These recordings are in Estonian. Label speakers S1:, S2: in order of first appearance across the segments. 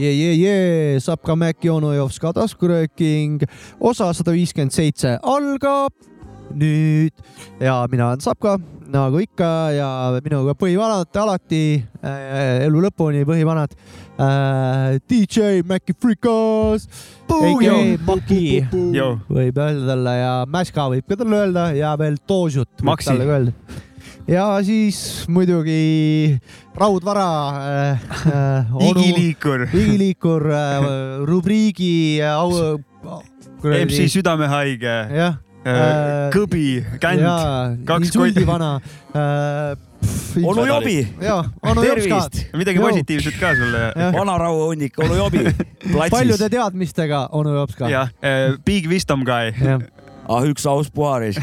S1: jee , jee , jee , saab ka Mac Jonojovs ka taskurööking , osa sada viiskümmend seitse algab nüüd ja mina olen Sapka , nagu ikka ja minuga põhivanad alati äh, , elu lõpuni põhivanad äh, . DJ Maci Freekas ,
S2: Joo.
S1: Maki
S2: Joo.
S1: võib öelda talle ja Mäska võib ka talle öelda ja veel Doosut võib
S2: Maxi.
S1: talle ka öelda . ja siis muidugi Raudvara äh, äh, onu
S2: igiliikur ,
S1: igiliikur äh, rubriigi äh, au .
S2: MC . E südamehaige ,
S1: jah .
S2: äh,
S1: Äh,
S2: kõbi , känd , kaks
S1: kaks kotti
S2: kotti- .
S1: vana äh, .
S2: onu jobi ,
S1: ja , onu jops ka .
S3: tervist ,
S2: midagi
S1: Joo.
S2: positiivset ka sulle .
S1: Jah.
S3: vana rauahunnik onu jobi
S1: paljude
S3: platsis ,
S1: teadmistega onu jops ka .
S2: jah , Big Wisdom Guy ,
S1: jah .
S3: ah üks aus puharis .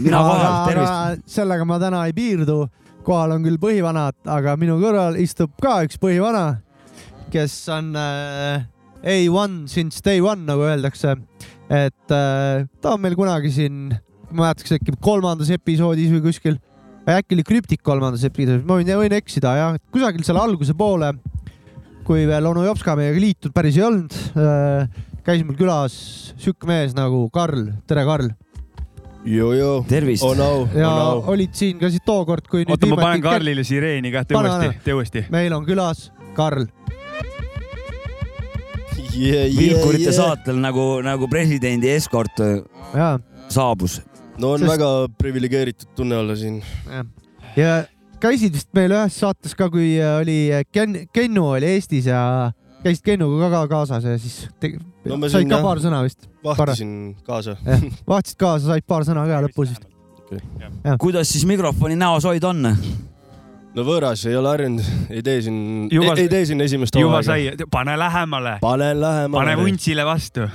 S3: mina kohal , tervist .
S1: sellega ma täna ei piirdu . kohal on küll põhivanad , aga minu kõrval istub ka üks põhivana , kes on äh, A1 since day one , nagu öeldakse . et äh, ta on meil kunagi siin , ma ei mäleta , kas äkki kolmandas episoodis või kuskil , äkki oli Krüptik kolmandas episoodis , ma võin, võin eksida jah , kusagil seal alguse poole , kui veel onu Jops ka meiega liitunud päris ei olnud äh, , käis mul külas sihuke mees nagu Karl , tere Karl .
S4: jojoo ,
S3: tervist
S4: on . au , on
S1: ja
S4: au .
S1: olid siin ka siis tookord , kui nüüd
S2: oota , ma panen
S1: viimati kätt-
S2: Karlile sireeni kah , tee
S1: Pane,
S2: uuesti
S1: pane. ,
S2: tee uuesti .
S1: meil on külas Karl .
S3: vilkurite saatel nagu , nagu presidendi eskort äh,
S1: ja ,
S3: saabus .
S4: no on
S1: Sest-
S4: Sest... väga priviligeeritud tunne olla siin .
S1: ja. ja käisid vist meil ühes saates ka , kui äh, oli Ken- , Kennu oli Eestis ja käisid Kennuga ka, ka kaasas ja siis te...
S4: No
S1: no,
S4: me
S1: said
S4: siin,
S1: ka
S4: jah.
S1: paar sõna vist ,
S4: vahtisin kaasa .
S1: vaatasid kaasa , said paar sõna ka lõpus vist .
S3: kuidas siis mikrofoni näoshoid on ?
S4: no võõras , ei ole harjunud , ei tee siin
S2: Juba- ,
S4: ei tee siin esimest
S2: juba . sai , pane lähemale ,
S4: panen lähemale
S2: pane . vuntsile vastu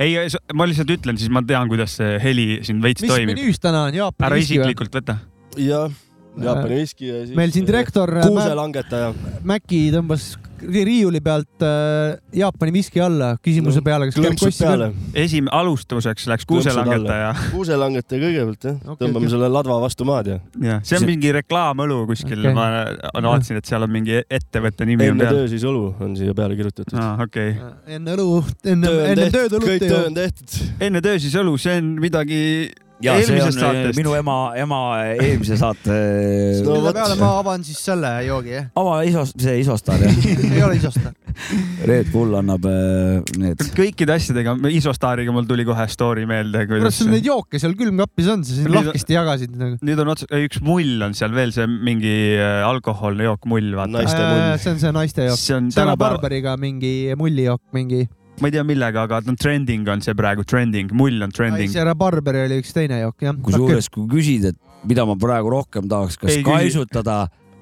S2: ei , ma lihtsalt ütlen , siis ma tean , kuidas see heli siin veits
S1: mis
S2: toimib .
S1: menüüs täna on ,
S2: ära
S1: Jaapani viski või ?
S2: isiklikult võta .
S4: jah , Jaapani viski ja siis .
S1: Äh, meil siin . direktor äh,
S4: kuuse langetaja .
S1: Mäki tõmbas ri- riiuli pealt äh, Jaapani viski alla küsimuse
S4: No,
S1: peale , kas käib
S4: klõmpsud
S1: kossi peal
S4: peale .
S2: esim- , alustuseks läks kuuselangetaja
S4: kuuse langetaja kõigepealt jah
S1: Okei,
S4: okay, , tõmbame
S1: okei.
S4: okay. selle ladva vastu maad ja
S2: ja see on
S3: See-
S2: mingi reklaamõlu kuskil
S1: Okei.
S2: okay. , ma äh, vaatasin , et seal on mingi ettevõtte nimi on
S4: enne
S2: peal .
S4: töö siis õlu on siia peale kirjutatud .
S2: aa , okei .
S1: enne õlu , enne , enne tööd õlut
S4: kõik
S1: ei
S4: töö
S1: joo .
S4: on tehtud .
S2: enne töö siis õlu , see on midagi
S3: ja see on
S2: eelmisest saatest .
S3: minu ema , ema eelmise saate
S4: No
S1: mille
S4: vot.
S1: peale ma avan siis selle joogi , jah .
S3: ava isos- , see isostar jah ,
S1: ei ole isosta .
S3: Red Bull annab äh, need .
S2: kõikide asjadega , Isostariga mul tuli kohe story meelde ,
S1: kuidas
S2: kuidas
S1: sul neid jooke seal külmkapis on , sa siin
S2: Mida-
S1: lahkesti jagasid nagu .
S2: nüüd on ots- , üks mull on seal veel see mingi äh, alkoholne jook , mull vaata .
S4: Naiste mull.
S1: Äh, see on see naiste jook .
S2: see on
S1: Sarah
S2: tänapäeval ,
S1: Barberiga mingi mullijook , mingi .
S2: ma ei tea millega , aga no trending on see praegu , trending , mull on trending .
S1: Sarah Barberi oli üks teine jook , jah .
S3: kusjuures , kui küsid , et mida ma praegu rohkem tahaks , kas
S2: Ei küsi.
S3: kaisutada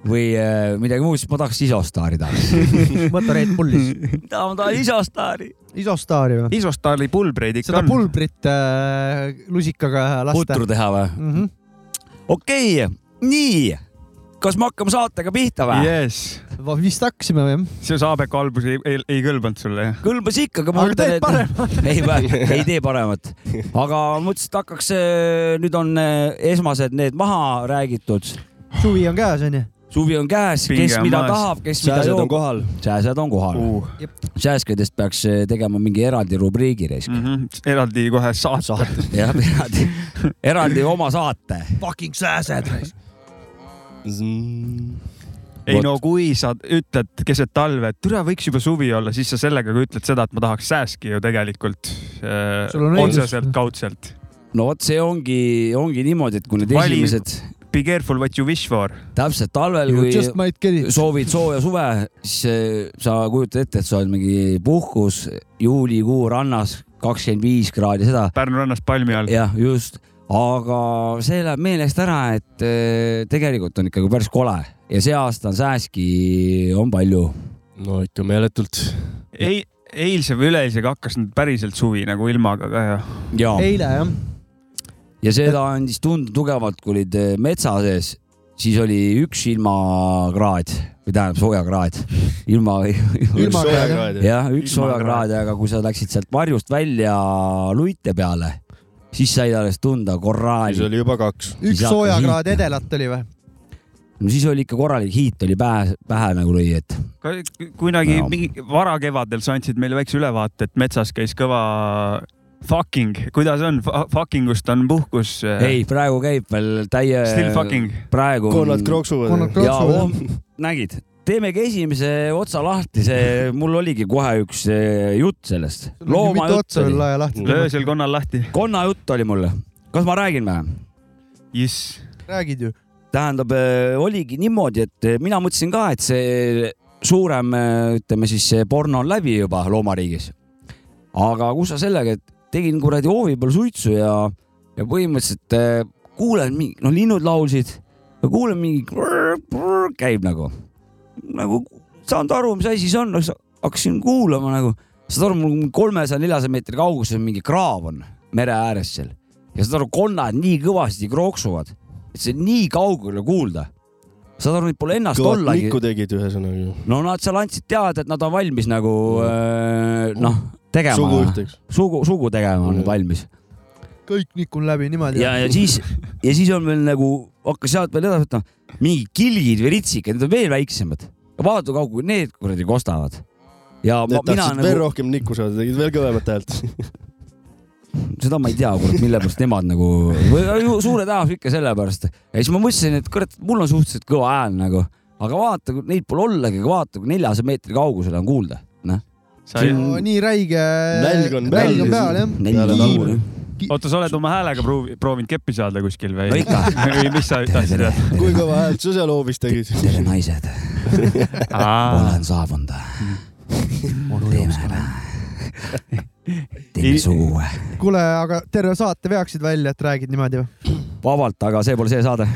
S3: või äh, midagi muud , siis ma tahaks isostari tahaks .
S1: võta Red Bullis .
S3: ma tahan isostari .
S1: isostaari või ?
S2: Isostari pulbreid ikka
S1: seda
S2: on .
S1: pulbrit äh, lusikaga lasta .
S3: putru teha või ?
S1: Mm -hmm.
S3: okei okay, , nii , kas me hakkame saatega pihta või yeah. ?
S2: jess ,
S1: vist hakkasime või ?
S2: see Saabeku albus ei, ei , ei kõlbanud sulle jah ?
S3: kõlbas ikka , aga ma
S1: aga teed
S3: mõtlen ,
S1: parema .
S3: et ei , ei tee paremat , aga mõtlesin , et hakkaks , nüüd on äh, esmased need maha räägitud ,
S1: suvi on käes , onju .
S3: suvi on käes ,
S2: Pinge
S3: kes
S2: on
S3: mida
S2: maas.
S3: tahab , kes mida
S4: sääsed on
S3: joob ,
S4: kohal .
S3: sääsed on kohal uh. .
S2: Uh.
S3: sääskedest peaks äh, tegema mingi eraldi rubriigi reis ,
S2: Mm -hmm. eraldi kohe saate .
S3: jah , eraldi , eraldi oma saate .
S1: Fucking sääsed .
S2: ei
S3: Vot.
S2: no kui sa ütled keset talve , et türa võiks juba suvi olla , siis sa sellega ka ütled seda , et ma tahaks sääski ju tegelikult äh,
S1: Sul on õigus.
S2: otseselt , kaudselt .
S3: no vot , see ongi , ongi niimoodi , et kui need
S2: Vali-
S3: esimesed ,
S2: Be careful what you wish for .
S3: täpselt talvel ,
S1: You
S3: kui
S1: just might get it .
S3: soovid sooja suve , siis äh, sa kujutad ette , et sa oled mingi puhkus juulikuu rannas , kakskümmend viis kraadi , seda
S2: Pärnu rannas palmi all .
S3: jah , just , aga see läheb meelest ära , et äh, tegelikult on ikkagi päris kole ja see aasta on sääski , on palju .
S4: no ikka meeletult .
S2: ei , eilse või üleeilsega hakkas nüüd päriselt suvi nagu ilmaga ka ja .
S3: ja
S1: eile jah .
S3: ja seda andis tunda tugevalt , kui olid eh, metsa sees , siis oli üks ilmakraad või tähendab soojakraad , ilma ,
S1: Ilma-
S3: jah ,
S2: Ilmakraad.
S3: üks soojakraad , aga kui sa läksid sealt varjust välja luite peale , siis said alles tunda
S4: siis
S3: korraali ,
S4: oli juba kaks .
S1: üks
S3: Siis hakkas
S1: soojakraad
S3: liikuma.
S1: edelat oli või ?
S3: no siis oli ikka korralik hiit oli pähe , pähe nagu lõi , et
S2: kunagi
S3: No.
S2: no. mingi varakevadel sa andsid meile väikse ülevaate , et metsas käis kõva fucking , kuidas on , fucking ust on puhkus .
S3: ei , äh, praegu käib veel täie ,
S2: Still fucking .
S3: praegu on-
S4: konnad
S1: konnad
S4: kroksuvad .
S1: kro-
S3: ja
S1: Kroksuga, jah.
S3: homm- nägid , teemegi esimese otsa lahti , see mul oligi kohe üks eh, jutt sellest .
S1: mitu
S3: loomajutt
S1: otsa veel
S3: oli ,
S1: lae lahti
S2: löö . seal konnal lahti .
S3: konnajutt oli mul . kas ma räägin või ?
S2: jess .
S1: räägid ju ?
S3: tähendab , oligi niimoodi , et eh, mina mõtlesin ka , et see suurem , ütleme siis see porno on läbi juba loomariigis . aga kus sa sellega , et tegin kuradi hoovi peal suitsu ja , ja põhimõtteliselt eh, kuulen , no linnud laulsid ja kuulen mingi prrr, prrr, käib nagu , nagu saanud aru , mis asi see on , hakkasin kuulama nagu , saad aru , mul kolmesaja , neljasaja meetri kaugusel mingi kraav on mere ääres seal ja saad aru , konnad nii kõvasti krooksuvad , et see on nii kaugele kuulda . saad aru , neid pole ennast
S4: kõvat
S3: ollagi ,
S4: nikku tegid ühesõnaga .
S3: no nad seal andsid teada , et nad on valmis nagu öö, noh , tegema
S4: sugu , ühteks .
S3: sugu , sugu tegema on
S4: Mhm.
S3: nad valmis .
S1: kõik nikun läbi niimoodi .
S3: ja , ja siis ja siis on veel nagu , hakkas sealt veel edasi võtma , mingid kilgid või ritsikad , need on veel väiksemad . vaata kui kaugele need kuradi kostavad . ja ma,
S4: Need
S3: mina
S4: tahtsid veel
S3: nagu ,
S4: rohkem nikku saada , tegid veel kõvemat häält .
S3: seda ma ei tea , kurat , mille pärast nemad nagu , või ju- suure tõenäosusega ikka sellepärast . ja siis ma mõtlesin , et kurat , mul on suhteliselt kõva hääl nagu , aga vaata , neid pole ollagi , aga vaata , kui neljasaja meetri kaugusel on kuulda . noh ,
S2: sa ei
S3: Siin- ,
S1: nii räige .
S4: Nälg on
S1: nälg on
S4: peal.
S1: peal jah .
S3: nelja
S4: Peale
S3: tagu
S4: laulu. .
S2: oota , sa oled oma häälega proovi- , proovinud keppi saada kuskil või
S3: No ? ikka.
S2: või mis sa tahtsid
S3: tere ,
S2: öelda ?
S4: kui kõva häält sa seal hoovis tegid ?
S3: tere naised , olen saabunud .
S4: Mm.
S3: teeme ära . teeme
S2: Ei-
S3: sugu .
S1: kuule , aga terve saate veaksid välja , et räägid niimoodi või ?
S3: vabalt , aga see pole see saade .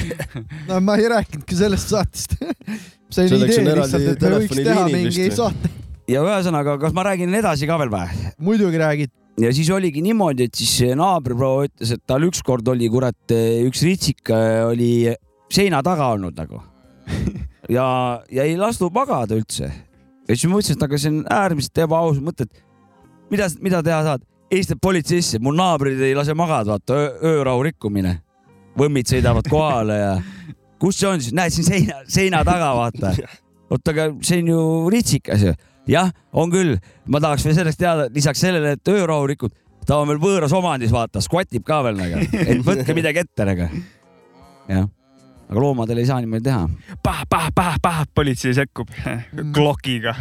S1: no ma ei rääkinudki sellest saatest . see oli
S4: Selleks
S1: idee
S4: on eraldi
S1: lihtsalt , et me võiks teha
S4: telefoniliinid
S1: mingi
S4: vist või?
S1: saate .
S3: ja ühesõnaga , kas ma räägin edasi ka veel või ?
S1: muidugi räägid .
S3: ja siis oligi niimoodi , et siis naabriproua ütles , et tal ükskord oli kurat , üks ritsik äh, oli seina taga olnud nagu ja , ja ei lasknud magada üldse . ja siis ma mõtlesin , et aga see on äärmiselt ebaaus mõte , et mida , mida teha saad , helistab politseisse , mu naabrid ei lase magada , vaata öö, öörahu rikkumine . võmmid sõidavad kohale ja kus see on siis , näed siin seina , seina taga vaata . oota , aga see on ju ritsikas ju . jah , on küll , ma tahaks veel selleks teada , lisaks sellele , et öörahu rikud , ta on veel võõras omandis , vaata , skvatib ka veel nagu , et võtke midagi ette nagu . jah , aga loomadel ei saa niimoodi teha .
S2: pah , pah , pah , pah , politsei sekkub
S1: Mm-hmm.
S2: klokiga .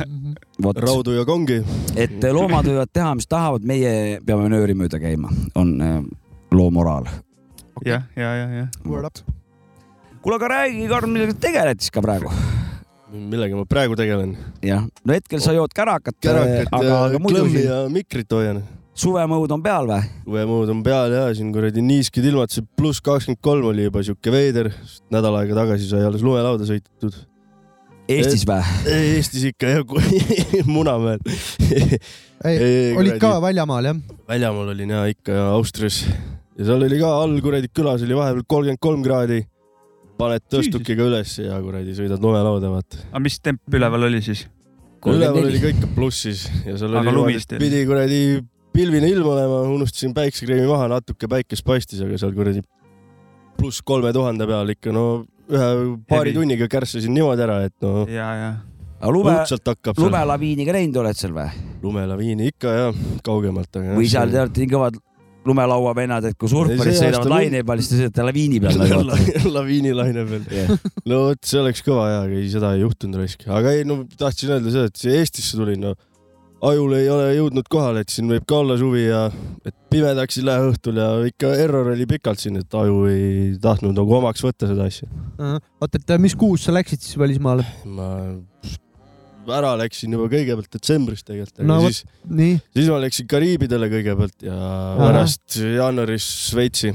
S3: vot ,
S4: raudu ja kongi .
S3: et loomad võivad teha , mis tahavad , meie peame nööri mööda käima , on äh, loo moraal .
S2: jah , ja , ja , ja .
S1: Word up .
S3: kuule , aga räägi , Karl , millega sa tegeled siis ka praegu ?
S4: millega ma praegu tegelen ?
S3: jah , no hetkel sa jood kärakat ,
S4: kärakat
S3: aga ,
S4: ja
S3: aga muidu
S4: äh, klõmmi
S3: siin
S4: ja mikrit hoian .
S3: suvemõud on peal või ?
S4: veemuud on peal ja siin kuradi niisked ilmad , see pluss kakskümmend kolm oli juba siuke veider . nädal aega tagasi sai alles lumelauda sõidetud .
S3: Eestis või ?
S4: Eestis ikka jah , kui Munamäel .
S1: ei , olid ka väljamaal jah ?
S4: väljamaal olin ja ikka ja Austrias ja seal oli ka all kuradi külas oli vahepeal kolmkümmend kolm kraadi . paned tõstukiga üles ja kuradi sõidad lumelauda , vaata .
S2: aga mis temp üleval oli siis ?
S4: üleval oli ka ikka plussis ja seal
S2: Aga
S4: oli
S2: lumis teil?
S4: pidi kuradi pilvine ilm olema , unustasin päiksekreemi maha , natuke päikest paistis , aga seal kuradi pluss kolme tuhande peal ikka no ühe paari
S2: Hevi.
S4: tunniga kärssasin niimoodi ära , et no
S2: ja , ja .
S3: lume ,
S4: õudselt hakkab seal
S3: lumelaviiniga läinud oled seal või ?
S4: lumelaviini ikka ja kaugemalt , aga .
S3: või seal te olete nii kõvad lumelauavennad , et kui surfarid
S4: Ei, see aasta
S3: sõidavad
S4: lum-
S3: laine peal , siis te sõidate laviini peal .
S4: laviinilaine peal . no vot , see oleks kõva jaa , aga ei , seda ei juhtunud raisk , aga ei no tahtsin öelda seda , et siia Eestisse tulin , no ajul ei ole jõudnud kohale , et siin võib ka olla suvi ja et pimedaks ei lähe õhtul ja ikka error oli pikalt siin , et aju ei tahtnud nagu omaks võtta seda asja .
S1: oota , et äh, mis kuus sa läksid siis välismaale ?
S4: ma ära läksin juba kõigepealt detsembris tegelikult , aga
S1: No
S4: no,
S1: vot.
S4: siis ,
S1: nii ,
S4: siis ma läksin Kariibidele kõigepealt ja pärast jaanuaris Šveitsi .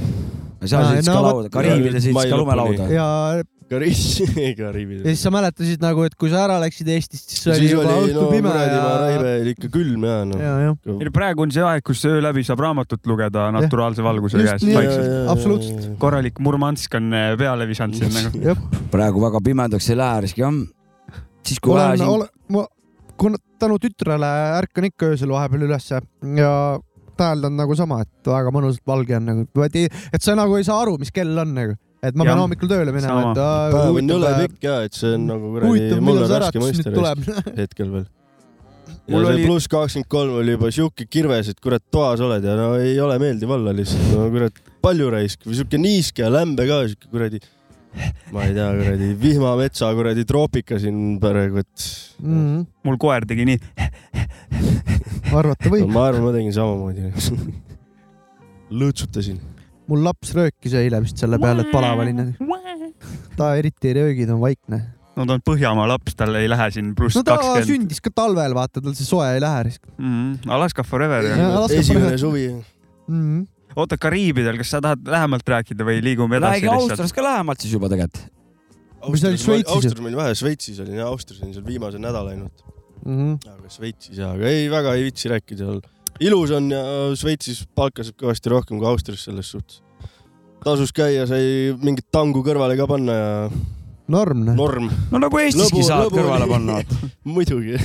S3: seal
S1: Aa,
S3: sõitis
S1: no
S3: ka
S1: vot-
S3: lauda , Kariibides sõitis
S4: Mai
S3: ka
S4: lõpuni.
S3: lumelauda .
S1: ja
S4: Kariibi , Kariibi .
S1: ja siis sa mäletasid nagu , et kui sa ära läksid Eestist , siis oli
S4: siis
S1: juba
S4: oli no
S1: õhtu pime
S4: kuradi , ma
S1: ja ,
S4: raive oli ikka külm ja noh .
S1: ja , jah ,
S2: ei no praegu on see aeg , kus öö läbi saab raamatut lugeda naturaalse valguse
S1: Just
S2: käest
S1: nii.
S2: vaikselt .
S1: absoluutselt. .
S2: korralik Murmansk on äh, peale visanud siin nagu .
S1: jah .
S3: praegu väga pimedaks ei lähe risk jah . siis kui
S1: olen ,
S3: vähe
S1: olen , ma , kuna tänu tütrele ärkan ikka öösel vahepeal ülesse ja täheldan nagu sama , et väga mõnusalt valge on nagu , et sa nagu ei saa aru , mis kell on nagu , et ma
S2: Jah.
S1: pean hommikul tööle minema ,
S2: Sama.
S1: et aa,
S4: päev on
S1: huvitav
S4: jõle
S1: päev.
S4: pikk ja et see on nagu kuradi
S1: huvitav ,
S4: mulle
S1: millal see
S4: värske
S1: äratus
S4: mõiste
S1: nüüd tuleb .
S4: hetkel veel . ja
S2: Mul
S4: see
S2: oli-
S4: pluss kakskümmend kolm oli juba siuke kirves , et kurat toas oled ja no ei ole meeldiv olla lihtsalt , no kurat palju raisk või siuke niiske ja lämbe ka siuke kuradi , ma ei tea , kuradi vihmametsa kuradi troopika siin praegu , et
S1: Mhm.
S2: mul koer tegi nii .
S1: arvata
S4: no,
S1: võib ,
S4: ma arvan , ma tegin samamoodi . lõõtsutasin .
S1: mul laps röökis eile vist selle peale , et palav oli nagu . ta eriti ei röögi , ta on vaikne .
S2: no ta on Põhjamaa laps , tal ei lähe siin pluss
S1: no ta
S2: kakskümmend .
S1: sündis ka talvel , vaata , tal see soe ei lähe risk
S2: Alaska forever
S1: Jah.
S2: jah .
S1: laske
S4: esimene
S1: panna-
S4: suvi .
S1: mm .
S2: oota , Kariibidel , kas sa tahad lähemalt rääkida või liigume edasi
S3: räägi
S2: lihtsalt ?
S3: Austriast ka lähemalt siis juba tegelikult .
S1: Mis ta oli, Šveitsis?
S4: Austris ma olin vähe , Šveitsis olin jah , Austris olin seal viimase nädala ainult .
S1: -hmm.
S4: aga Šveitsis jaa , aga ei , väga ei viitsi rääkida seal . ilus on ja Šveitsis palka saab kõvasti rohkem kui Austrias selles suhtes . tasus käia , sai mingit tangu kõrvale ka panna ja
S1: normne .
S4: norm ,
S3: no nagu Eestiski
S4: Lõbu-
S3: saad
S4: lõbu-
S3: kõrvale panna ,
S4: muidugi .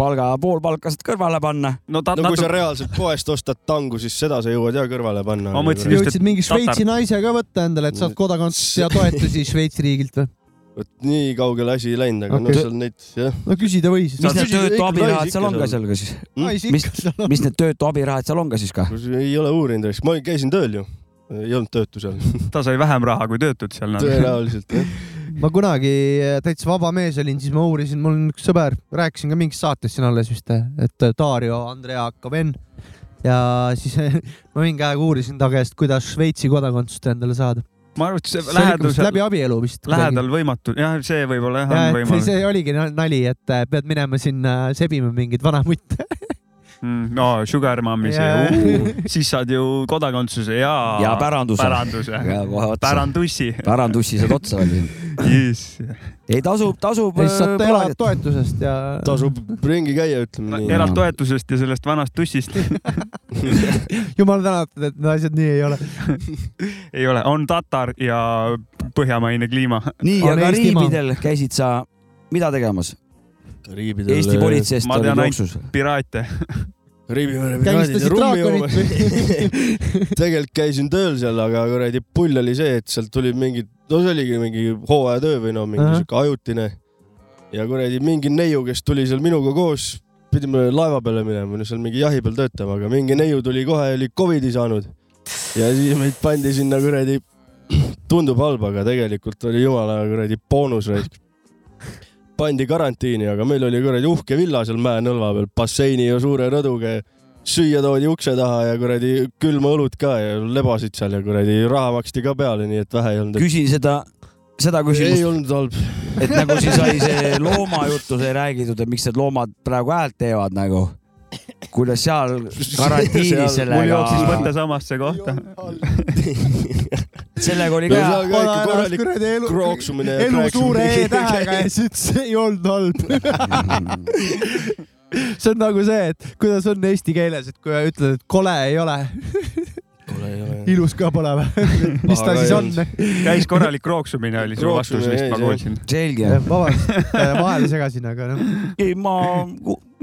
S3: palga , pool palka saad kõrvale panna .
S2: no ta ,
S4: no kui sa
S2: natuke ,
S4: reaalselt poest ostad tangu , siis seda sa jõuad ja kõrvale panna .
S2: Ma mõtlesin just-
S1: jõudsid mingi Šveitsi naise ka võtta endale , et saad kodakondsust ja toetusi Šveitsi riigilt või ?
S4: vot nii kaugele asi ei läinud , aga
S1: Okei.
S4: no seal neid , jah .
S1: no küsida või siis .
S4: Sa-
S3: mis need
S4: küsisid,
S3: töötu
S4: ikka
S3: abirahad
S4: naisi
S3: seal
S4: ikka
S3: on ka
S4: saad.
S3: seal ka siis ?
S1: naisi
S3: mis-
S1: ikka Hm? seal on .
S3: mis need töötu abirahad seal on ka siis ka ?
S4: ei ole uurinud , eks ma käisin tööl ju . ei olnud töötu seal .
S2: ta sai vähem raha kui töötud seal nagu .
S4: tõenäoliselt jah .
S1: ma kunagi eh, täitsa vaba mees olin , siis ma uurisin , mul on üks sõber , rääkisin ka mingis saates siin alles vist , et eh, Dario Andrea hakkab N ja siis ma mingi aeg uurisin ta käest , kuidas Šveitsi kodakondsust endale saada .
S2: ma arvan , et
S1: see
S2: see
S1: oli ikka vist
S2: lähedusel
S1: läbi , abielu vist .
S2: lähedal võimatu , jah , see võib-olla jah
S1: ja
S2: on
S1: et see,
S2: võimalus .
S1: see oligi na- nali , et äh, pead minema sinna sebima mingeid vanamutte .
S2: Mm, no Sugar Mommy
S1: Jaa.
S2: see , siis saad ju kodakondsuse ja .
S3: ja päranduse .
S2: päranduse .
S3: ja kohe otsa .
S2: pärandussi .
S3: pärandussi saad otsa veel .
S2: jess .
S3: ei tasub , tasub . äh,
S1: ja siis saad elada toetusest ja .
S4: tasub ringi käia , ütleme nii .
S2: elad toetusest ja sellest vanast tussist
S1: jumal tänatud , et need asjad nii ei ole .
S2: ei ole , on tatar ja põhjamaine kliima .
S3: nii ,
S1: On
S3: aga
S1: Eestimaa.
S3: riibidel käisid sa , mida tegemas ?
S4: Kariibidel .
S3: Eesti politseist
S2: Ma
S3: olid
S2: tean ainult-
S3: jooksus .
S2: piraate .
S4: Riivivere
S1: Kägistasid draakonit või ?
S4: tegelikult käisin tööl seal , aga kuradi pull oli see , et sealt tulid mingid , no see oligi mingi hooajatöö või no mingi
S1: Ahah.
S4: sihuke ajutine . ja kuradi mingi neiu , kes tuli seal minuga koos , pidime laeva peale minema , no seal mingi jahi peal töötama , aga mingi neiu tuli kohe , oli Covidi saanud . ja siis meid pandi sinna kuradi , tundub halb , aga tegelikult oli jumala kuradi boonus raisk pandi karantiini , aga meil oli kuradi uhke villa seal mäenõlva peal , basseini ja suure rõduga ja süüa toodi ukse taha ja kuradi külma õlut ka ja lebasid seal ja kuradi raha maksti ka peale , nii et vähe ei olnud .
S3: küsin seda , seda
S4: ei
S3: küsimust ,
S4: olnud halb .
S3: et nagu siis sai see loomajuttu sai räägitud , et miks need loomad praegu häält teevad nagu . kuidas seal
S4: Seal- mul
S3: karantiinis
S2: mul jooksis
S3: sellega
S2: mõte , samasse kohta .
S3: sellega oli
S4: no
S3: ka
S4: seal ka ikka korralik
S1: kuradi elu
S4: krooksumine ja
S1: elu suure
S4: kraaksumine.
S1: E-tähega ja siis ütles , ei olnud halb . see on nagu see , et kuidas on eesti keeles , et kui ütled , et kole ei ole ,
S4: Kole ei ole.
S1: ilus ka pole või ? mis ta
S4: Aga
S1: siis
S4: ei
S1: on ?
S2: käis korralik krooksumise oli su vastus
S4: Krooksumine
S2: vist ,
S4: jäi,
S2: ma
S4: jah.
S2: kuulsin .
S3: selge .
S1: vabandust , vahele segasin , aga noh ,
S3: ei , ma ,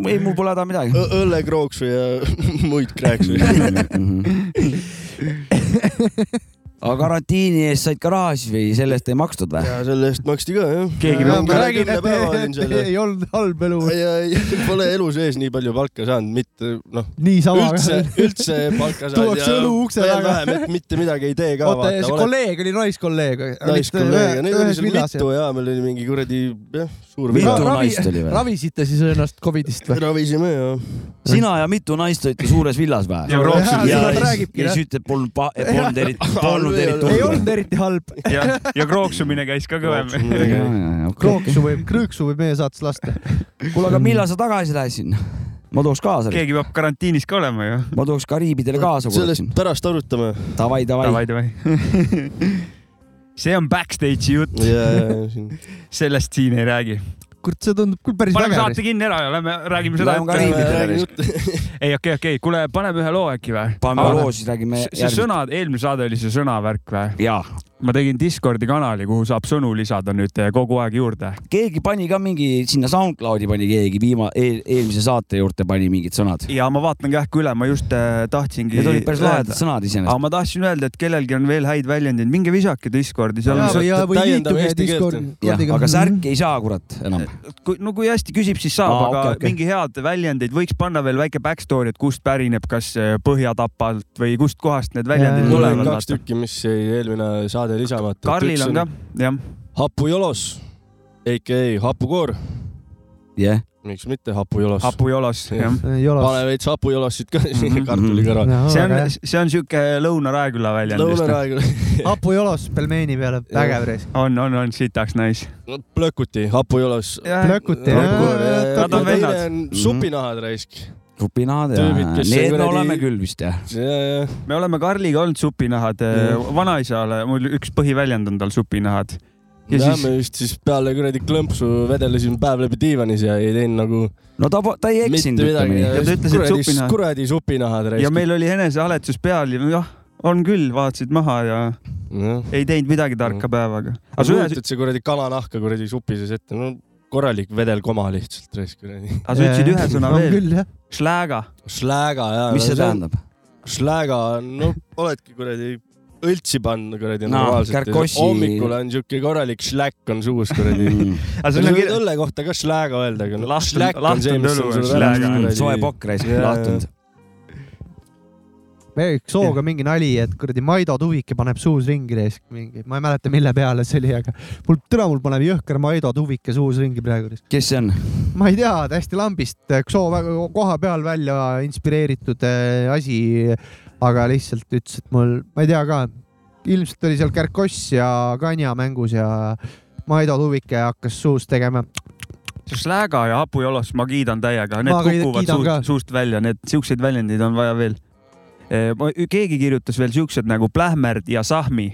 S3: ei , mul pole häda midagi .
S4: Õ- õllekraaksu ja muid kraaksu .
S3: Mhm. aga karantiini eest said ka raha siis või selle eest ei makstud või ?
S4: ja selle eest maksti ka jah .
S2: Keegi peab-
S1: ma räägin ,
S4: päeva olin
S1: et
S4: seal ja
S1: ei olnud halb elu ,
S4: ja ei- pole elu sees nii palju palka saanud , mitte noh ,
S1: niisama .
S4: üldse , üldse palka saanud .
S1: Tuuakse õlu ukse taga.
S4: taga . mitte midagi ei tee ka .
S1: oota , ja see kolleeg oli naiskolleeg . äh,
S4: naiskolleeg ja neid oli seal mitu ja meil oli mingi kuradi jah , suur
S3: Mitu
S4: villa .
S3: naist oli või?
S1: ravisite siis ennast Covidist või ?
S4: ravisime ja
S3: sina ja mitu naist olite suures villas või ?
S2: ja krooksusid
S1: Ja-
S2: ja ,
S1: seda
S3: ja
S1: räägibki,
S3: siis
S1: jah.
S3: ütleb , polnud , polnud eriti , polnud eriti
S1: ei
S3: hullu .
S1: olnud eriti halb .
S2: ja, ja krooksumine käis ka kõvem .
S1: krooksu võib , krõõksu võib meie saates lasta .
S3: kuule , aga millal sa tagasi lähed sinna ? ma tooks kaasa ,
S2: keegi peab karantiinis ka olema ju .
S3: ma tooks Kariibidele kaasa .
S4: sellest pärast arutame .
S3: davai , davai .
S2: davai , davai . see on backstage'i jutt
S4: Jaa, jaa, siin-
S2: sellest siin ei räägi .
S1: kurat , see tundub küll päris
S2: paneme
S1: äge .
S2: saate kinni ära ja lähme räägime seda .
S3: Lähme ka riimidele.
S2: ei , okei , okei , kuule , paneme ühe loo äkki või ?
S3: paneme loo , siis räägime
S2: see sõna , eelmine saade oli see sõnavärk või ?
S3: jaa ,
S2: ma tegin Discordi kanali , kuhu saab sõnu lisada nüüd kogu aeg juurde .
S3: keegi pani ka mingi sinna SoundCloudi pani keegi viima- eel, , eelmise saate juurde pani mingid sõnad .
S2: ja ma vaatan kähku üle , ma just äh, tahtsingi .
S3: Need olid päris lahedad sõnad
S2: aga
S3: iseenesest .
S2: ma tahtsin öelda , et kellelgi on veel häid väljendeid , minge visake Discordi , seal
S1: ja ,
S2: on
S1: või , ja , või
S4: Täiendame
S1: liituge
S4: eesti keelt.
S3: jah
S1: Discordi ,. Mhm.
S3: aga särk ei saa , kurat ,
S2: Äh,
S3: enam .
S2: kui, no kui hästi küsib , siis saab
S3: Aa,
S2: no, , aga
S3: okei,
S2: okay,
S3: okei.
S2: okay. mingi head väljendeid võiks panna veel väike back story , et kust pärineb , kas äh, Põhja-Tapalt või kustkohast need väljendid
S1: Jaa.
S4: mul on
S2: tulevad
S4: kaks . tükki , mis jäi eelmine saade lisamata .
S2: Karlil on ka , jah .
S4: hapujolos , AKA hapukoor ,
S3: jah ,
S4: miks mitte hapujolos .
S2: hapujolos , jah .
S4: pane veits hapujolosid ka
S2: Mhm.
S4: kartulikõrva .
S2: see on , see on siuke Lõuna-Raeküla väljend vist .
S4: lõunaraeg
S1: hapujolos pelmeeni peale ,
S4: Jah.
S1: vägev reis .
S2: on , on , on sitaks nice .
S4: plökuti , hapujolos .
S3: Mhm.
S1: plökuti
S4: Hapukoor, jah,
S1: jah .
S4: jah.
S2: Nad on
S4: Teine
S2: vennad.
S4: on supinahad raisk .
S3: supinahad ja
S4: Tüübid, kes
S3: need me
S4: kuradi-
S3: oleme küll vist jah .
S2: me oleme Karliga olnud supinahad äh,
S4: Jah. ,
S2: vanaisale , mul üks põhiväljend on tal supinahad . ja
S4: ja
S2: siis
S4: me vist siis peale kuradi klõmpsu vedelesime päev läbi diivanis ja ei teinud nagu
S3: no ta , ta ei eksinud ,
S4: mitte
S3: ütleme
S4: midagi .
S3: nii .
S2: Ja ta ütles, et supinahad.
S4: kuradi supinahad raisk .
S2: ja meil oli enesehaletus peal ja jah , on küll , vaatasid maha ja ei teinud midagi tarka päevaga .
S4: aga
S2: aga
S4: sa
S2: sa ühes
S4: kujutad see kuradi kalanahka kuradi supi sees ette , no korralik vedelkoma lihtsalt raisk kuradi .
S2: aga sa ütlesid ühe sõna
S1: on
S2: veel ,
S1: küll jah .
S2: šlääga .
S4: Šläga jaa .
S3: mis see ? tähendab ?
S4: Šläga , no oledki kuradi õltsi pannud kuradi
S3: No, kärkossi-
S4: hommikul on siuke korralik šläkk on suus kuradi .
S2: aga
S4: sa
S2: sul on
S4: võid
S2: kirjas ,
S4: õlle kohta ka šläga öelda , aga noh ,
S2: Lahtunud-
S4: šläkk on see , mis on
S2: lahtunud
S4: sul
S2: õlu on
S4: väravas
S2: šläga.
S4: kuradi.
S3: soe pakk raisk ,
S4: Jaa, jaa.
S3: lahtunud .
S1: Äh, üks hooga mingi nali , et kuradi Maido tuvike paneb suus ringi reis , mingi , ma ei mäleta , mille peale see oli , aga mul , täna mul paneb jõhker Maido tuvike suus ringi praegu reis .
S3: kes see on ?
S1: ma ei tea , täiesti lambist , Xo väga koha peal välja inspireeritud äh, asi , aga lihtsalt ütles , et mul , ma ei tea ka , ilmselt oli seal Kärkoss ja Kanja mängus ja Maido Tuvike hakkas suus tegema .
S2: šlääga ja hapujolos ma kiidan täiega , need
S1: Ma ka
S2: kukuvad
S1: kiidan ka.
S2: suust, suust välja , need siukseid väljendeid on vaja veel . keegi kirjutas veel siuksed nagu plähmerd ja sahmi .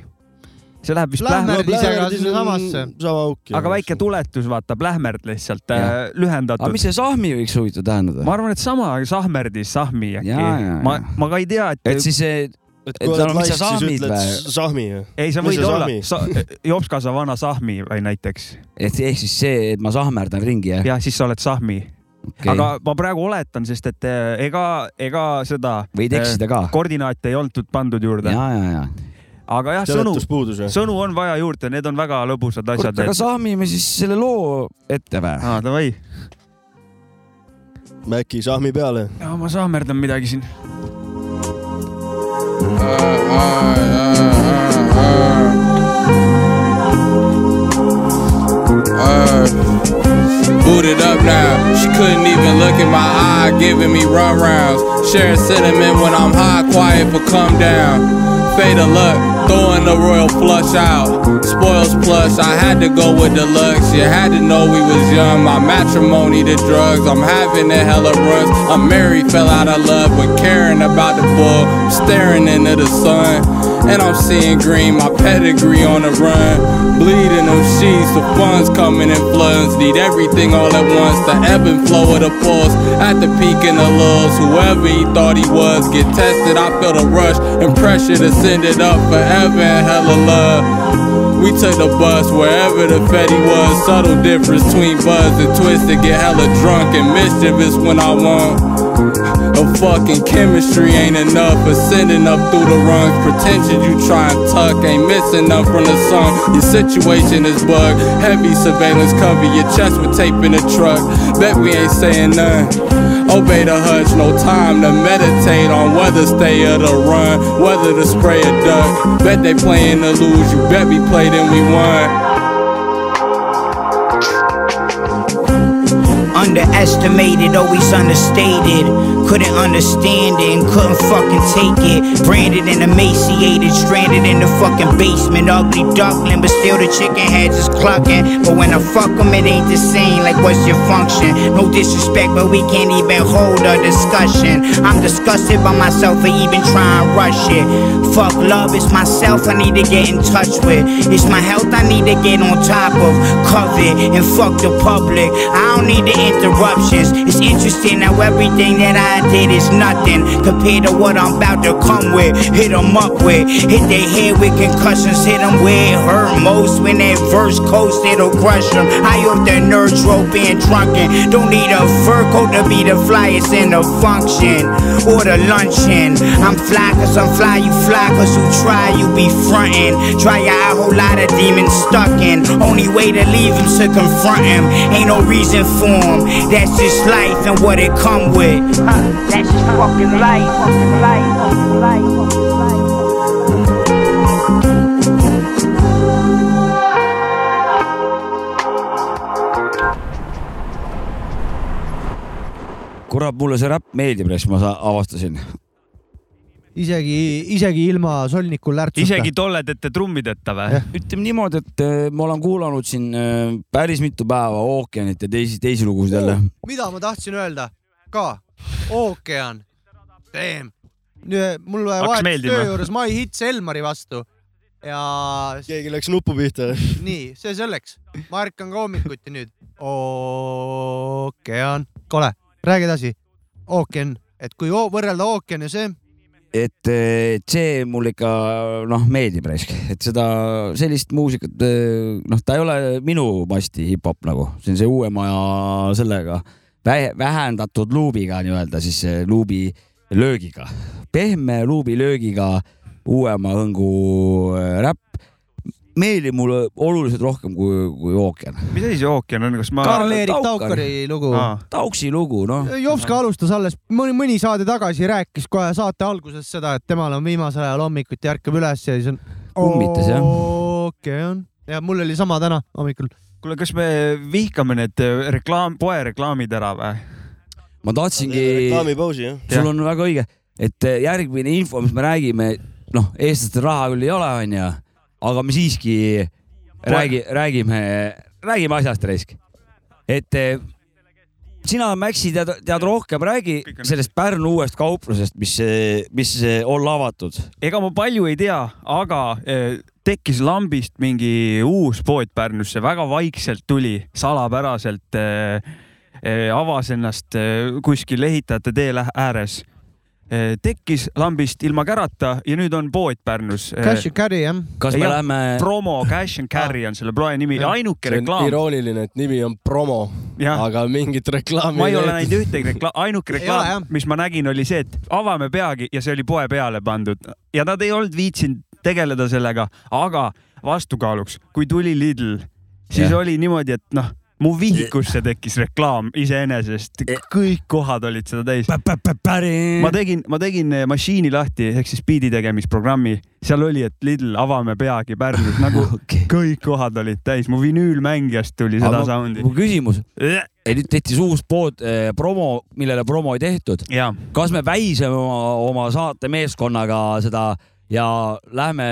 S2: see läheb vist
S1: Plähmerd-
S2: plähmerd ,
S1: Pärn ise ka sinnasamasse.
S4: sama auk .
S2: aga väike tuletus , vaata plähmerd lihtsalt äh,
S3: Jah. aga
S2: lühendatud .
S3: mis see sahmi võiks huvitav tähendada ?
S2: ma arvan , et sama sahmerdis sahmi
S3: Jaa, jaa,
S2: äkki
S3: jaa. .
S2: ma , ma ka ei tea , et,
S3: et siis see ,
S4: et
S3: et
S4: kui
S3: no
S4: oled
S3: mis sa
S4: laisk , siis
S3: sahmid
S4: ütled
S3: või?
S4: s- sahmi .
S2: ei , sa võid
S4: mis see
S2: olla
S4: sahmi?
S2: sa, eh, Jopskasa vana sahmi või näiteks
S3: et ehk siis see , et ma sahmerdan ringi jah ?
S2: ja siis sa oled sahmi okay. , aga ma praegu oletan , sest et eh, ega , ega seda
S3: võid eksida ka .
S2: koordinaate ei olnud pandud juurde ,
S3: ja , ja , ja .
S2: aga jah , sõnu ,
S4: seletuspuudus või ?
S2: sõnu on vaja juurde , need on väga lõbusad asjad .
S3: aga sahmime siis selle loo ette või ?
S2: aa , davai .
S4: äkki sahmi peale ?
S2: ja ma sahmerdan midagi siin .
S5: Booted up now, she couldn't even look in my eye, giving me run rounds. Sharing cinnamon when I'm high, quiet for come down. Fade of luck, throwing the royal flush out. Spoils plus, I had to go with deluxe. You had to know we was young. My matrimony to drugs, I'm having a hella runs. I'm married, fell out of love, but caring about the bull. Staring into the sun. And I'm seeing green, my pedigree on the run. Bleeding them sheets, the funds coming in floods. Need everything all at once, the ebb and flow of the pulse. At the peak and the lows, whoever he thought he was, get tested. I feel the rush and pressure to send it up forever and hella love. We took the bus wherever the Fetty was. Subtle difference between buzz and twisted. Get hella drunk and mischievous when I want. The fucking chemistry ain't enough. Ascending up through the rungs. Pretension you try and tuck. Ain't missing none from the song. Your situation is bugged. Heavy surveillance cover your chest with tape in the truck. Bet we ain't saying none. Obey the hush, no time to meditate on whether stay or to run, whether to spray or duck. Bet they playing to lose, you bet we played and we won.
S6: Underestimated, always understated. Couldn't understand it and couldn't fucking take it. Branded and emaciated, stranded in the fucking basement. Ugly duckling, but still the chicken heads is clucking. But when I fuck 'em, it ain't the same. Like, what's your function? No disrespect, but we can't even hold a discussion. I'm disgusted by myself for even trying to rush it. Fuck love, it's myself I need to get in touch with. It's my health I need to get on top of. Covet and fuck the public. I don't need the interruptions. It's interesting how everything that I did is nothing compared to what I'm about to come with. Hit 'em up with. Hit their head with concussions. Hit 'em where it hurt most. When that verse coast, it'll crush 'em. I hope the nerd trope being drunken. Don't need a fur coat to be the flyest in the function or the luncheon. I'm fly cause I'm fly, you fly cause you try, you be frontin'. Try out a whole lot of demons stuck in. Only way to leave him to confront him. Ain't no reason for him. That's just life and what it come with. That's just fucking life.
S3: kurat , mulle see räpp meeldib , siis ma sa- avastasin .
S1: isegi , isegi ilma solniku lärtsuta .
S2: isegi tolledete trummideta või
S1: Jah. ?
S3: ütleme niimoodi , et eh, ma olen kuulanud siin eh, päris mitu päeva ookeanit ja teisi , teisi lugusid jälle .
S1: mida ma tahtsin öelda ka , ookean , damn . mul
S2: Hakkas
S1: vahetus
S2: meeldima.
S1: töö juures My Hits Elmari vastu ja s-
S4: keegi läks nupu pihta .
S1: nii , see selleks . ma ärkan ka hommikuti nüüd . ookean , kole , räägi edasi . ookean , et kui oo- võrrelda ookean ja see ,
S3: et eh, see mulle ikka noh , meeldib raisk , et seda , sellist muusikat , noh , ta ei ole minu masti hip-hop nagu , see on see uuema ja sellega vä- vähendatud luubiga nii-öelda siis eh, luubi löögiga , pehme luubi löögiga uuema hõngu eh, räpp meeldib mulle oluliselt rohkem kui , kui ookean .
S2: mis asi see ookean on , kas ma ?
S1: Karl-Erik
S3: Taukar.
S1: Taukari lugu .
S3: Tauksi lugu , noh ,
S1: Jovska alustas alles mõni , mõni saade tagasi , rääkis kohe saate alguses seda , et temal on viimasel ajal hommikuti ärkab üles ja siis on .
S3: Kummitas, jah.
S1: ookean ja mul oli sama täna hommikul .
S2: kuule , kas me vihkame need eh, reklaam , poereklaamid ära või ?
S3: ma tahtsingi ,
S4: reklaamipausi jah .
S3: sul on väga õige , et eh, järgmine info , mis me räägime , noh , eestlastel raha küll ei ole , onju , aga me siiski räägi , räägime , räägime asjast raisk . et eh, sina , Maxi , tead , tead rohkem , räägi
S2: Kõik on-
S3: sellest Pärnu uuest kauplusest , mis , mis eh, olla avatud .
S2: ega ma palju ei tea , aga eh, tekkis lambist mingi uus pood Pärnusse , väga vaikselt tuli , salapäraselt eh, eh, avas ennast eh, kuskil ehitajate tee lä- ääres . tekkis lambist ilma kärata ja nüüd on pood Pärnus .
S1: Cash ja carry jah .
S3: kas me
S2: Jah.
S3: läheme ,
S2: promo Cash and Carry on selle ploe nimi ,
S1: Jah.
S2: ainuke
S4: see on
S2: reklaam .
S4: irooniline , et nimi on promo ,
S2: jah ,
S4: aga mingit reklaami
S2: ma ei ole näinud ühtegi reklaami , ainuke
S1: Ei ole,
S2: reklaam
S1: jah. ,
S2: mis ma nägin , oli see , et avame peagi ja see oli poe peale pandud ja nad ei olnud viitsinud tegeleda sellega , aga vastukaaluks , kui tuli Lidl , siis
S3: Jah.
S2: oli niimoodi , et noh , mu vihikusse tekkis reklaam iseenesest , kõik kohad olid seda täis . ma
S3: Pärin ,
S2: tegin , ma tegin masiini lahti ehk siis biidi tegemisprogrammi , seal oli , et Lidl , avame peagi Pärnus , nagu
S3: okei .
S2: kõik kohad olid täis , mu vinüülmängijast tuli seda soundi .
S3: mu küsimus , nüüd tehti see uus pood , promo , millele promo ei tehtud .
S2: jaa
S3: kas me väisame oma, oma saatemeeskonnaga seda ja lähme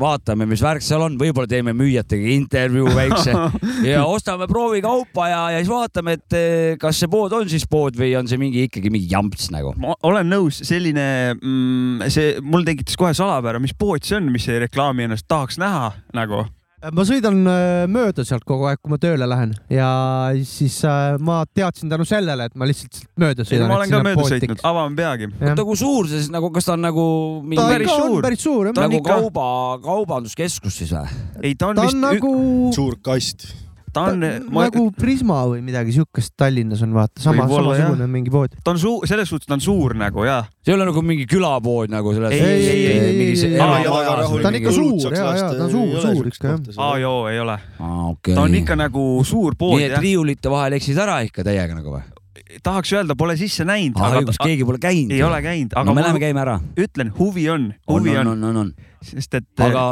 S3: vaatame , mis värk seal on , võib-olla teeme müüjatega intervjuu väikse ja ostame proovikaupa ja , ja siis vaatame , et eh, kas see pood on siis pood või on see mingi ikkagi mingi jamps nagu .
S2: ma olen nõus , selline mm, , see mul tekitas kohe salapära , mis pood see on , mis ei reklaami ennast tahaks näha nagu .
S1: ma sõidan äh, mööda sealt kogu aeg , kui ma tööle lähen ja siis äh, ma teadsin tänu sellele , et ma lihtsalt sealt mööda sõidan .
S2: ma olen ka mööda sõitnud , avame peagi .
S1: ta
S3: oota , kui suur see siis nagu , kas ta on nagu mingi
S1: ta
S2: on
S3: päris
S1: ikka on
S2: suur.
S1: päris suur jah .
S2: ta on
S3: nagu
S2: ikka-
S3: kauba , kaubanduskeskus siis või ?
S2: ei , ta on
S1: ta
S2: vist
S1: on , nagu ,
S4: suur kast .
S2: ta on ,
S1: nagu Prisma või midagi siukest Tallinnas on vaata , sama ,
S2: Võib-olla, jah.
S1: samasugune mingi pood .
S2: ta on suur , selles suhtes ta on suur nagu ja .
S3: see ei ole nagu mingi külapood nagu selles .
S2: Ei, ei, ei,
S1: ei, ei, ei. ta on ikka suur ja , ja ta on suur , suur ikka jah .
S2: aa joo , ei ole .
S3: okay.
S2: ta on ikka nagu suur pood
S3: nii et
S2: jah .
S3: riiulite vahel eksis ära ikka teiega nagu või ?
S2: tahaks öelda , pole sisse näinud ,
S3: ah ,
S2: aga
S3: kas keegi pole käinud ?
S2: ei ole käinud ,
S3: aga
S2: aga
S3: no, me
S2: ma
S3: läheme käime ära .
S2: ütlen , huvi on ,
S3: on ,
S2: huvi
S3: on ,
S2: on ,
S3: on , on , on .
S2: sest et äh,
S3: aga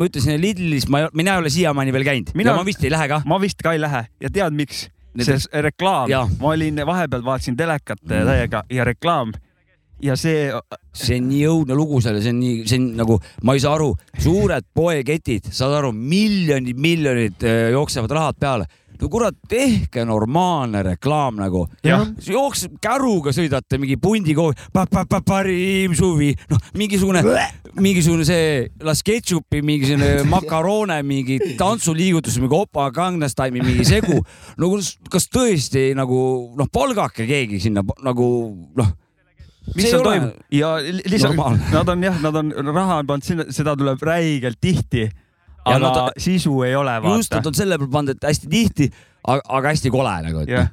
S3: ma ütlesin , Lidlis ma , mina ei ole siiamaani veel käinud
S2: Mina-
S3: mina... ja ma vist ei lähe kah .
S2: ma vist ka ei lähe ja tead miks ? see s- reklaam
S3: Jah. ,
S2: ma olin vahepeal vaatasin telekat
S3: Mm.
S2: eh, täiega ja reklaam ja see ,
S3: see on nii õudne lugu seal ja see on nii , see on nagu , ma ei saa aru , suured poeketid , saad aru , miljonid , miljonid eh, jooksevad rahad peale . no kurat , tehke normaalne reklaam nagu .
S2: Jah.
S3: jookseb käruga , sõidate mingi pundi koos , parim suvi , noh , mingisugune , mingisugune see las ketšupi , mingisugune makaroone , mingi tantsuliigutus , mingi opa gangnastimi mingi segu . no kus- kas tõesti nagu noh , palgake keegi sinna nagu noh ,
S2: mis
S3: See
S2: seal
S3: ei ole
S2: toimub ja li-
S3: normaalne.
S2: lisaks nad on jah , nad on raha pannud sinna , seda tuleb räigelt tihti , aga nad...
S3: nad-
S2: sisu ei ole ,
S3: just ,
S2: vaata
S3: nad . on selle peale pannud , et hästi tihti , aga hästi kole nagu , et
S2: jah ,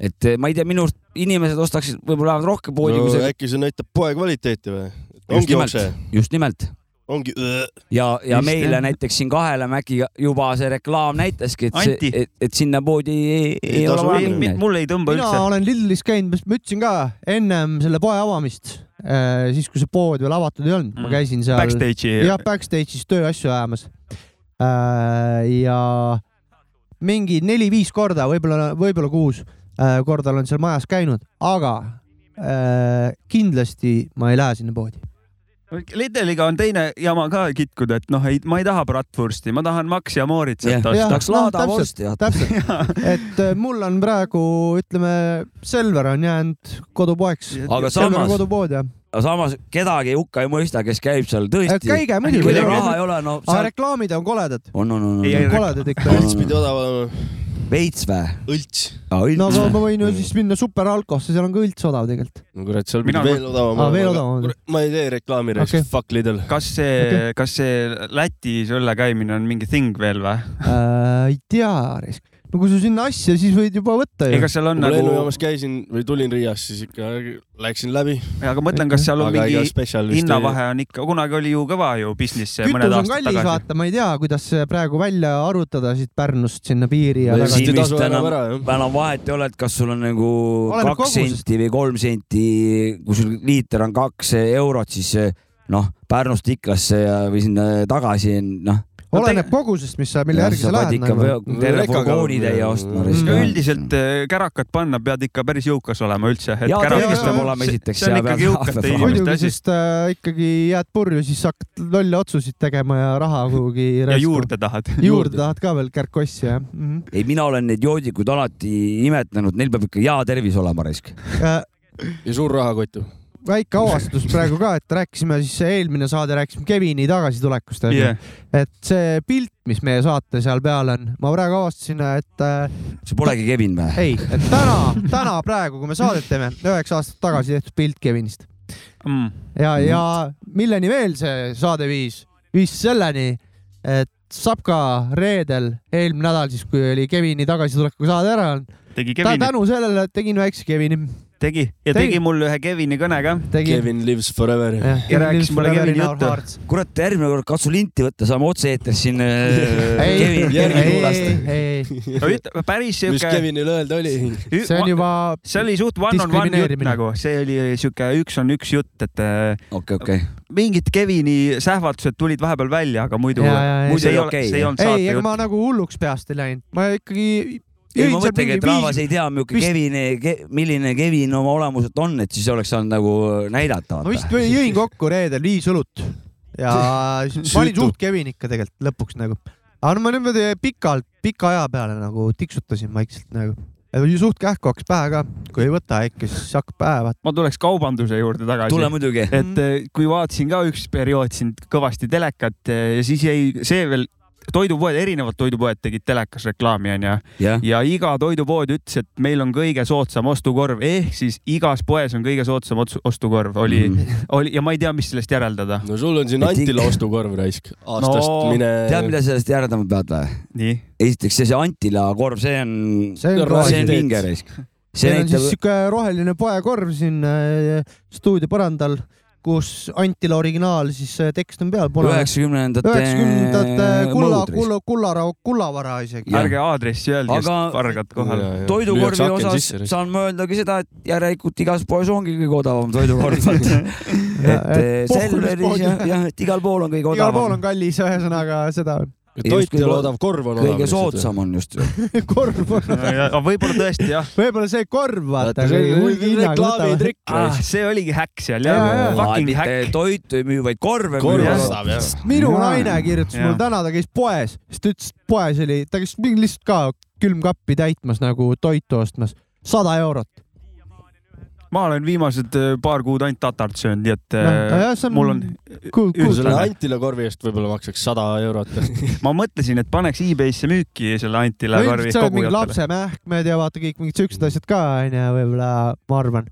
S3: et eh, ma ei tea , minu arust inimesed ostaksid võib-olla vähemalt rohkem poodi kui
S4: no,
S3: see .
S4: äkki see näitab poe kvaliteeti või ?
S3: just
S4: ongi
S3: nimelt
S4: jookse ,,
S3: just nimelt
S4: ongi .
S3: ja , ja
S2: Just,
S3: meile
S2: jah.
S3: näiteks siin kahele Mäkiga juba see reklaam näitaski , et
S2: Anti.
S3: see , et, et sinna poodi ei, ei, ei
S4: Ei
S3: ole
S4: tasu
S3: vaja
S4: minna.
S3: minna .
S2: mul ei tõmba
S1: mina
S2: üldse .
S1: olen Lillis käinud , mis ma ütlesin ka ennem selle poe avamist , siis kui see pood veel avatud ei olnud , ma
S2: Mm.
S1: käisin seal .
S2: Backstage'i
S1: jah , backstage'is tööasju ajamas . ja mingi neli-viis korda , võib-olla , võib-olla kuus äh, korda olen seal majas käinud , aga äh, kindlasti ma ei lähe sinna poodi .
S2: Lidliga on teine jama ka kitkuda , et noh , ei , ma ei taha bratwursti , ma tahan Max ja Moritz
S3: Jah.
S2: sealt osta .
S3: tahaks laada vorsti, jah.
S1: täpselt , et äh, mul on praegu , ütleme , Selver on jäänud kodupoeks .
S3: aga
S1: Selver on
S3: samas ,
S1: kodupood ja .
S3: samas kedagi hukka ei mõista , kes käib seal tõesti .
S1: käige
S3: kellel
S1: muidugi .
S3: raha ei ole , no
S1: aga
S3: seal
S1: reklaamid on koledad ,
S3: on , on , on ,
S2: Ei, ei.
S3: on
S1: koledad ikka .
S4: õlts pidi odav olema .
S3: veits vä ?
S4: õlts .
S3: Ah,
S1: no aga ma võin ju siis minna superalkosse , seal on ka üldse odav tegelikult .
S4: no kurat , seal
S2: Mina-
S4: pidi veel odavam
S1: Aa, Ah, veel odavam.
S4: Kurat, ma ei tee reklaami reis
S1: Okei.
S4: okay. , fuck Lidl .
S2: kas see okay. , kas see Lätis õlle käimine on mingi thing veel või ?
S1: äh, . ei tea , Risk . no kui sul sinna asja , siis võid juba võtta ju
S2: ega . seal on
S4: kui ma
S2: nagu ,
S4: lennujaamas käisin või tulin Riiast , siis ikka läksin läbi ,
S2: aga mõtlen , kas seal on
S4: aga ega
S2: mingi
S4: spetsial vist ei .
S2: hinnavahe on ikka , kunagi oli ju kõva ju business mõned
S1: kütus on
S2: aastad
S1: kallis ,
S2: tagasi .
S1: vaata , ma ei tea , kuidas see praegu välja arvutada siit Pärnust sinna piiri ja
S4: Või
S1: tagasi
S4: siis-
S3: siin
S4: ei tasu
S3: vist
S4: enam
S3: enam
S4: ära, , jah.
S3: enam vahet ei ole , et kas sul on nagu
S1: Oleneb
S3: kaks
S1: kogusest.
S3: senti või kolm senti , kui sul liiter on kaks eurot , siis noh , Pärnust Iklasse ja , või sinna tagasi on noh .
S1: oleneb kogusest , mis sa , mille järgi sa lähed nagu .
S3: terve
S4: Rekaga
S3: furgoonitäie
S4: või-
S3: ostma .
S1: Mm.
S2: üldiselt eh, kärakat panna pead ikka päris jõukas olema üldse .
S3: Jaa,
S1: tervis peab
S3: olema esiteks
S2: see
S3: ja
S2: on ikkagi
S3: peab-
S2: jõukate
S3: peab-
S2: inimeste
S1: muidugi ,
S2: asi
S1: sest äh, ikkagi jääd purju , siis hakkad lolle otsuseid tegema ja raha kuhugi .
S2: ja . juurde tahad .
S1: juurde tahad ka veel kärkossi jah mm -hmm.
S3: ei , mina olen neid joodikuid alati imetlenud , neil peab ikka hea tervis olema raisk .
S1: äh, .
S4: ja suur rahakott .
S1: väike avastus praegu ka , et rääkisime siis eelmine saade , rääkisime Kevini tagasitulekust onju
S2: Yeah.
S1: yeah. . et see pilt , mis meie saate seal peal on , ma praegu avastasin , et äh,
S3: see polegi Kevin või ?
S1: ei , et täna , täna praegu , kui me saadet teeme , üheksa aastat tagasi tehtud pilt Kevinist
S2: Mm.
S1: ja , ja
S2: Mhm.
S1: milleni veel see saade viis , viis selleni , et Sapka reedel , eelmine nädal siis , kui oli Kevini tagasituleku saade ära olnud ,
S2: tegi Kevin ,
S1: tänu sellele tegin väikse Kevini .
S2: tegi
S1: Tegi.
S2: ja tegi, tegi mulle ühe Kevini kõne ka .
S1: tegin .
S4: Kevin lives forever .
S2: Ja rääkis mulle Kevini juttu. .
S3: kurat , järgmine kord katsu linti võtta , saame otse-eetris siin äh,
S1: ei , ei ,
S3: Kevin ,
S1: ei ,
S3: Kevin
S1: ei
S3: kuulast .,
S1: ei ,
S2: päris
S4: mis
S2: siuke ,
S4: Kevinil öelda oli ?
S1: see on juba ,
S2: see oli suht one on one jutt
S1: diskrimineerimine.
S2: nagu , see oli siuke üks on üks jutt , et äh,
S3: okei , okei .
S2: mingid Kevini sähvatused tulid vahepeal välja , aga muidu
S1: Jaa, jaa, jaa.
S2: muidu
S3: See
S2: ei
S3: oli
S2: ole ,
S3: okei,
S2: see ei
S3: jah.
S2: olnud
S1: ei , ega
S2: saatejutt .
S1: ma nagu hulluks peast ei läinud , ma ikkagi .
S3: ei , ma mõtlengi , et rahvas ei tea , milline
S1: vist-
S3: Kevin ke, , milline Kevin oma olemuselt on , et siis oleks saanud nagu näidata .
S1: ma vist või- jõin kokku reedel viis õlut ja siis ma olin
S4: Süütu.
S1: suht Kevin ikka tegelikult lõpuks nagu . aga no ma niimoodi pikalt , pika aja peale nagu tiksutasin vaikselt nagu . suht kähku hakkas pähe ka , kui ei võta äkki , siis hakkab pähe vaata .
S2: ma tuleks kaubanduse juurde
S3: tule
S2: tagasi .
S3: muidugi . Mm.
S2: et eh, kui vaatasin ka üks periood siin kõvasti telekat eh, ja siis jäi see veel , toidupoed , erinevad toidupoed tegid telekas reklaami onju
S3: jah ,
S2: ja iga toidupood ütles , et meil on kõige soodsam ostukorv ehk siis igas poes on kõige soodsam ots- ostukorv oli mm ,
S3: Mhm.
S2: -hmm. oli ja ma ei tea , mis sellest järeldada .
S4: no sul on siin
S3: Et
S4: Antila
S3: ikka-
S4: ostukorv raisk . aastast
S2: No,
S4: no, mine .
S3: tead , mida sellest järeldama pead või ?
S2: nii ,
S3: esiteks see , see Antila korv , see on ,
S1: see on
S3: see on
S1: kvaliteet.
S3: vinge risk . see
S1: meil on siis
S3: näitab ,
S1: siuke roheline poekorv siin äh, stuudio põrandal , kus Antila originaal siis äh, tekst on peal .
S3: üheksakümnendate .
S1: üheksakümnendate kulla , kulla , kullarau , kullavara isegi .
S3: Jah.
S2: ärge aadressi öelge aga... ,
S3: Aga-
S2: sest vargad kohale .
S3: toidukorvi osas saan ma öeldagi seda , et järelikult igas poes ongi kõige odavam toidukorv . et eh,
S1: Pohhulis
S3: Selveris
S1: poodi.
S3: ja , jah , et igal pool on kõige
S1: igal pool on
S3: odavam .
S1: kallis , ühesõnaga seda .
S4: toit ja loodav korv on
S3: kõige soodsam on just ju .
S1: korv on ,
S2: aga võib-olla tõesti jah
S1: võib-olla see korv , vaata .
S4: Vaata, see reklaamitrikk
S2: ah, . see oligi häkk seal jah
S1: Jaa, jaa.
S2: ja, , fucking
S3: mitte
S2: häkk .
S3: toitu ei müü , vaid korve
S4: korv
S2: Jah.
S3: müüa .
S4: ostab jah .
S1: minu
S2: Jaa.
S1: naine kirjutas
S2: Jaa.
S1: mulle täna , ta käis poes , siis ta ütles , et poes oli , ta käis mingi lihtsalt ka külmkappi täitmas nagu toitu ostmas , sada eurot .
S2: ma olen viimased äh, paar kuud ainult tatart söönud , nii et
S1: Noh, jah, see
S2: äh,
S1: on-
S2: mul on ,
S4: selle
S2: Ühesõnaga-
S4: Antila korvi eest võib-olla maksaks sada eurot .
S2: ma mõtlesin , et paneks e-Bay'sse müüki selle Antile karvi
S1: ilmselt seal mingid
S2: kogujatele .
S1: lapsemähkmed ja vaata kõik mingid siuksed asjad ka onju , võib-olla ma arvan ,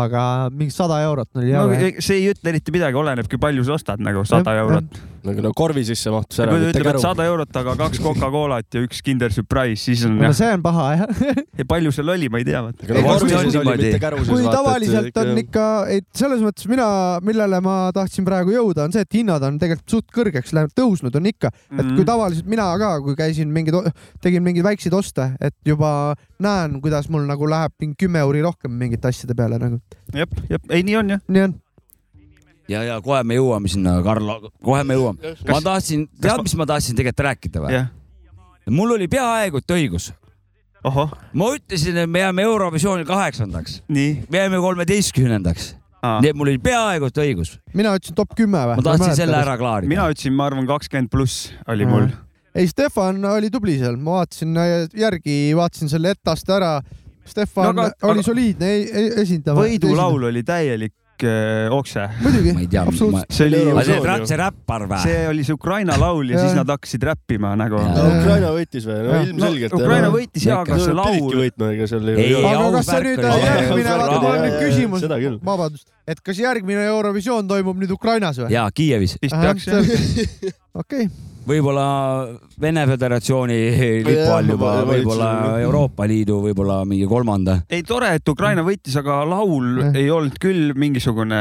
S1: aga mingi sada eurot oli
S2: No,
S1: jah .
S2: see ei ütle eriti midagi , olenebki palju sa ostad nagu sada eurot .
S4: aga no korvi sisse mahtus ära ,
S2: kui ta
S4: mitte
S2: ütleb , et
S4: käru .
S2: sada eurot , aga kaks Coca-Colat ja üks Kinder Surprise , siis on
S1: no
S2: jah ,
S1: see on paha jah .
S2: palju seal oli , ma ei tea .
S4: aga
S3: Ei,
S4: no korvi
S3: see on
S4: sees oli
S3: niimoodi.
S4: mitte käru sees .
S1: kui tavaliselt on ikka , et selles mõttes mina , millele ma tahtsin praegu jõuda , on see , et hinnad on tegelikult suht kõrgeks läinud , tõusnud on ikka , et
S3: Mhm.
S1: kui tavaliselt mina ka , kui käisin mingeid , tegin mingeid väikseid oste , et juba näen , kuidas mul nagu läheb mingi kümme euri rohkem mingite asjade peale nagu .
S2: jep , jep , ei nii on jah .
S1: nii on .
S3: ja , ja kohe me jõuame sinna , Karl , kohe me jõuame . ma tahtsin , tead , mis ma tahtsin tegelikult rääkida või ?
S2: jah ,
S3: mul oli peaaegu et õigus .
S2: ohoh ,
S3: ma ütlesin , et me jääme Eurovisioonil kaheksandaks ,
S2: nii .
S3: me jääme kolmeteistkümnendaks . nii et mul oli peaaegu et õigus .
S1: mina ütlesin top kümme või ?
S3: ma tahtsin selle . ära klaarida .
S2: mina ütlesin , ma arvan , kakskümmend pluss oli mul .
S1: ei , Stefan oli tubli seal , ma vaatasin äh, järgi , vaatasin selle etteaste ära . Stefan
S2: No
S1: no,
S2: aga-
S1: aga, oli
S2: aga-
S1: soliidne e- e- esindama .
S2: võidulaul oli täielik äh, okse .
S1: muidugi
S3: ma ei , tea , ma
S1: absoluutselt .
S2: see
S3: aga see
S2: oli ,
S4: Eurovisioon.
S3: on see räppar või ?
S2: see oli see Ukraina laul ja siis
S1: Jah.
S2: nad hakkasid räppima nagu .
S3: Jaa.
S4: Ukraina võitis või ? no
S1: Jah.
S4: ilmselgelt .
S2: Ukraina võitis jaa , aga see
S4: pididki
S2: laul ,
S4: võitma , ega seal
S3: Ei,
S4: ei ole .
S1: aga
S3: aus
S1: kas see
S3: värk
S1: nüüd äh,
S3: oli. Jaa,
S1: järgmine ,
S4: aus värk
S1: vaata mul on nüüd
S4: oli. Jaa, jaa,
S1: küsimus
S4: seda küll. ,
S1: vabandust , et kas järgmine Eurovisioon toimub nüüd Ukrainas või ?
S3: jaa , Kiievis .
S2: vist
S1: Ahah,
S2: peaks jah .
S1: okei ,
S3: võib-olla Vene Föderatsiooni lipu all juba
S4: Jah, ,
S3: võib-olla
S4: valitsus-
S3: Euroopa Liidu , võib-olla mingi kolmanda .
S2: ei , tore , et Ukraina võitis , aga laul
S1: Jah.
S2: ei olnud küll mingisugune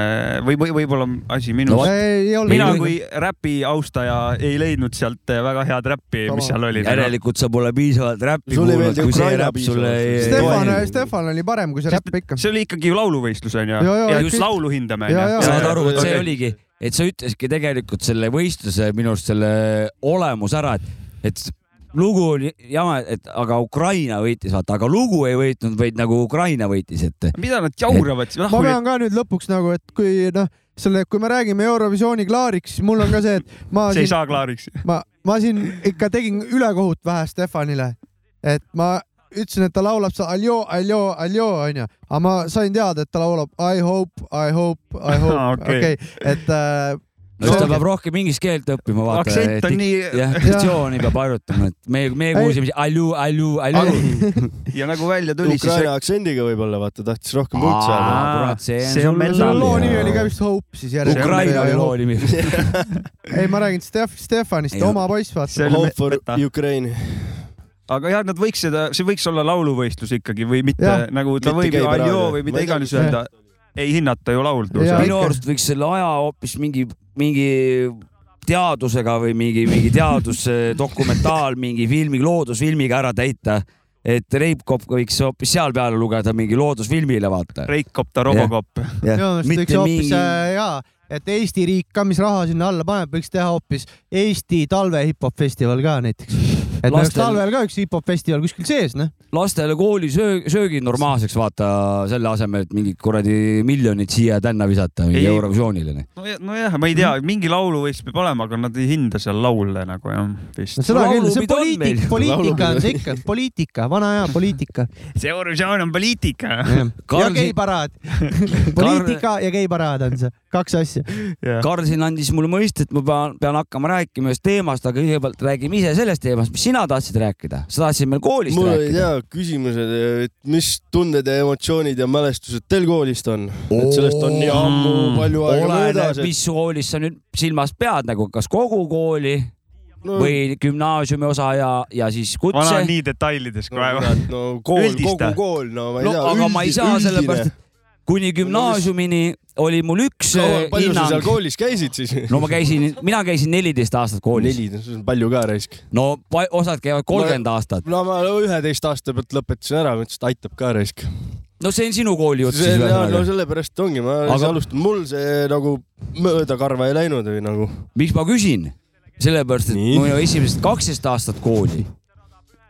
S2: või , või võib-olla asi minus
S3: No vot.
S2: no, .
S1: ei olnud .
S2: mina kui räpi austaja ei leidnud sealt eh, väga head räppi ,
S1: Sama.
S2: mis seal oli .
S3: järelikult sa pole piisavalt räppi
S4: Sul ei
S3: kuulnud ,
S4: meeldi
S3: kui see
S4: Ukraina
S3: räpp sulle
S4: piisavalt.
S3: ei
S1: Stefan eh,
S4: Ei, , ei.
S1: Stefan oli parem kui see
S2: Sest-
S1: räpp ikka .
S2: see oli ikkagi ju lauluvõistlus onju
S1: Jaa, jaa,
S2: ja
S1: et
S2: just
S1: kõik-
S2: laulu hindame
S1: jaa, jaa.
S2: onju
S3: saad
S4: Jaa,
S3: aru , et see
S4: okei.
S3: oligi , et sa ütlesidki tegelikult selle võistluse minu arust selle olemus ära , et , et lugu oli jama , et aga Ukraina võitis , vaata , aga lugu ei võitnud , vaid nagu Ukraina võitis , et
S2: mida nad jauravad siis ,
S1: ma
S2: rahvale
S1: pean ka nüüd lõpuks nagu , et kui noh , selle , kui me räägime Eurovisiooni klaariks , siis mul on ka see , et ma
S2: see ei
S1: siin ,
S2: saa klaariks .
S1: ma , ma siin ikka tegin ülekohut vähe Stefanile , et ma ütlesin , et ta laulab seda aljo , aljo , aljo onju , aga ma sain teada , et ta laulab I hope , I hope , I hope
S2: Aa, , okei.
S1: okei , et äh,
S3: no siis ta
S1: Selge.
S3: peab rohkem inglise keelt õppima , vaata .
S2: aktsent on nii
S3: jah , diktsiooni peab harjutama , et meie , meie
S1: Ei.
S3: kuulsime , allu , allu , allu .
S2: ja nagu välja tuli , siis
S4: Ukraina aktsendiga võib-olla vaata tahtis rohkem võit saada .
S3: kurat , see on
S2: see on
S3: sul
S2: metal.
S1: selle
S2: Tallinna-
S1: loo nimi oli ka vist Hope siis järjest .
S3: Ukraina oli loo nimi .
S1: ei , ma räägin Stef- , Stefanist
S3: Ei, ,
S1: oma poiss , vaata .
S2: see oli
S4: Hope
S2: me-
S4: for
S2: meta.
S4: Ukraine .
S2: aga jah , nad võiks seda , see võiks olla lauluvõistlus ikkagi või mitte
S1: Jah.
S2: nagu ta
S4: Mitte
S2: võib ju
S4: käib ära,
S2: aljoo
S4: jah.
S2: või
S4: Ma
S2: mida
S4: ei tea,
S2: iganes
S1: mis-
S2: öelda , ei hinnata ju lauldu .
S1: Jaa,
S3: minu
S1: ikka.
S3: arust võiks selle aja hoopis mingi , mingi teadusega või mingi , mingi teadusdokumentaal , mingi filmi , loodusfilmiga ära täita . et Reipkop võiks hoopis seal peale lugeda mingi loodusfilmile , vaata .
S2: Reikopter , Robocop .
S1: minu arust võiks hoopis äh, jaa , et Eesti riik ka , mis raha sinna alla paneb , võiks teha hoopis Eesti talve hip-hop festival ka näiteks . et meil oleks
S3: Lastel-
S1: talvel ka üks hip-hop festival kuskil sees , noh .
S3: lastele kooli söö- , söögid normaalseks vaata , selle asemel , et mingid kuradi miljonid siia-tänna visata mingi
S2: Ei.
S3: Eurovisioonile . noh.
S2: nojah , ma ei tea ,
S1: Mhm.
S2: mingi lauluvõistlus peab olema , aga nad ei hinda seal laule nagu jah , vist
S1: no . seda küll , see on
S3: laulupidu on
S1: poliitik
S3: meil. ,
S1: poliitika on see ikka , poliitika , vana hea poliitika .
S2: see Eurovisioon on poliitika .
S1: ja
S3: Karl-
S1: geiparaad . poliitika ja geiparaad on see , kaks asja .
S3: Karl siin andis mulle mõista , et ma pean , pean hakkama rääkima ühest teemast , aga kõigepealt räägime ise sellest teemast , mis sina tahtsid rääkida . sa tahtsid meil koolist
S4: mul olid
S3: rääkida .
S4: ja küsimused , et mis tunded ja emotsioonid ja mälestused teil koolist on ? et sellest on nii ammu palju aega
S3: Mm. oleneb ,
S4: möödas , et
S3: mis koolis sa nüüd silmas pead nagu , kas kogu kooli
S4: no,
S3: või gümnaasiumi osa ja , ja siis
S2: vana on
S3: kutse .
S2: nii detailides
S4: no,
S2: kohe .
S4: kurat, no kool ,
S2: Üldista.
S4: kogu kool , no ma ei
S3: no
S4: tea .
S3: aga ma ei saa sellepärast , et kuni gümnaasiumini oli mul üks
S4: kaua ,
S3: eh,
S4: palju sa seal
S3: hinnang .
S4: koolis käisid siis ?
S3: no ma käisin , mina käisin neliteist aastat koolis .
S4: neli , see on palju ka raisk .
S3: no pa- osad käivad kolmkümmend aastat .
S4: no ma üheteist aasta pealt lõpetasin ära , mõtlesin , et aitab ka raisk .
S3: no see on sinu kooli jutt siis
S4: no
S3: ühesõnaga .
S4: sellepärast ongi , ma aga...
S3: Aga-
S4: alustan , mul see nagu mööda karva ei läinud või nagu .
S3: miks ma küsin ? sellepärast , et
S4: Nii.
S3: minu esimesed kaksteist aastat kooli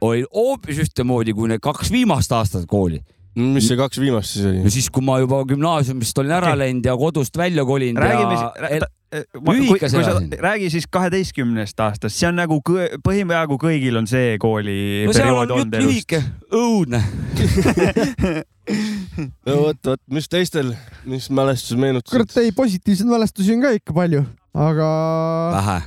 S3: olid hoopis ühtemoodi kui need kaks viimast aastat kooli .
S4: mis see kaks viimast siis
S3: no
S4: oli ?
S3: siis , kui ma juba gümnaasiumist olin ära läinud ja kodust välja kolinud
S2: räägime
S3: ja
S2: siis , eh,
S3: lühikese elasin.
S2: räägi siis kaheteistkümnest aastast , see on nagu kõe- peaaegu kõigil on see kooli
S3: no seal
S2: periood
S3: on
S2: olnud
S3: jutt lühike , õudne .
S4: no vot , vot , mis teistel , mis mälestus
S1: kurat ,
S4: meenutused ?
S1: ei positiivseid mälestusi on ka ikka palju , aga
S3: vähe .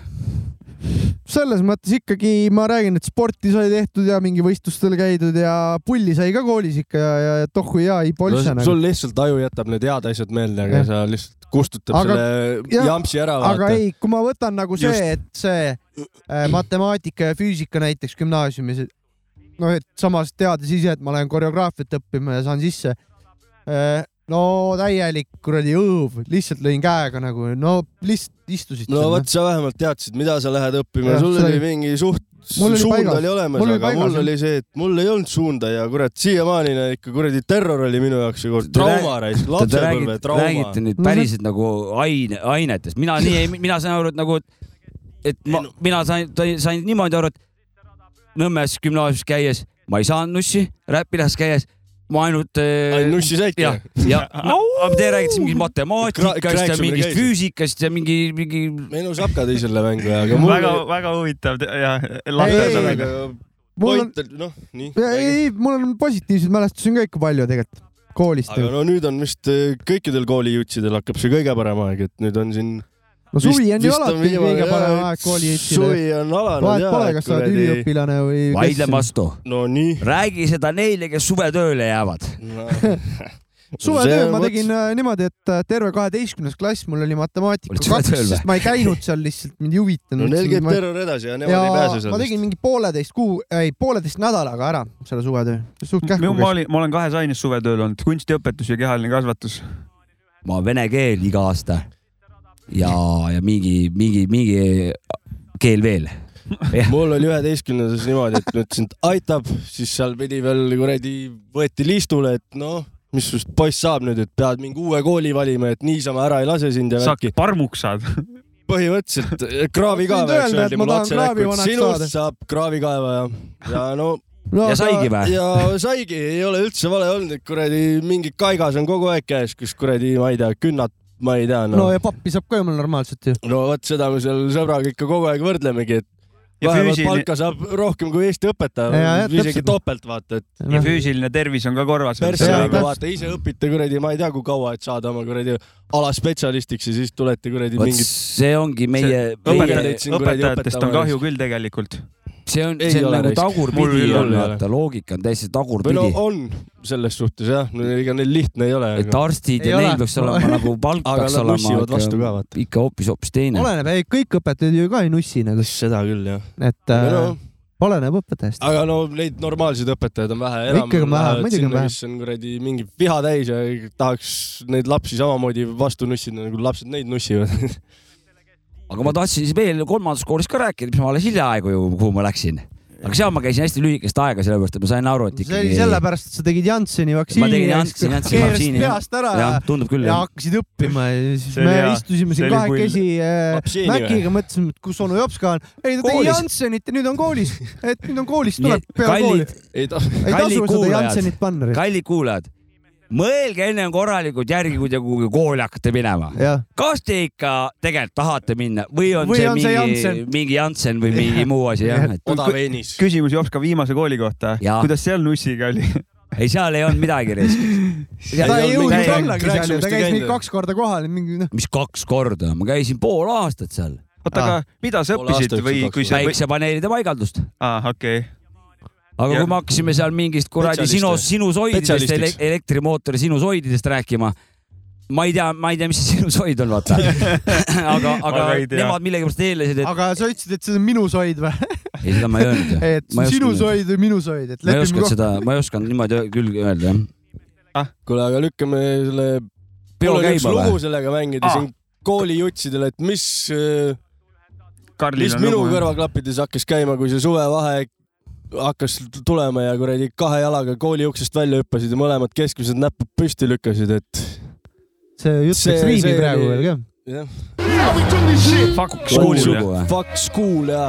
S1: selles mõttes ikkagi ma räägin , et sporti sai tehtud ja mingi võistlustel käidud ja pulli sai ka koolis ikka ja , ja tohku ja ei politse nagu .
S4: sul lihtsalt aju jätab need head asjad meelde , aga
S1: Jah.
S4: sa lihtsalt kustutab
S1: Aga-
S4: selle
S1: jah,
S4: jampsi ära ,
S1: aga
S4: vaata .
S1: ei , kui ma võtan nagu see , et see äh, matemaatika ja füüsika näiteks gümnaasiumis , noh , et samas teades ise , et ma lähen koreograafiat õppima ja saan sisse . no täielik kuradi õõv , lihtsalt lõin käega nagu , no lihtsalt istusid
S4: no
S1: seal, noh.
S4: vot , sa vähemalt teadsid , mida sa lähed
S1: Jah,
S4: õppima , sul
S1: see
S4: oli
S1: oli-
S4: mingi suht ,
S1: Mul oli
S4: suund
S1: paigas.
S4: oli olemas ,
S1: Mul oli
S4: aga
S1: paigas,
S4: mul
S1: jah.
S4: oli see , et mul ei olnud suunda ja kurat , siiamaani näe, ikka kuradi terror oli minu jaoks ju kord
S3: Te
S4: trauma raisk ,
S3: Te räägite
S4: lapsepõlve , trauma
S3: räägite . nüüd
S1: No see-
S3: päriselt nagu aine , ainetest , mina nii ei , mina sain aru , et nagu , et ma, mina sain , sain niimoodi aru , et Nõmmes gümnaasiumis käies ma ei saanud nussi , Räpilas käies ma ainult .
S4: ainult nussi said
S3: jah , ja no, aga te räägite siin mingist matemaatikast ja
S4: Kra-
S3: mingist
S4: kräksume
S3: füüsikast ja mingi , mingi .
S4: meenus Apka teisele mängu ja , aga mul oli
S2: väga-väga huvitav te- ja
S1: Ei,
S2: lahterdamine.
S1: ei,
S4: aga
S1: mul on ,
S4: point on , noh , nii .
S1: ei , ei , mul on positiivseid mälestusi on ka ikka palju tegelikult koolist
S4: aga
S1: nagu .
S4: no nüüd on vist eh, kõikidel koolijuttidel hakkab see kõige parem aeg , et nüüd on siin .
S1: no suvi on ju alati kõige parem aeg kooli jutsile .
S4: suvi on alanud
S1: vahet pole , kas sa oled
S4: kuradi-
S1: üliõpilane või .
S3: vaidlen vastu ,
S4: no nii .
S3: räägi seda neile , kes suvetööle jäävad .
S1: suvetöö ma tegin . äh, niimoodi , et äh, terve kaheteistkümnes klass mul oli matemaatika
S3: Olid
S1: kaks ,
S3: suvetööl või?
S1: sest ma ei käinud seal lihtsalt , mind ei huvitanud .
S4: no neil käib terror edasi ja nemad ei pääse
S1: ma
S4: sellest
S1: tegin . mingi pooleteist kuu , ei pooleteist nädalaga ära selle suvetöö , suht kähku
S2: Minu- ma olin , ma olen kahes aines suvetööl olnud , kunstiõpetus ja kehaline kasvatus .
S3: ma vene keel iga aasta ja , ja mingi , mingi , mingi keel veel .
S4: mul oli üheteistkümnendas niimoodi , et ma ütlesin , et aitab , siis seal pidi veel kuradi , võeti liistule , et noh , mis sust poiss saab nüüd , et pead mingi uue kooli valima , et niisama ära ei lase sind ja
S2: saad
S4: värki .
S2: parmuks saad .
S4: põhimõtteliselt eh, kraavi
S1: Ma
S4: ka
S1: võin
S4: peaks
S1: öelda, et
S4: öeldima
S1: ma tahan
S4: otse näkku , et
S1: kraavivanaks
S4: sinust
S1: saada.
S4: saab kraavikaevaja ja no
S1: no,
S3: ja saigi või ?
S4: ja saigi , ei ole üldse vale olnud , et kuradi mingi kaigas on kogu aeg käes , kus kuradi , ma ei tea , künnad , ma ei tea , noh.
S1: no
S4: no .
S1: ja pappi saab ka ju mul normaalselt ju .
S4: no vot seda me seal sõbraga ikka kogu aeg võrdlemegi , et
S2: Ja
S4: vähemalt
S2: füüsiline-
S4: palka saab rohkem kui Eesti
S1: Ja,
S4: õpetaja
S1: ja, ,
S4: isegi
S1: täpselt.
S4: topelt vaata , et
S2: ja füüsiline tervis on ka korras .
S4: persse
S1: Jaa,
S4: nagu
S1: täpselt.
S4: vaata , ise õpite kuradi , ma ei tea , kui kaua , et saada oma kuradi alaspetsialistiks ja siis tulete kuradi
S3: vot
S4: mingit ,
S3: see ongi meie , meie
S4: õpetajaid siin kuradi
S2: õpetajatest on
S4: õpetama
S2: kahju küll tegelikult .
S3: see on ,
S4: ei
S3: see on
S4: ole
S3: nagu
S4: risk. Mul
S3: tagurpidi
S4: ei
S3: on ,
S4: ole.
S3: vaata loogika on täiesti
S4: või no
S3: tagurpidi .
S4: on selles suhtes jah , ega neil lihtne ei ole .
S3: et arstid
S1: Ei
S3: ja
S1: ole.
S3: neil peaks olema nagu palk
S4: Aga
S3: peaks
S4: nad nussivad
S3: olema
S4: vastu ka, vaata.
S3: ikka hoopis , hoopis teine .
S1: oleneb , ei kõik õpetajad ju ka ei nussi nagu ,
S4: seda küll jah .
S1: et äh,
S4: No,
S1: oleneb õpetajast .
S4: aga no neid normaalseid õpetajaid on vähe .
S1: Ikkagi on vähe, muidugi on vähe.
S4: kes on kuradi mingi viha täis ja tahaks neid lapsi samamoodi vastu nussida , nagu lapsed neid nussivad .
S3: aga ma tahtsin siis veel kolmandas koolis ka rääkida , mis ma alles hiljaaegu ju , kuhu ma läksin . aga seal ma käisin hästi lühikest aega , sellepärast et ma sain aru , et
S1: see oli
S3: ikkagi .
S1: sellepärast , et sa tegid Jansseni vaktsiini .
S3: tegin Jansseni- Jansseni vaktsiini, jah.
S1: peast ära ja
S3: jah , tundub küll
S1: ja
S3: jah .
S1: hakkasid õppima ja siis
S2: See
S1: me
S2: oli hea.
S1: istusime siin
S2: See oli
S1: kahekesi äh,
S4: Vaktsiini või?
S1: Maciga , mõtlesime , et kus onu Jops ka on . ei ta tegi
S3: Koolis.
S1: Jansenit ja nüüd on koolis , et nüüd on koolis ,
S3: Nii
S1: tuleb
S3: et
S1: peale kooli .
S3: kallid ,
S4: ei ta ,
S1: ei
S3: kallid
S1: tasu seda
S3: kuulajad.
S1: Jansenit panna .
S3: kallid kuulajad , mõelge ennem korralikult järgi , kui te kuhugi kooli hakkate minema .
S1: jah ,
S3: kas te ikka tegelikult tahate minna või on
S1: Või
S3: see
S1: on see
S3: mingi
S1: Janssen? ,
S3: mingi Janssen või mingi muu asi jah , et
S4: odav Enis .
S2: küsimus Jops ka viimase kooli kohta
S3: Jaa. .
S2: kuidas seal nussiga oli ?
S3: ei , seal ei olnud midagi riski .
S1: ta ei jõudnud
S4: midagi-
S1: ollagi seal ju , ta
S4: rääkimist ei
S1: käis
S4: käinud
S1: mingi
S4: ju.
S1: kaks korda kohal , mingi noh ,
S3: mis kaks korda , ma käisin pool aastat seal ,
S2: oota , aga mida sa
S4: Poole aasta
S2: õppisid
S4: jooksul
S2: Ah. või
S4: kaks
S2: kui see ,
S3: päiksepaneelide paigaldust .
S2: aa okei ,
S3: aga
S2: Ja-
S3: kui me hakkasime seal mingist kuradi
S4: Spetsialiste.
S3: sinus , sinusoididest ,
S4: Spetsialistiks.
S3: elektrimootori sinusoididest rääkima , ma ei tea , ma ei tea , mis see sinusoid on , vaata . aga , aga
S2: ei tea.
S3: nemad millegipärast eeldasid , et
S1: aga sa ütlesid , et see on minu soid või ?
S3: ei , seda ma ei öelnud ju .
S1: et
S3: Ma ei
S1: sinu
S3: osanud.
S1: soid või minu soid , et
S3: ma ei
S1: lepime
S3: osanud
S1: kokku .
S3: seda , ma ei osanud niimoodi öö- küll öelda jah .
S2: Ah.
S4: kuule , aga lükkame selle ,
S3: peo
S4: mul oli üks
S3: käima
S4: lugu
S3: või ?
S4: sellega mängida
S2: Aa.
S4: siin koolijuttsidele , et mis , mis
S2: Karlil on
S4: minu
S2: lugu .
S4: kõrvaklappides hakkas käima , kui see suvevaheaeg hakkas tulema ja kuradi kahe jalaga kooli uksest välja hüppasid ja mõlemad keskmised näpud püsti lükkasid , et
S1: see jutt
S4: See-
S1: läks riimi
S4: see
S1: praegu
S4: oli-
S1: veel ka .
S4: jah ,
S2: Fuck school
S3: sugu
S2: jah .
S3: või ?
S4: Fuck school ja .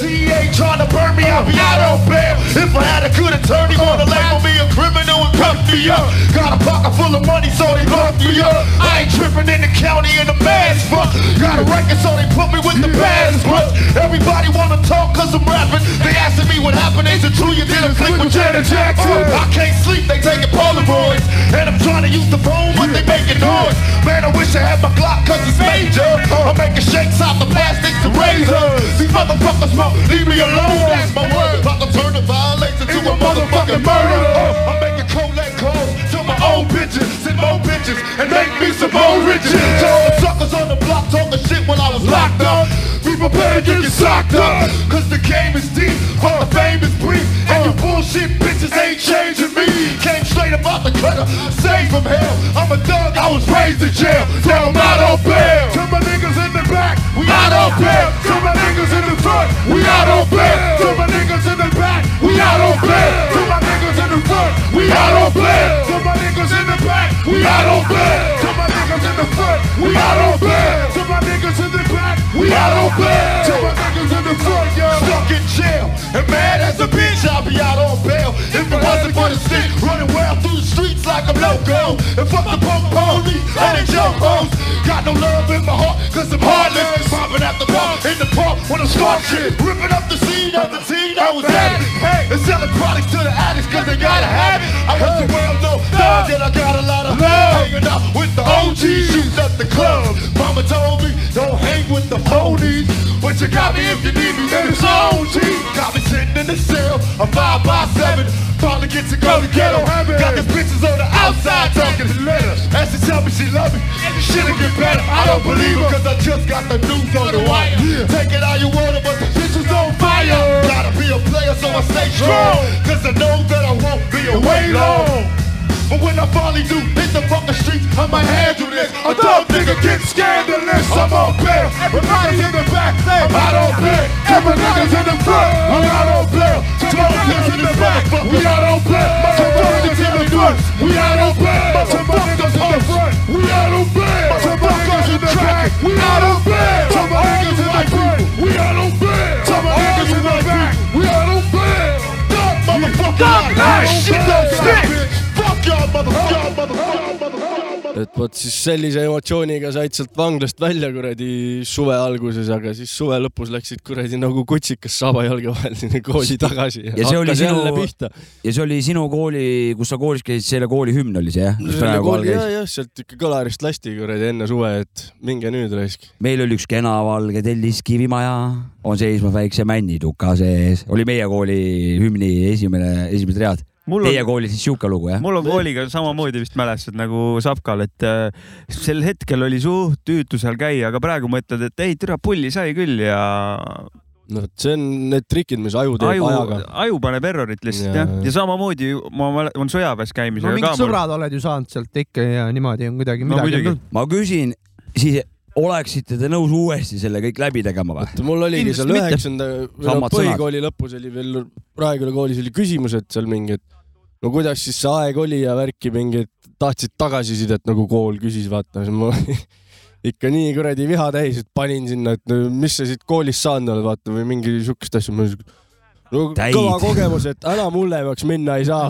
S7: TA trying to burn me out, I don't bear. If I had a good attorney, wanna label me a criminal and cuff me up. Got a pocket full of money, so they lock me up. I ain't tripping in the county in the mass fuck. Got a record, so they put me with the bass brush. Everybody wanna talk cause I'm rapping. They asking me what happened, is it true you did a click with Janet Jackson? Uh, I can't sleep, they taking Polaroids. And I'm trying to use the phone, but they making noise. Man, I wish I had my Glock cause it's major. I'm making shakes out the plastics and razors. These motherfuckers won't leave me alone. That's my word. About to turn the violation to a motherfucking murder. Uh, I'm making collect calls to my own bitches, send more bitches, and make me some more riches. To all the suckers on the block talking shit when I was locked up. Be prepared to get socked up. Cause the game is deep, but the fame is brief. And you bullshit bitches ain't changing me. Came straight up out the gutter, saved from hell. I'm a thug, I was raised in jail. Now I'm out on bail. To my niggas in the back, we out on bail. To my niggas in the front, we out on bail. To my niggas in the back, we out on bail. To my niggas in the front, we out on bail. To my niggas in the back, we out on bail. To my niggas in the front, we out on bail. To my niggas in the back, we out on bail. To my niggas in the front, yo, stuck in jail and mad as a bitch. I'll be out on bail if it wasn't for the stick running wild through the streets like I'm loco. And fuck the punk police and the jump hoes. Got no love in my heart, cause I'm heartless. Popping at the bar in the park when I'm smart shit. Ripping up the scene of the scene I was at. it. Hey, and selling products to the addicts cause they gotta have it. I was the world know thug that I got a lot of love. Hanging out with the OGs, shooting at the club. Mama told me, don't hang with the phonies. But you got me if you need me, then it's on G. Got me sitting in the cell, a five by seven. Finally get to go to ghetto. Got the bitches on the outside talking to letters. As she tell me she love me, shit'll get better. I don't believe her, cause I just got the news on the wire. Take it how you want it, but the bitches on fire. Gotta be a player, so I stay strong. Cause I know that I won't be away long. But when I finally do hit the fucking streets, I might handle this. A dumb nigga get scandalous. I'm on bail. Everybody's in the back. I'm out on bail. Every nigga's in the front. I'm out on bail. Twelve niggas in the back. But we out on bail. Some niggas in the front. We out on bail. Some niggas in the front. We out on bail. Some niggas in the back. We out on bail. Some niggas in the front. We out on bail. Some niggas in the back. We out on bail. Dumb motherfucker. Dumb ass shit don't stick. Fuck y'all motherfucker. Motherfucker. Motherfucker.
S4: et vot siis sellise emotsiooniga said sealt vanglast välja kuradi suve alguses , aga siis suve lõpus läksid kuradi nagu kutsikas saabajalge vahel sinna kooli tagasi .
S3: Ja see oli sinu-
S4: jälle pihta .
S3: ja see oli sinu kooli , kus sa koolis käisid , selle kooli hümn oli see jah ?
S4: jah , jah , sealt ikka kõlarist lasti kuradi enne suve , et minge nüüd raisk .
S3: meil oli üks kena valge telliskivimaja , on seisma väikse männituka sees , oli meie kooli hümni esimene , esimesed read .
S2: mul
S3: Teie
S2: on ,
S3: koolis siis sihuke lugu jah ?
S2: mul on kooliga samamoodi vist mälestused nagu Sapkal , et äh, sel hetkel oli suht tüütu seal käia , aga praegu mõtled , et ei , türa pulli sai küll ja
S4: no vot , see on need trikid , mis aju teeb
S2: aju
S4: aju... , ajaga .
S2: aju paneb errorit lihtsalt
S4: Jaa,
S2: jah ,
S4: jaa.
S2: ja samamoodi ma mäletan , on sõjaväes
S1: no
S2: käimisega
S1: mingid
S2: ka mul .
S1: sõbrad oled ju saanud sealt ikka ja niimoodi on kuidagi
S2: No
S1: midagi
S2: muidugi.
S1: no, .
S3: ma küsin , siis oleksite te nõus uuesti selle kõik läbi tegema või ?
S4: et mul oligi seal
S3: Kindlasti mitte.
S4: üheksanda ,
S3: Samad
S4: põhikooli lõpus oli veel , Raeküla koolis oli küsimused seal mingid , no kuidas siis see aeg oli ja värki mingid , tahtsid tagasisidet nagu kool küsis , vaata , siis ma ikka nii kuradi viha täis , et panin sinna , et no mis sa siit koolist saanud oled , vaata või mingi siukest asja , ma ütlesin , no
S3: Täid.
S4: kõva kogemus , et ära mulle peaks minna ei saa .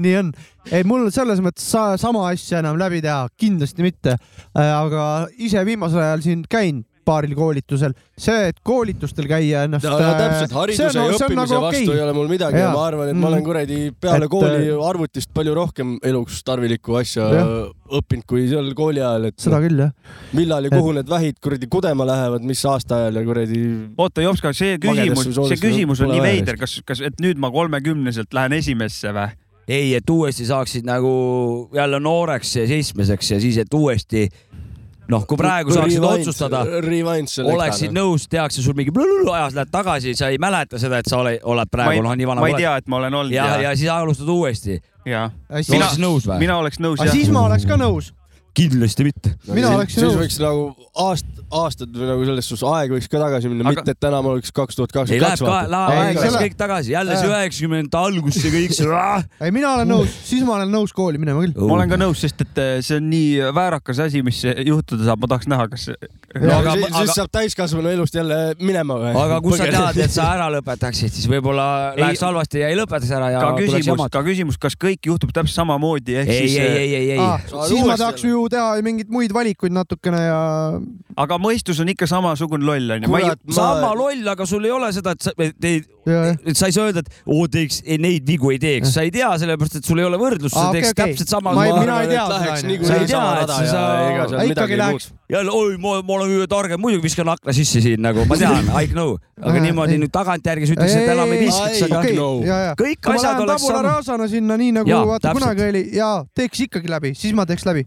S1: nii on . ei , mul selles mõttes sa, sama asja enam läbi teha kindlasti mitte , aga ise viimasel ajal siin käin paaril koolitusel , see , et koolitustel käia ennast . äh,
S4: no täpselt , hariduse ja õppimise nagu vastu okay. ei ole mul midagi ja
S1: Jaa.
S4: ma arvan , et ma olen
S1: Mm.
S4: kuradi peale
S1: Et,
S4: et, kooli
S1: äh,
S4: arvutist palju rohkem eluks tarvilikku asja
S1: Jah.
S4: õppinud kui seal kooli ajal , et
S1: seda küll jah .
S4: millal ja kuhu need vähid kuradi kudema lähevad , mis aastaajal ja kuradi
S2: oota , Jopska , see
S4: Magedesse
S2: küsimus , see
S4: soolesse
S2: küsimus on
S4: pole
S2: nii
S4: vaja
S2: veider , kas , kas , et nüüd ma kolmekümneselt lähen esimesse või ?
S3: ei , et uuesti saaksid nagu jälle nooreks ja seitsmeseks ja siis , et uuesti noh , kui praegu saaksid
S4: Rewind-
S3: otsustada ,
S4: rewind selle
S3: oleksid nõus , tehakse sul mingi blõlõlõ ajas , lähed tagasi , sa ei mäleta seda , et sa ole, oled praegu noh , nii vana
S2: ma ei tea , et ma olen olnud
S3: ja ,
S2: ja ,
S3: ja siis alustad uuesti .
S2: ja .
S1: Mina-
S3: oleksid nõus või ?
S2: mina oleks nõus
S1: aga
S2: jah .
S1: siis ma Ah, oleks ka nõus ,
S3: kindlasti mitte .
S1: Mina oleksin
S4: siis
S1: nõus.
S4: võiks nagu aast- , aastad või nagu selles suhtes aeg võiks ka tagasi minna ,
S2: Aga-
S4: mitte et täna ma oleks kaks tuhat
S3: ei läheb
S4: kakskümmend
S3: ka ,
S4: kaks .
S1: Ei,
S3: läheb aeg
S1: selle-
S3: kõik tagasi , jälle see
S1: Jaa.
S3: üheksakümnendate algus , see kõik see .
S1: ei , mina olen
S4: Uh.
S1: nõus , siis ma olen nõus kooli minema küll .
S2: ma olen ka nõus , sest et eh, see on nii väärakas asi , mis juhtuda saab , ma tahaks näha , kas .
S4: No,
S2: aga
S4: aga, siis, , aga... siis saab täiskasvanu elust jälle minema või ?
S3: aga kus sa tead , et sa ära lõpetaksid , siis võib-olla
S2: Ei-
S3: läheks halvasti ja ei lõpetaks ära ja
S2: ka
S3: tuleks
S2: küsimus ,
S3: jamad .
S2: ka küsimus , kas kõik juhtub täpselt samamoodi , ehk
S3: ei ,
S2: siis
S3: ei ,
S2: eh,
S3: ei , ei , ei
S1: Ah, . siis ma
S4: uuesti
S1: tahaks ju teha mingeid muid valikuid natukene ja
S2: aga mõistus on ikka samasugune loll onju . ma ei
S4: kurat ,
S3: sama
S4: ma ,
S3: loll , aga sul ei ole seda , et sa , et ei ,
S1: ja-
S3: et sa ei saa öelda , et oo , teeks , neid vigu ei teeks , sa ei tea , sellepärast et sul ei ole võrdlust , sa
S1: Aa, okei,
S3: teeks
S1: Ah, okei.
S3: täpselt sama .
S1: Ma ei- mina
S4: arvan,
S1: ei tea
S4: et
S1: seda,
S4: läheks
S1: onju.
S4: niikuinii
S3: Sa ei tea,
S4: sama
S3: et
S4: rada
S3: sa-
S4: ja ega seal
S1: Aga
S4: midagi
S1: ikkagi
S4: ei
S1: läheks .
S3: jälle , oi , ma , ma olen kõige targem , muidugi viskan akna sisse siin nagu , ma tean , I know , aga
S1: Äh,
S3: niimoodi
S1: ei.
S3: nüüd tagantjärgi sa ütleks , et enam ei viskaks ,
S4: ei,
S3: aga nagu-
S4: okei.
S1: ja , ja .
S3: kõik
S1: kui ma
S3: asjad
S1: lähen
S3: oleks
S1: tabula
S3: sama .
S1: rasana sinna , nii nagu
S3: Jaa,
S1: vaata
S3: täpselt.
S1: kunagi oli ja teeks ikkagi läbi , siis ma teeks läbi ,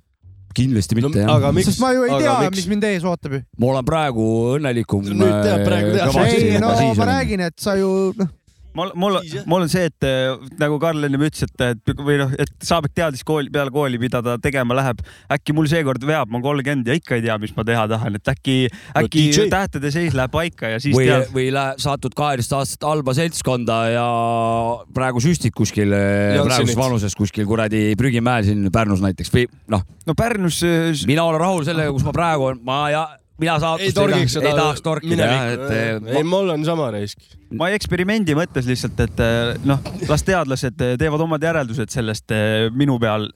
S3: kindlasti
S4: muuks .
S3: mitte
S4: no
S3: no, , jah
S4: aga . miks
S1: sest , ma ju ei
S4: aga
S1: tea , mis
S4: miks ,
S1: mind ees ootab ju .
S3: ma olen praegu õnnelikum . äh,
S4: Nüüd tead, praegu tead. Ma
S1: ei
S4: vastasin,
S1: no ma . räägin , et sa ju noh ,
S2: mul , mul , mul on see , et eh, nagu Karl enne ütles , et , et või noh , et Saabek teadis kooli , peale kooli , mida ta tegema läheb . äkki mul seekord veab , ma olen kolmkümmend ja ikka ei tea , mis ma teha tahan , et äkki , äkki no,
S4: DJ.
S2: tähtede seis läheb paika ja siis
S3: või
S2: tead ,.
S3: või läheb , satud kaheteist aastat halba seltskonda ja praegu süstid kuskil eh, praeguses vanuses kuskil kuradi prügimäel siin Pärnus näiteks või noh ,
S2: no Pärnus eh, s-
S3: mina olen rahul sellega , kus ma praegu olen , ma ja mina saatust
S4: ei torgiks seda .
S3: ei tahaks torkida jah , et eh,
S4: ei ,
S3: ma,
S4: mul on sama risk .
S2: ma eksperimendi mõttes lihtsalt , et eh, noh , las teadlased eh, teevad omad järeldused sellest eh, minu peal .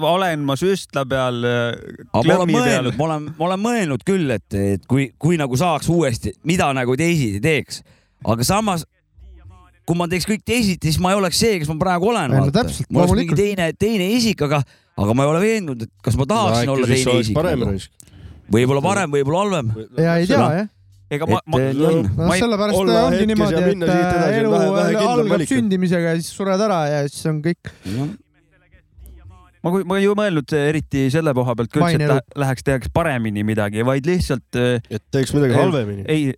S2: olen ma süstla peal ,
S3: aga ma olen
S2: klemmi peal
S3: mõelnud , ma olen , ma olen mõelnud küll , et , et kui , kui nagu saaks uuesti , mida nagu teisiti teeks , aga samas kui ma teeks kõik teisiti , siis ma ei oleks see , kes ma praegu olen .
S1: Ei, no
S3: ma
S1: täpselt,
S3: oleks mingi
S1: loomulikult.
S3: teine , teine isik , aga , aga ma ei ole veendunud , et kas ma tahaksin no, olla teine
S4: parem
S3: isik .
S4: risk .
S3: võib-olla parem , võib-olla halvem .
S1: ja ei tea
S3: Seda-
S1: jah .
S2: ega ma ,
S3: et
S2: ma ,
S3: eh, nii on .
S1: noh
S2: Ma ei- ,
S1: sellepärast
S4: olla
S1: ongi
S4: hetkes
S1: niimoodi
S4: ja , minna
S1: et
S4: siit edasi,
S1: äh, elu
S4: vähe- vähe kindlam
S1: algab
S4: valik.
S1: sündimisega ja siis sured ära ja siis on kõik .
S2: ma , ma ei ju mõelnud eh, eriti selle koha pealt küll , et
S1: Maine
S2: lä- läheks , tehaks paremini midagi , vaid lihtsalt eh,
S4: et teeks midagi halvemini .
S2: ei ,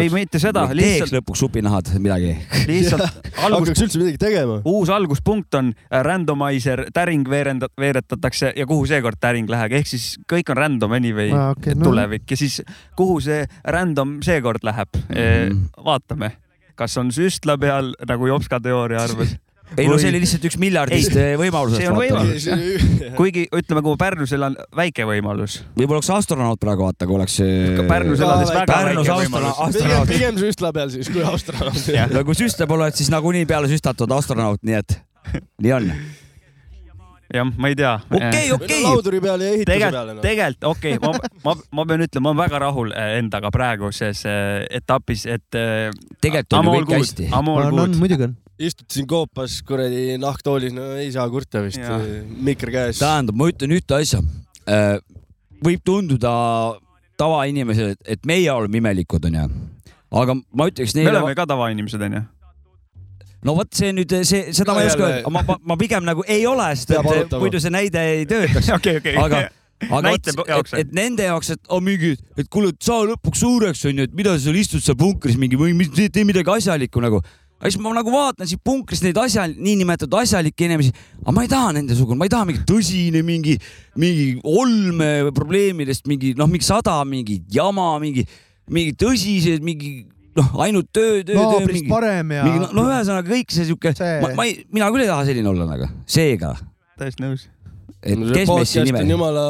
S2: ei mitte seda ,
S3: teeks
S2: lihtsalt ,
S3: lõpuks supinahad midagi .
S2: lihtsalt algus ,
S4: hakkaks üldse midagi tegema .
S2: uus alguspunkt on äh, randomizer , täring veerenda- , veeretatakse ja kuhu seekord täring läheb , ehk siis kõik on random anyway
S1: Aa, okei,
S2: et
S1: no.
S2: tulevik ja siis kuhu see random seekord läheb
S3: Mhm.
S2: mm. , vaatame , kas on süstla peal nagu Jopska teooria arvas .
S3: ei no see oli lihtsalt üks miljardist eh,
S2: see on
S3: võimalusest .
S2: võimalus , jah . kuigi ütleme , kui Pärnusel on väike võimalus ,
S3: võib-olla oleks astronaut praegu vaata , kui oleks .
S2: Pärnus
S4: Ka
S2: elades väga
S3: Pärnus
S2: väike
S3: austana
S2: võimalus .
S4: pigem ,
S3: astronaut .
S4: pigem süstla peal siis , kui astronaut .
S2: Jah.
S3: ja kui süste pole , siis nagunii peale süstatud astronaut , nii et nii on .
S2: jah , ma ei tea . Äh,
S3: okei ,
S4: või
S3: okei
S4: no . lauduri peal ja ehituse peale noh.
S2: tegelikult ,. tegelikult okei okay, , ma , ma , ma pean ütlema , ma olen väga rahul eh, endaga praeguses eh, etapis , et .
S3: tegelikult on ju kõik hästi .
S2: Amol
S1: on , on
S2: good .
S1: muidugi on .
S4: istud siin koopas kuradi nahktoolis , no ei saa kurta vist
S2: Jah. ,
S4: mikri käes .
S3: tähendab , ma ütlen ühte asja . võib tunduda tavainimesele , et meie oleme imelikud , onju . aga ma ütleks
S2: me
S3: neile ,
S2: oleme ka tavainimesed , onju .
S3: no vot see nüüd , see , seda ma ei oska öelda , ma , ma pigem nagu ei ole , sest
S4: Peab
S3: et
S4: arutama.
S3: muidu see näide ei töötaks .
S2: okei , okei .
S3: aga , aga
S2: Näite
S3: vot,
S2: jaoks,
S3: et, et nende jaoks , et on mingi , et kuule , saa lõpuks suureks onju , et mida sa seal istud seal punkris mingi või mis- tee tee midagi asjalikku nagu . aga siis ma nagu vaatan siin punkris neid asja , niinimetatud asjalikke inimesi , aga ma ei taha nendesugune , ma ei taha mingi tõsine mingi , mingi olme probleemidest mingi noh , mingi sada mingit jama , mingi , mingi tõsised , mingi noh , ainult töö , töö , töö ,
S1: naabrist
S3: mingi
S1: parem ja
S3: mingi no, no ühesõnaga kõik see siuke
S1: See- ,
S3: ma, ma ei , mina küll ei taha selline olla nagu , seega ,
S2: täiesti nõus .
S3: et kes meist siin
S4: on
S3: nimel ,
S4: jumala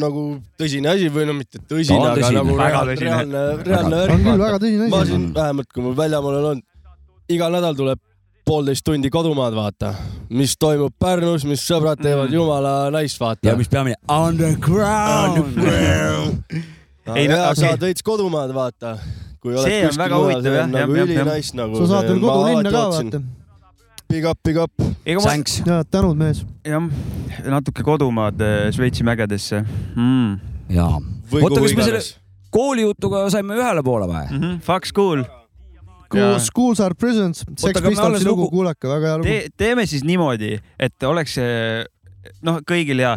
S4: nagu tõsine asi või no mitte tõsine ,
S3: Ta on
S4: aga
S3: tõsine,
S4: nagu
S2: väga
S4: reaalne ,
S2: tõsine.
S4: reaalne , reaalne
S1: on küll
S4: värk .
S1: väga tõsine
S4: ma
S1: asi .
S4: siin vähemalt , kui ma väljamaal olen olnud , iga nädal tuleb poolteist tundi kodumaad vaata , mis toimub Pärnus , mis sõbrad teevad
S2: Mm.
S4: mm. jumala nice
S3: ja
S4: vaata .
S3: mis peamine , underground .
S2: Ei, no
S4: ja
S2: okei.
S4: saad veits kodumaad vaata . kui oled
S2: See on
S4: kuskil
S2: väga
S4: mujal,
S2: huvitav,
S4: see
S2: jah,
S4: on
S2: jah,
S4: nagu
S2: jah, jah.
S4: ülinais nagu .
S1: sa saad veel kodulinna ka vaata .
S4: Big up , big up .
S2: ega ma ,
S3: Thanks .
S1: ja äh, tänud mees .
S2: jah , natuke kodumaad eh, Šveitsi mägedesse
S3: Hmm,
S2: mm. .
S3: jaa . oota , kas me selle koolijutuga saime ühele poole või ?
S2: Mm -hmm. Fuck school .
S1: Cool , Schools are prisons , Sex
S3: aga me alles
S1: Pistolsi lugu
S3: lugu- ,
S1: kuulake , väga hea lugu .
S2: Te, teeme siis niimoodi , et oleks eh, noh , kõigil ja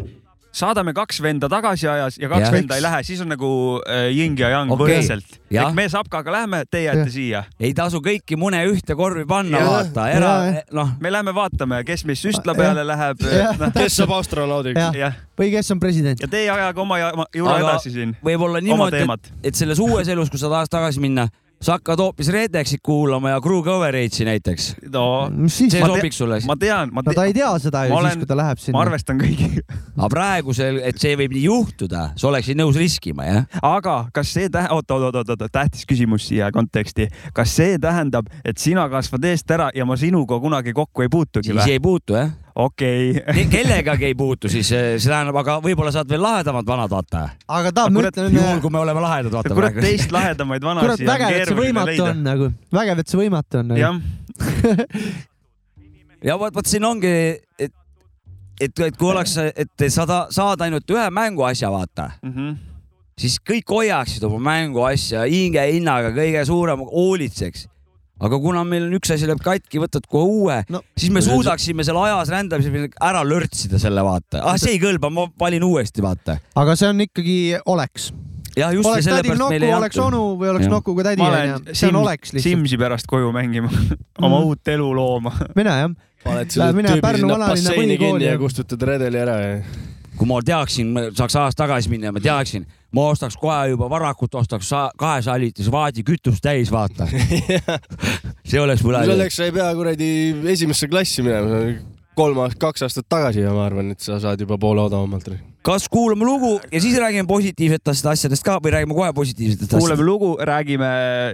S2: saadame kaks venda tagasi ajas ja kaks
S3: Jah.
S2: ja. venda ei lähe , siis on nagu äh, Ying ja Yang
S3: Okei.
S2: okay. võrdselt .
S3: Jah.
S2: ehk me Sapkaga lähme , teie jääte siia .
S3: ei tasu kõiki mune ühte korvi panna , vaata , ära
S1: Jaa. ,
S3: noh ,
S2: me lähme vaatame , kes meist süstla peale läheb .
S1: Jah.
S4: kes saab astronaudiks ?
S1: jah ,
S2: jah ,
S1: või kes on president ?
S2: ja teie ajage oma ja- oma jura
S3: Aga-
S2: edasi siin .
S3: võib-olla
S2: oma
S3: niimoodi ,
S2: teemat .
S3: et selles uues elus , kui sa tahad tagasi minna , sa hakkad hoopis Redexit kuulama ja Crew Coveratesi näiteks .
S2: no
S1: mis siis
S3: see
S2: Ma ? te-
S3: sobiks sulle .
S2: ma tean , ma
S1: no ta
S2: tean ,
S1: ei tea seda ju
S2: Ma
S1: siis ,
S2: olen-
S1: kui ta läheb
S2: ma
S1: sinna .
S2: arvestan kõigiga .
S3: aga praegusel , et see võib nii juhtuda , sa oleksid nõus riskima , jah ?
S2: aga kas see tähendab , oot , oot , oot , oot , tähtis küsimus siia konteksti . kas see tähendab , et sina kasvad eest ära ja ma sinuga kunagi kokku ei puutugi
S3: siis
S2: või ?
S3: ei puutu , jah ?
S2: okei okay. .
S3: kellegagi ei puutu , siis eh, see tähendab , aga võib-olla saad veel lahedamad vanad , vaata .
S1: aga ta , ma
S2: kurat,
S1: ütlen
S3: juhul ,, kui me oleme lahedad , vaata
S2: kurat ,
S3: praegu .
S2: teist lahedamaid
S1: kurat ,
S2: vanasi on
S1: vägev , et see
S2: keeruline
S1: võimatu
S2: leida
S1: on . nagu , vägev , et see võimatu on nagu. .
S2: jah ,
S3: ja vot , vot siin ongi , et , et , et kui oleks , et saada , saad ainult ühe mänguasja , vaata , siis kõik hoiaksid oma mänguasja hinge hinnaga kõige suurem , hoolitseks . aga kuna meil on üks asi läheb katki , võtad kohe uue
S1: No.
S3: no. , siis me suudaksime selle ajas rändamisel ära lörtsida selle , vaata . ah , see ei kõlba , ma valin uuesti , vaata .
S1: aga see on ikkagi oleks .
S3: jah , just
S1: oleks tädi
S3: sellepärast
S1: Nuku
S3: meile , ei
S1: oleks onu
S3: antud .
S1: või oleks
S3: Jah.
S1: Nuku kui tädi ,
S2: ma
S1: onju
S2: lähen .
S1: see on
S2: Sims-
S1: oleks lihtsalt .
S2: Simsi pärast koju mängima , oma
S1: Mhm.
S2: uut elu looma .
S1: mine jah .
S4: paned
S1: Läheb
S4: selle
S1: minema
S4: tüübi
S1: Pärnu
S4: sinna
S1: vanalinna
S4: basseini
S1: põhikooli
S4: kinni
S1: ja-
S4: ja kustutad redeli ära ja
S3: kui ma teaksin , saaks ajas tagasi minna ja ma teaksin , ma ostaks kohe juba varakult , ostaks sa- kahesaja liitrise vaadi kütust täis , vaata . see oleks mul ainult .
S4: selleks sa ei pea kuradi esimesse klassi minema , kolm aastat , kaks aastat tagasi ja ma arvan , et sa saad juba poole odavamalt .
S3: kas kuulame lugu ja siis räägime positiivsetest asjadest ka või räägime kohe positiivsetest
S2: kuuleme
S3: asjadest ?
S2: lugu , räägime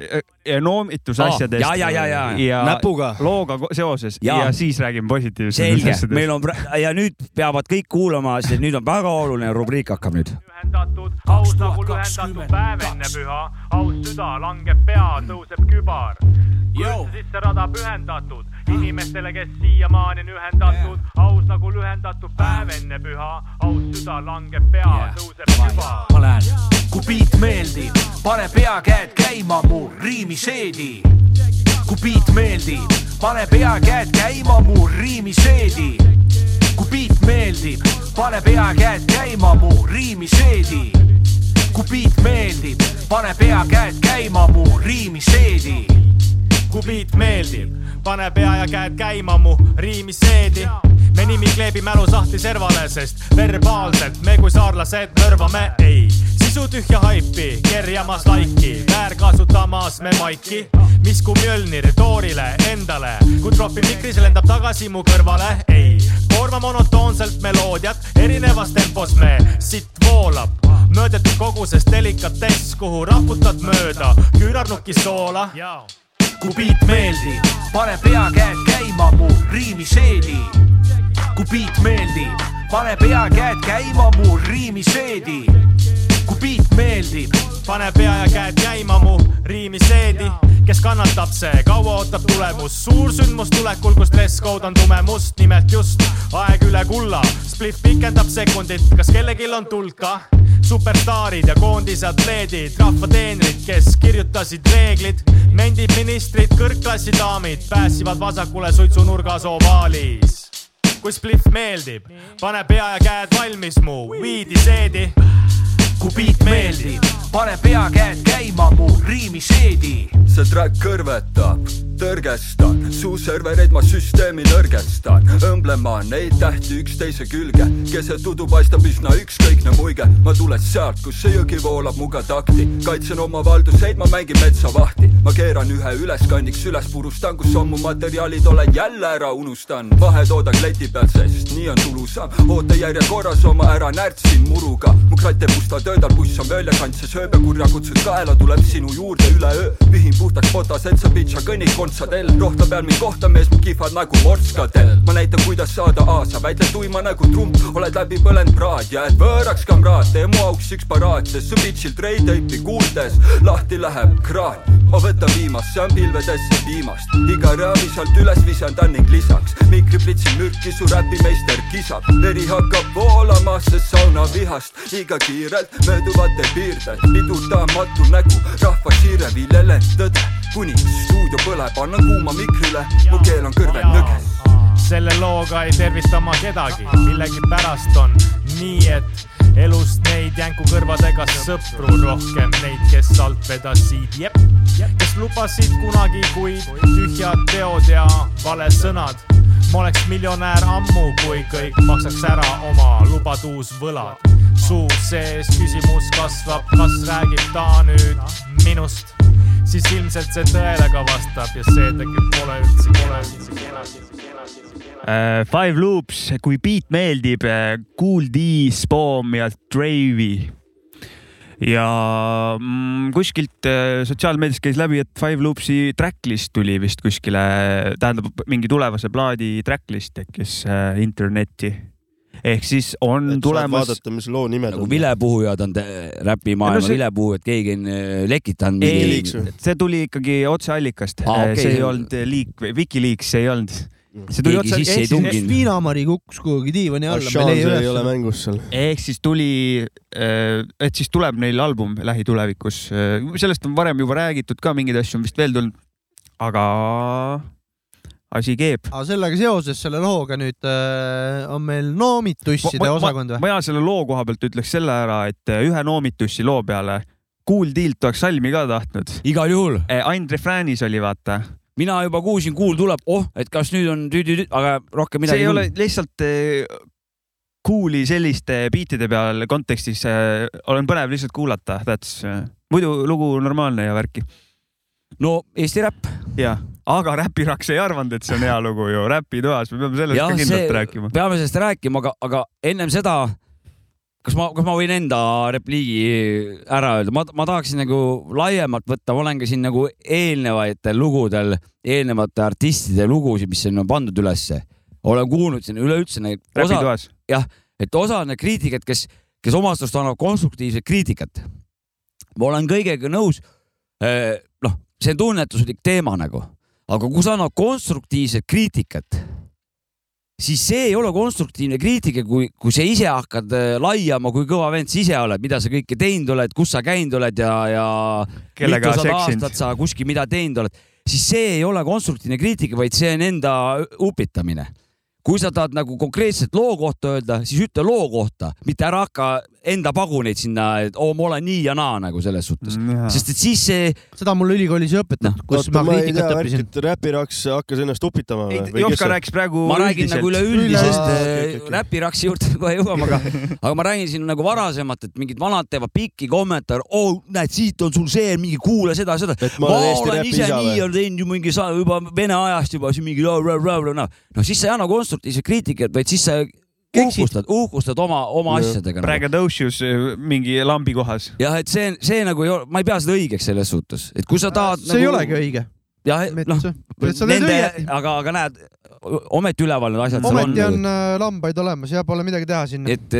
S2: äh, noomitusasjadest
S3: Aa, Ah, ja, ja, ja, ja.
S4: Näpuga.
S2: looga ko- seoses ja.
S3: Jaa.
S2: ja siis räägime positiivsetest
S3: selge , meil
S2: asjadest .
S3: on pra- ja nüüd peavad kõik kuulama , sest nüüd on väga oluline rubriik hakkab nüüd .
S8: lühendatud , aus nagu lühendatud päev enne püha , aus süda langeb pea , tõuseb kübar . sisse rada pühendatud inimestele , kes siiamaani on ühendatud , aus nagu lühendatud päev enne püha , aus süda langeb pea , tõuseb kübar .
S9: ma lähen , kui beat meeldib , pane peakäed käima mu riimi seedi . kui beat meeldib , pane peakäed käima mu riimi seedi . kui beat meeldib , pane peakäed käima mu riimi seedi . kui beat meeldib , pane peakäed käima mu riimi seedi .
S8: kui beat meeldib , pane pea ja käed käima mu riimi seedi . me nimi kleebi mälusahtli servale , sest verbaalselt me kui saarlased mörvame , ei . sisu tühja haipi , kerjamas laiki , väärkasutamas me maiki . mis kui Mjölnir toorile endale , kui tropi mikris lendab tagasi mu kõrvale , ei . koorma monotoonselt meloodiat , erinevas tempos me sitt voolab möödetud koguses delikatess , kuhu raputad mööda küünarnuki soola
S9: kui beat meeldib , pane peakäed käima mu riimi seedi . kui beat meeldib , pane peakäed käima mu riimi seedi . kui beat meeldib ,
S8: pane pea ja käed käima mu riimi seedi , kes kannatab , see kaua ootab tulemus , suursündmus tulekul , kus dresscode on tume must , nimelt just aeg üle kulla , split pikendab sekundit , kas kellelgi on tuld ka ? superstaarid ja koondisatleedid , rahvateenrid , kes kirjutasid reeglid , mendid , ministrid , kõrgklassi daamid päästsid vasakule suitsunurgas ovaalis kui spliff meeldib , pane pea ja käed valmis mu viidi seedi
S9: kui beat meeldib , pane peakäed käima mu riimi seedi .
S10: see track kõrvetab , tõrgestan , su servereid ma süsteemi nõrgestan , õmblema neid tähti üksteise külge , keset udu paistab üsna ükskõikne muige , ma tulen sealt , kus see jõgi voolab muga takti , kaitsen oma valduseid , ma mängin metsavahti , ma keeran ühe üles , kandiks üles , purustan , kus on mu materjalid , olen jälle ära unustan , vahetooda kleti peal , sest nii on tulusam , ootejärjekorras oma ära närtsin muruga , mu kratte musta töödel , buss on väljakandses ööb ja kurja kutsud kaela tuleb sinu juurde üleöö , vihin puhtaks potased , sa pitša kõnnid kontsadel , rohta peal mind kohtamees , mu kihvad nagu morskadel , ma näitan , kuidas saada A , sa väitled tuima nagu trump , oled läbi põlenud praad , jääd võõraks , kamraad , tee mu auks üks paraat , sest su pitšilt reideipi kuuldes lahti läheb kraad , ma võtan viimast , see on pilvedesse viimast , iga reaami sealt üles visandan ning lisaks mikriplitsin mürki , su räpimeister kisab , veri hakkab voolama , sest sauna vihast liiga kiirelt mööduvate piirdelt , pidutamatu nägu , rahva siire viljeleb tõde , kuni stuudio põleb , annan kuuma mikrile , mu keel on kõrvel nõges .
S8: selle looga ei tervitama kedagi , millegipärast on nii et elust neid jänku kõrvadega sõpru rohkem neid , kes alt vedasid , jep , kes lubasid kunagi , kuid tühjad teod ja valesõnad . ma oleks miljonär ammu , kui kõik maksaks ära oma lubadusvõlad . suu sees küsimus kasvab , kas räägib ta nüüd minust , siis ilmselt see tõele ka vastab ja seetõttu pole üldse , pole üldse .
S2: Äh, Five Loops , kui beat meeldib , Kool D , Spawn ja Drave'i . ja mm, kuskilt äh, sotsiaalmeedias käis läbi , et Five Loopsi tracklist tuli vist kuskile , tähendab mingi tulevase plaadi tracklist tekkis äh, internetti . ehk siis on tulemas .
S4: vaadata , mis loo nimed
S3: nagu
S4: on .
S3: vilepuhujad on
S2: No
S3: räpimaailma no
S2: see-
S3: see... vilepuhujad , keegi on äh, lekitanud .
S2: ei , see tuli ikkagi otseallikast
S3: Aa,
S2: ah, ,
S3: okei.
S2: okay. see ei olnud liik , Wikileaks see ei olnud . see tuli
S3: Keegi
S2: otse ,
S3: sisse ei
S2: ehk siis ,
S3: tunginud.
S1: viinamari kukkus kuhugi diivani alla , me
S4: Ashaan , see
S1: leiame
S4: ei ole
S1: üles .
S4: mängus seal .
S2: ehk siis tuli , et siis tuleb neil album lähitulevikus . sellest on varem juba räägitud ka , mingeid asju on vist veel tulnud . aga asi keeb .
S1: aga sellega seoses , selle looga nüüd äh, on meil noomitusside osakond või ?
S2: ma ja selle loo koha pealt ütleks selle ära , et äh, ühe noomitussi loo peale Kool Dealt oleks salmi ka tahtnud .
S3: igal juhul ,
S2: ainult refräänis oli , vaata .
S3: mina juba kuulsin , kuul tuleb , oh , et kas nüüd on tüüdi , aga rohkem
S2: see
S3: midagi
S2: ei ole lihtsalt äh, Kooli selliste biitide peal kontekstis äh, olen põnev lihtsalt kuulata , that's , muidu lugu normaalne ja värki .
S3: no Eesti räpp ,
S2: jah , aga Räpiraks ei arvanud , et see on hea lugu ju , Räpitoas , me peame sellest
S3: Jah,
S2: ka kindlalt
S3: see-
S2: rääkima .
S3: peame sellest rääkima , aga , aga ennem seda , kas ma , kas ma võin enda repliigi ära öelda , ma , ma tahaksin nagu laiemalt võtta , ma olen ka siin nagu eelnevatel lugudel , eelnevate artistide lugusid , mis on pandud ülesse , olen kuulnud siin üleüldse neid osa ,
S2: Räpitoas ,
S3: jah , et osa on need kriitikad , kes , kes omast arust annavad konstruktiivset kriitikat . ma olen kõigega nõus . noh , see on tunnetuslik teema nagu , aga kui sa annad konstruktiivset kriitikat , siis see ei ole konstruktiivne kriitika , kui , kui sa ise hakkad eh, laiama , kui kõva vend sa ise oled , mida sa kõike teinud oled , kus sa käinud oled ja , ja
S2: Kellega
S3: mitusada
S2: seksinud.
S3: aastat sa kuskil mida teinud oled , siis see ei ole konstruktiivne kriitika , vaid see on enda upitamine kui sa tahad nagu konkreetselt loo kohta öelda , siis ütle loo kohta , mitte ära hakka enda paguneid sinna , et oo , ma olen nii ja naa nagu selles suhtes
S2: Mm, jaa.
S3: mm, . sest et siis see ,
S1: seda on mul ülikoolis ju õpetatud no, , kus ma
S4: ma ei tea
S1: kriitikat , õppisin .
S4: värk , et räpiraks hakkas ennast upitama
S2: ei
S4: või ?,
S2: Jopska rääkis praegu
S3: ma räägin nagu
S1: Üle-
S3: üleüldisest
S4: Aa, okei, okei,
S3: äh,
S4: okei.
S3: räpiraksi juurde kohe jõuame , aga , aga ma räägin siin nagu varasemalt , et mingid vanad teevad pikki kommentaare , oo , näed , siit on sul see , mingi kuula seda , seda .
S4: et
S3: ma olen ise nii
S4: või ?
S3: ja teinud ju mingi sa- juba vene ajast juba siin mingi no, . no siis sa ei anna konstruktiivset kriitikat , vaid siis sa uhkustad , uhkustad oma , oma
S4: Jah.
S3: asjadega . nagu
S2: praegu tõusis mingi lambi kohas .
S3: jah , et see , see nagu ei ole , ma ei pea seda õigeks selles suhtes , et kui sa tahad .
S1: see ei olegi . õige .
S3: jah , noh ,
S1: sa teed
S3: nende
S1: õige ,,
S3: aga , aga näed , ometi üleval need asjad seal
S1: ometi on
S3: on .
S1: äh, lambaid olemas ja pole midagi teha sinna .
S3: et ,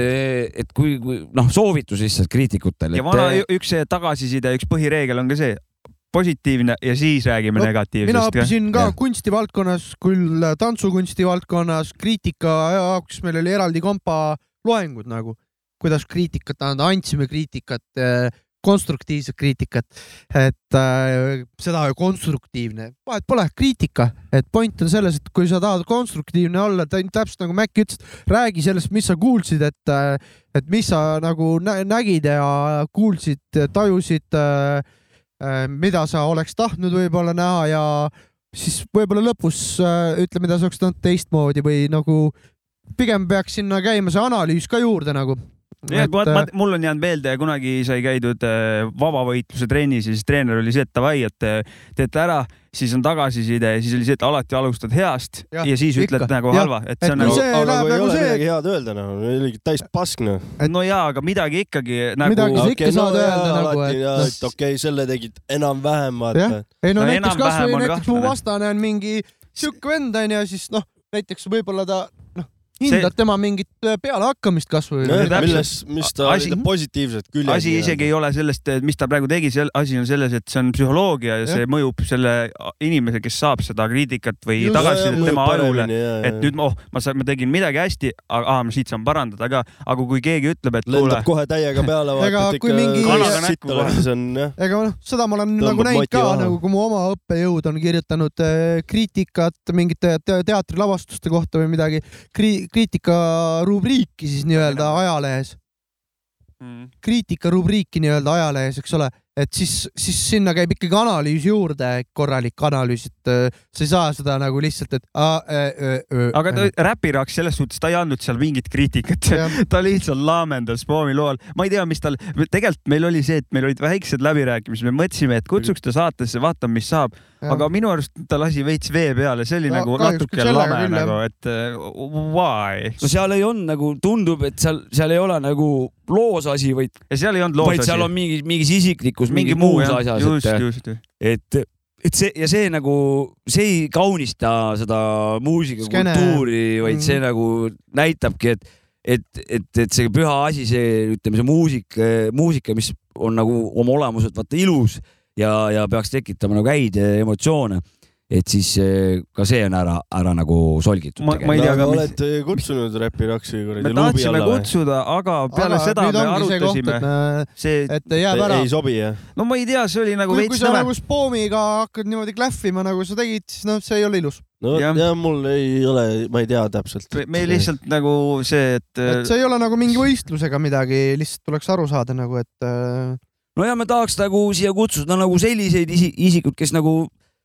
S3: et kui , kui noh , soovitus lihtsalt eh, kriitikutele .
S2: ja vana , üks see tagasiside , üks põhireegel on ka see , positiivne ja siis
S1: No,
S2: räägime no,
S1: mina
S2: negatiivsest ka .
S1: õppisin ka
S3: Jah.
S1: kunstivaldkonnas , küll tantsukunsti valdkonnas , kriitika jaoks meil oli eraldi kompa loengud nagu , kuidas kriitikat anda , andsime kriitikat , konstruktiivset kriitikat , et äh, seda konstruktiivne , vahet pole , kriitika , et point on selles , et kui sa tahad konstruktiivne olla , täpselt nagu Mac ütles , räägi sellest , mis sa kuulsid , et äh, et mis sa nagu nä nägid ja kuulsid , tajusid äh, äh, mida sa oleks tahtnud võib-olla näha ja siis võib-olla lõpus äh, ütle , mida sa oleks tahtnud teistmoodi või nagu pigem peaks sinna käima see analüüs ka juurde nagu . äh,
S2: Ja, et,
S3: eh,
S2: ma, mul on jäänud meelde , kunagi sai käidud äh, vabavõitluse trennis ja siis treener oli see , et davai , et äh, teete ära , siis on tagasiside ja siis oli see , et alati alustad heast ja,
S1: Jah,
S2: ja siis ütled
S1: ikka.
S2: nagu
S1: Jah.
S2: halva , et see
S1: Et
S2: on
S1: kui
S2: nagu
S1: see
S4: aga
S1: läheb
S4: kui ei
S1: nagu
S4: ole
S1: see-
S4: midagi head öelda , noh , oligi täis pask , noh .
S1: et-
S2: no jaa , aga midagi ikkagi nagu .
S1: Midagi sa ikka saad öelda nagu, et noh-
S4: et okei , selle tegid enam-vähem ,
S1: Jah.
S4: vaata .
S1: ei no
S2: no
S1: näiteks
S2: enam-vähem
S1: kasvõi
S2: on
S1: näiteks mu
S2: kahtlane.
S1: vastane on mingi sihuke vend onju , siis noh , näiteks võib-olla ta noh ,
S2: See-
S1: hindad tema mingit äh, pealehakkamist kasvõi
S4: nojah ,
S2: täpselt.
S4: Noh, milles , mis ta
S2: Asi-
S4: oli , positiivsed küljed .
S2: asi isegi ei ole sellest , mis ta praegu tegi , see asi on selles , et see on psühholoogia ja see mõjub selle inimese , kes saab seda kriitikat või
S1: Just.
S2: tagasisidet tema ajule . et nüüd , ma- oh , ma saan , ma tegin midagi hästi , aga ah, ma siit saan parandada ka , aga kui keegi ütleb , et kuule
S4: lendab , kohe täiega peale ,
S1: Ega
S4: vaatad
S1: kui
S4: ikka
S1: mingi-
S2: Kanaga näkku
S4: sitt oled , siis on jah .
S1: ega noh , seda ma olen
S4: Tõmbab
S1: nagu näinud ka
S4: moti maha.
S1: nagu , kui mu oma õppejõud on kirjutanud äh, kriitikat mingite te teatrilavastuste kohta või midagi kri , kriitikarubriiki siis nii-öelda ajalehes
S2: mm. .
S1: kriitikarubriiki nii-öelda ajalehes , eks ole , et siis , siis sinna käib ikkagi analüüs juurde , korralik analüüs , et äh, sa ei saa seda nagu lihtsalt , et äh, a, ö, ö, ö.
S2: aga ta , Räpiraks selles suhtes , ta ei andnud seal mingit kriitikat
S1: Äh. Jah. ,
S2: ta lihtsalt laamendas Poomi loal . ma ei tea , mis tal , tegelikult meil oli see , et meil olid väiksed läbirääkimised , me mõtlesime , et kutsuks ta saatesse , vaatame , mis saab .
S1: Jah.
S2: aga minu arust ta lasi veits vee peale , see oli
S1: No
S2: no, nagu
S1: kahjuks küll
S2: natuke
S1: sellega
S2: lame
S1: küll, jah.
S2: nagu , et uh, why .
S3: no seal ei olnud nagu , tundub , et seal , seal ei ole nagu loos asi , vaid ,
S2: ja seal ei olnud loos
S3: vaid seal on mingi , mingis isiklikus ,
S2: Mingi
S3: mingi
S2: muu,
S3: muus
S2: jah.
S3: asjas ,
S2: Just, just,
S3: et
S2: just. ,
S3: et , et see ja see nagu , see ei kaunista seda
S1: Skeene.
S3: muusikakultuuri , vaid see
S1: Mhm.
S3: nagu näitabki , et , et , et , et see püha asi , see ütleme , see muusika , muusika , mis on nagu oma olemuselt vaata ilus ja , ja peaks tekitama nagu häid eh, emotsioone , et siis eh, ka see on ära , ära nagu solgitud .
S2: Ma- ma ei tea, aga mis-
S4: olete kutsunud Räpiraksi kuradi
S2: me
S4: luubi
S2: tahtsime
S4: alla või ?
S2: kutsuda , aga peale
S1: Aga
S2: seda
S1: nüüd
S2: me
S1: ongi see koht,
S2: arutasime
S1: et me-
S2: see ,
S1: et ta jääb ära
S4: ei . sobi jah ?
S2: no ma ei tea , see oli nagu
S1: kui, kui
S2: veits
S1: sa
S2: nõme
S1: nagu spoomiga hakkad niimoodi klähvima , nagu sa tegid , siis noh , see ei ole ilus .
S4: no
S2: Jah.
S4: jah ja, , mul ei ole , ma ei tea täpselt .
S2: Me- meil lihtsalt nagu see ,
S1: et
S2: et
S1: see ei ole nagu mingi võistlusega midagi , lihtsalt tuleks aru saada nagu , et äh,
S3: no ja me tahaks nagu siia kutsuda nagu selliseid isi- isikud , kes nagu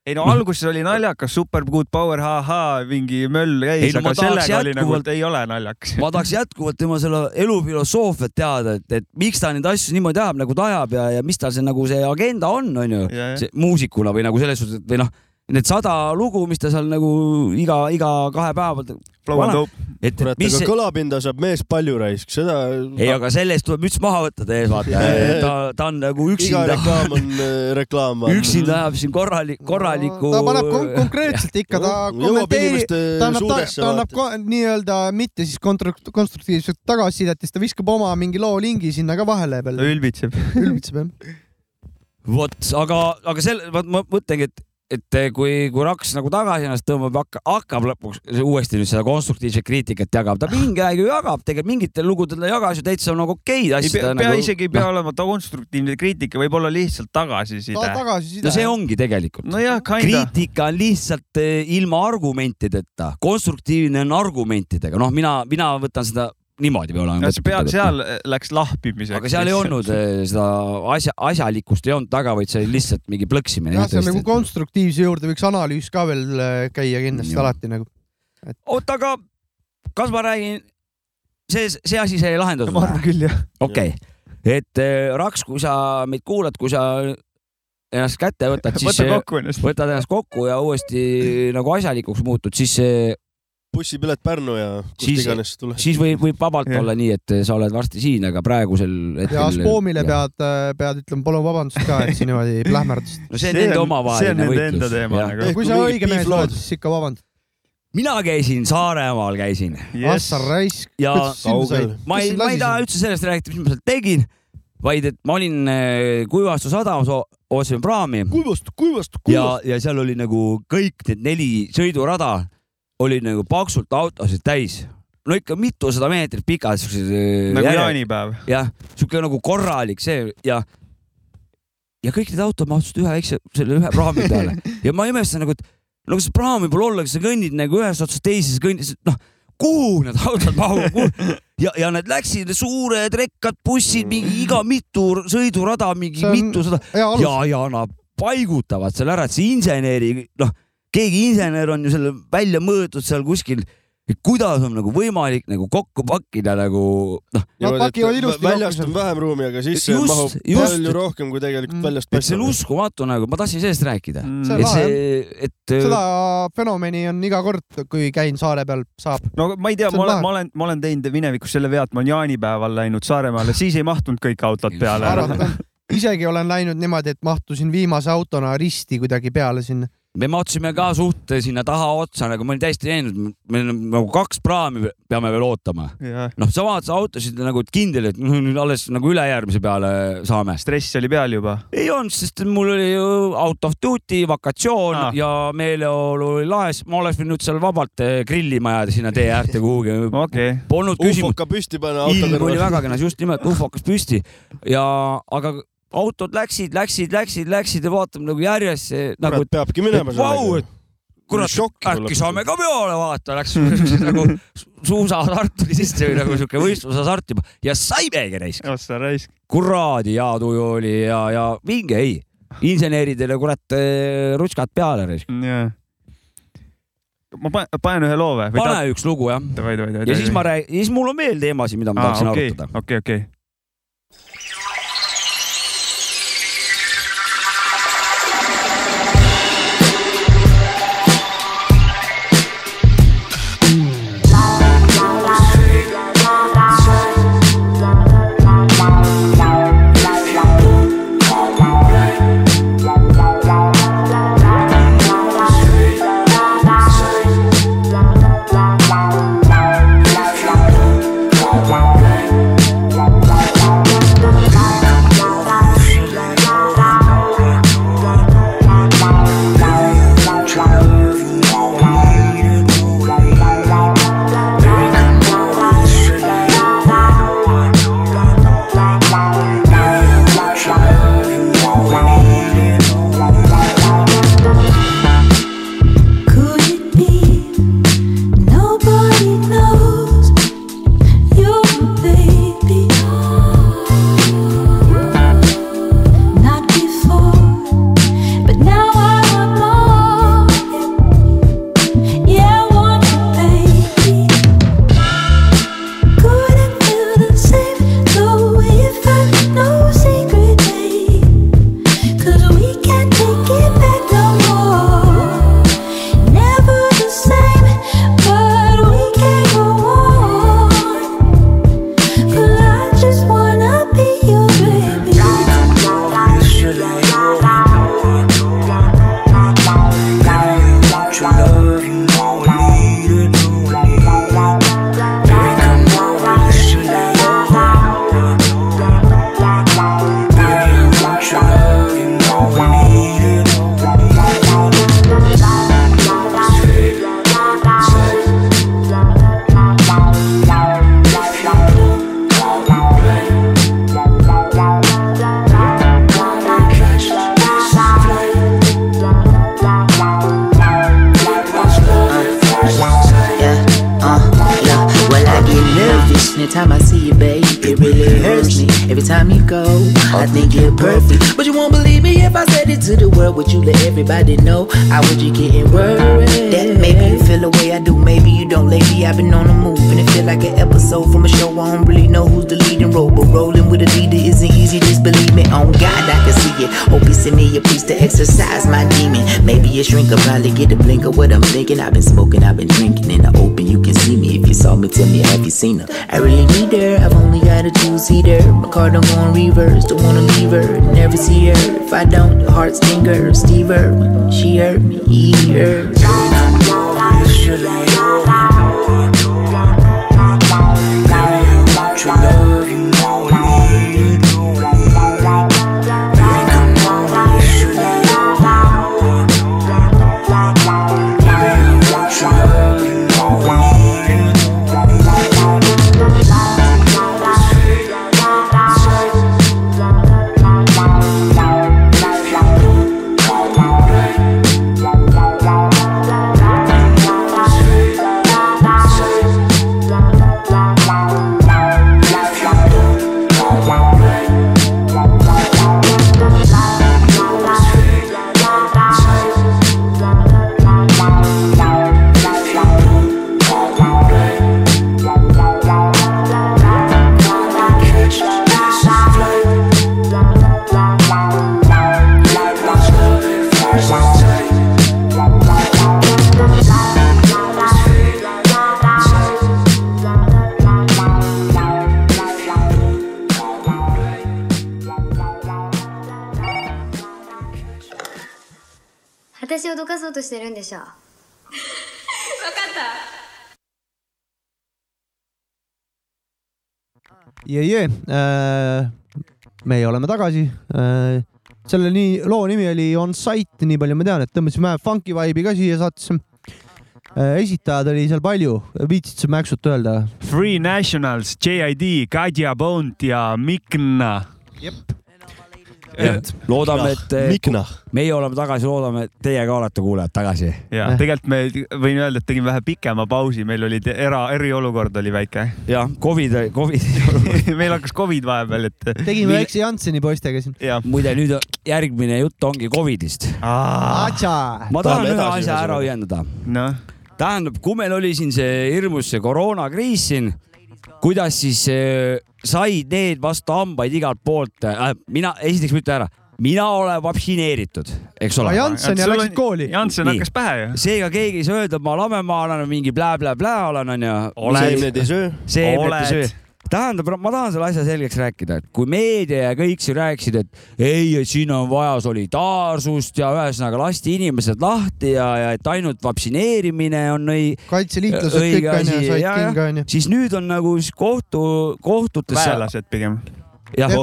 S2: ei no alguses oli naljakas , super good power , ahaa , mingi möll
S3: Ei,
S2: käis ,
S3: no ma
S2: aga
S3: tahaks
S2: sellega oli nagu ,
S3: jätkuvalt-
S2: et ei ole naljakas .
S3: ma tahaks jätkuvalt tema selle elufilosoofiat teada , et , et miks ta neid asju niimoodi ajab , nagu ta ajab ja , ja mis tal see nagu see agenda on , onju
S2: Jajah. ,
S3: muusikuna või nagu selles suhtes , et või noh , need sada lugu , mis ta seal nagu iga , iga kahe päeva pealt .
S2: Flow and dope.
S3: et , et
S4: kurat ,
S3: mis
S4: aga
S3: see ,
S4: kõlapinda saab mees palju raisk , seda .
S3: ei , aga selle eest tuleb müts maha võtta teie ees , vaata
S4: Jajah. ,
S3: ta , ta on nagu
S4: iga
S3: üksinda ,
S4: reklaam on äh, reklaam .
S3: üksinda ajab siin korralik , korralikku .
S1: ta paneb kon konkreetselt ikka , ta
S4: Jõuab
S1: kommenteerib ,
S4: inimeste
S1: ta annab , ta,
S4: suudesse
S1: ta annab
S4: vaata.
S1: ko- nii-öelda mitte siis kontru- konstruktiivset tagasisidet ja siis ta viskab oma mingi loo lingi sinna ka vahele
S2: ta
S1: peale .
S2: ülbitseb .
S1: ülbitseb jah .
S3: vot , aga , aga selle , vot ma mõtlengi , et , et eh, kui , kui Raks nagu tagasi ennast tõmbab , hakkab , hakkab lõpuks uuesti nüüd seda konstruktiivset kriitikat jagama , ta mingi aeg ju jagab , tegelikult mingitel lugudel ta jagas ju täitsa nagu okeid
S2: ei
S3: asju .
S2: pea , pea
S3: nagu,
S2: isegi ei pea olema ta konstruktiivne kriitika , võib olla lihtsalt
S1: ta
S2: tagasiside .
S1: tagasiside
S3: no see . ongi tegelikult no, .
S2: nojah , kinda .
S3: kriitika on lihtsalt eh, ilma argumentideta , konstruktiivne on argumentidega , noh , mina , mina võtan seda niimoodi .
S2: see peal , seal äh, läks lahpimiseks .
S3: aga seal ei olnud eh, seda asja , asjalikkust ei olnud taga , vaid see oli lihtsalt mingi plõksimine .
S1: jah , see on nagu konstruktiivse juurde võiks analüüs ka veel äh, käia kindlasti
S3: Jah.
S1: alati nagu .
S3: oota , aga kas ma räägin , see , see asi sai lahendatud
S2: ma arvan
S3: või ?
S2: küll , jah .
S3: okei , et eh, Raks , kui sa meid kuulad , kui sa ennast kätte võtad , siis
S2: võta
S3: eh,
S2: kokku ennast .
S3: võtad ennast kokku ja uuesti nagu asjalikuks muutud , siis , siis
S4: bussipilet Pärnu ja kust
S3: Siis-
S4: iganes tuleb .
S3: võib , võib vabalt
S2: Jah.
S3: olla nii , et sa oled varsti siin , aga praegusel hetkel .
S1: ja Spoomile . pead , pead ütlema , palun vabandust ka , et sa niimoodi plähmerdasid .
S3: no see on nende
S2: see on
S3: omavaheline
S2: nende enda teema
S3: võitlus .
S2: nagu .
S1: kui sa õige mees oled , siis ikka vabandad .
S3: mina käisin Saaremaal , käisin
S1: ah sa raisk .
S3: ja
S4: kaugel .
S3: ma ei , ma ei taha üldse sellest rääkida , mis ma seal tegin , vaid et ma olin eh, Kuivastu sadamas , ostsin praami
S4: kuivast , kuivast ,
S3: ja , ja seal oli nagu kõik need neli sõidurada olid nagu paksult autosid täis . no ikka mitusada meetrit pikad siuksed .
S2: nagu . jaanipäev .
S3: jah , siuke nagu korralik see ja , ja kõik need autod mahtusid ühe väikse , selle ühe praami peale ja ma imestan nagu , et no kas praam võib olla , kas sa kõnnid nagu ühest otsast teise , siis kõnnid , noh , kuhu need autod mahuvad , ja , ja need läksid , suured rekkad , bussid , mingi iga mitu r- sõidurada , mingi
S1: See on-
S3: mitusada
S1: ja alus
S3: ja , ja nad paigutavad selle ära , et see inseneri , noh , keegi insener on ju selle välja mõõdetud seal kuskil , et kuidas on nagu võimalik nagu kokku pakkida nagu noh ,
S1: Nad pakivad ilusti
S4: väljast
S1: kokku
S4: on vähem ruumi , aga sisse
S3: Just,
S4: just, mahub
S3: just.
S4: just. palju rohkem , kui tegelikult
S1: Mm.
S4: väljast
S3: et see on uskumatu nagu , ma tahtsin sellest rääkida .
S2: Mm.
S1: See on
S3: et
S1: lahe,
S3: see , et äh,
S1: seda fenomeni on iga kord , kui käin saare peal , saab .
S2: no
S3: äh,
S2: ma ei tea ,
S1: See on
S2: ma olen ,
S1: lahe.
S2: ma olen , ma olen teinud minevikus selle vea , et ma olen jaanipäeval läinud Saaremaale , siis ei mahtunud kõik autod peale .
S1: arvata . isegi olen läinud niimoodi , et mahtusin viimase autona risti kuidagi peale sinna .
S3: me mahtusime ka suht sinna tahaotsa , nagu ma olin täiesti veendunud , meil on nagu kaks praami pe- peame veel ootama .
S2: jah ,
S3: noh , sa vaatasid autosid nagu et kindel , et nüüd alles nagu ülejärgmise peale saame .
S2: stress oli peal juba .
S3: ei olnud , sest mul oli ju out of duty , vakatsioon ah.
S2: Ah.
S3: ja meeleolu oli laes , ma oleks võinud seal vabalt eh, grillima jääda sinna tee äärde kuhugi .
S2: okei okay. ,
S3: Polnud küsimust .
S4: ufoka püsti panna auto
S3: ilm oli
S4: kõrval .
S3: väga kenas , just nimelt ufokas püsti ja , aga autod läksid , läksid , läksid , läksid ja vaatame nagu järjest see, nagu ,
S4: kurat , peabki minema
S3: et vau , et kurat , äkki saame ka peale vaata , läks siukseks nagu suusahasart oli sisse või nagu siuke võistlushasart juba ja saimegi raisk .
S2: ossa raisk .
S3: kuradi hea tuju oli ja , ja vinge ei , inseneridele kurat eh, rutskad peale raisk .
S2: jah . ma panen , panen ühe loo või ?
S3: pane ta... üks lugu jah .
S2: davai , davai , davai .
S3: ja siis ma räägin , siis mul on veel teemasid , mida ma ah, tahaksin okay.
S2: okei
S3: arutada .,
S2: okei , okei .
S11: Could it be nobody knows you, baby? Not before, but now I'm more. Yeah, want baby. Couldn't feel the same though if I no secret, babe. 'Cause we can't take it back no more. Never the same, but we can go on. 'Cause I just wanna be your baby.
S12: Yeah, uh, yeah. Well, I get nervous anytime I see you, babe. It really hurts me every time you go. I think you're perfect, but you won't believe me if I said it to the world. Would you let everybody know? I would you getting worried? That maybe you feel the way I do, maybe you don't, lady. I've been on the move and it feel like an episode from a show. I don't really know who's the leading role, but rolling with a leader isn't easy. Just believe me, on God I can see it. Hope you send me a piece to exercise my demon. Maybe a shrink will probably get a blink of what I'm thinking. I've been smoking, I've been drinking in the open. You can see me if you saw me. Tell me have you seen her? I really need her. I've only got a two seater. My car don't go on reverse. Don't wanna leave her. Never see her. If I don't, the heart stinger. Steve her. She hurt me. He hurt.
S13: 私をどかそうとしてるんでしょ分かった
S1: jee , meie oleme tagasi . selle nii , loo nimi oli On Site , nii palju ma tean , et tõmbasime vähe funky vibe'i ka siia saatesse . esitajaid oli seal palju , viitsid sa mäksut öelda ?
S2: Free Nationals , JID , Kadja Bond ja Mikna . et-
S3: loodame , et
S2: Mikna.
S3: meie oleme tagasi , loodame , et teie ka olete kuulajad tagasi .
S2: ja tegelikult me võin öelda , et tegime vähe pikema pausi , meil oli te- era , eriolukord oli väike .
S3: jah , Covid , Covid
S2: meil hakkas Covid vahepeal , et .
S1: tegime väikse Jansseni poistega siin .
S3: muide , nüüd järgmine jutt ongi Covidist . ma tahan ühe asja ära õiendada
S2: no. .
S1: Noh.
S3: tähendab , kui meil oli siin see hirmus see koroonakriis siin , kuidas siis eh, said need vastu hambaid igalt poolt äh, , mina , esiteks ma ütlen ära , mina olen vaktsineeritud , eks ole .
S1: Aga Janssen ja Sul on- läksid kooli. Janssen hakkas
S2: pähe ju .
S3: seega keegi ei saa öelda , et ma lamema olen mingi blä-blä-blä olen onju .
S4: Oled. Seemned ei söö.
S3: seemned
S4: Oled.
S3: ei söö tähendab , ma tahan selle asja selgeks rääkida , et kui meedia ja kõik siin rääkisid , et ei , et siin on vaja solidaarsust ja ühesõnaga lasti inimesed lahti ja , ja et ainult vaktsineerimine on õi- .
S1: kaitseliitlased kõik onju , said kinga onju .
S3: siis nüüd on nagu siis kohtu , kohtutes .
S2: väelased pigem .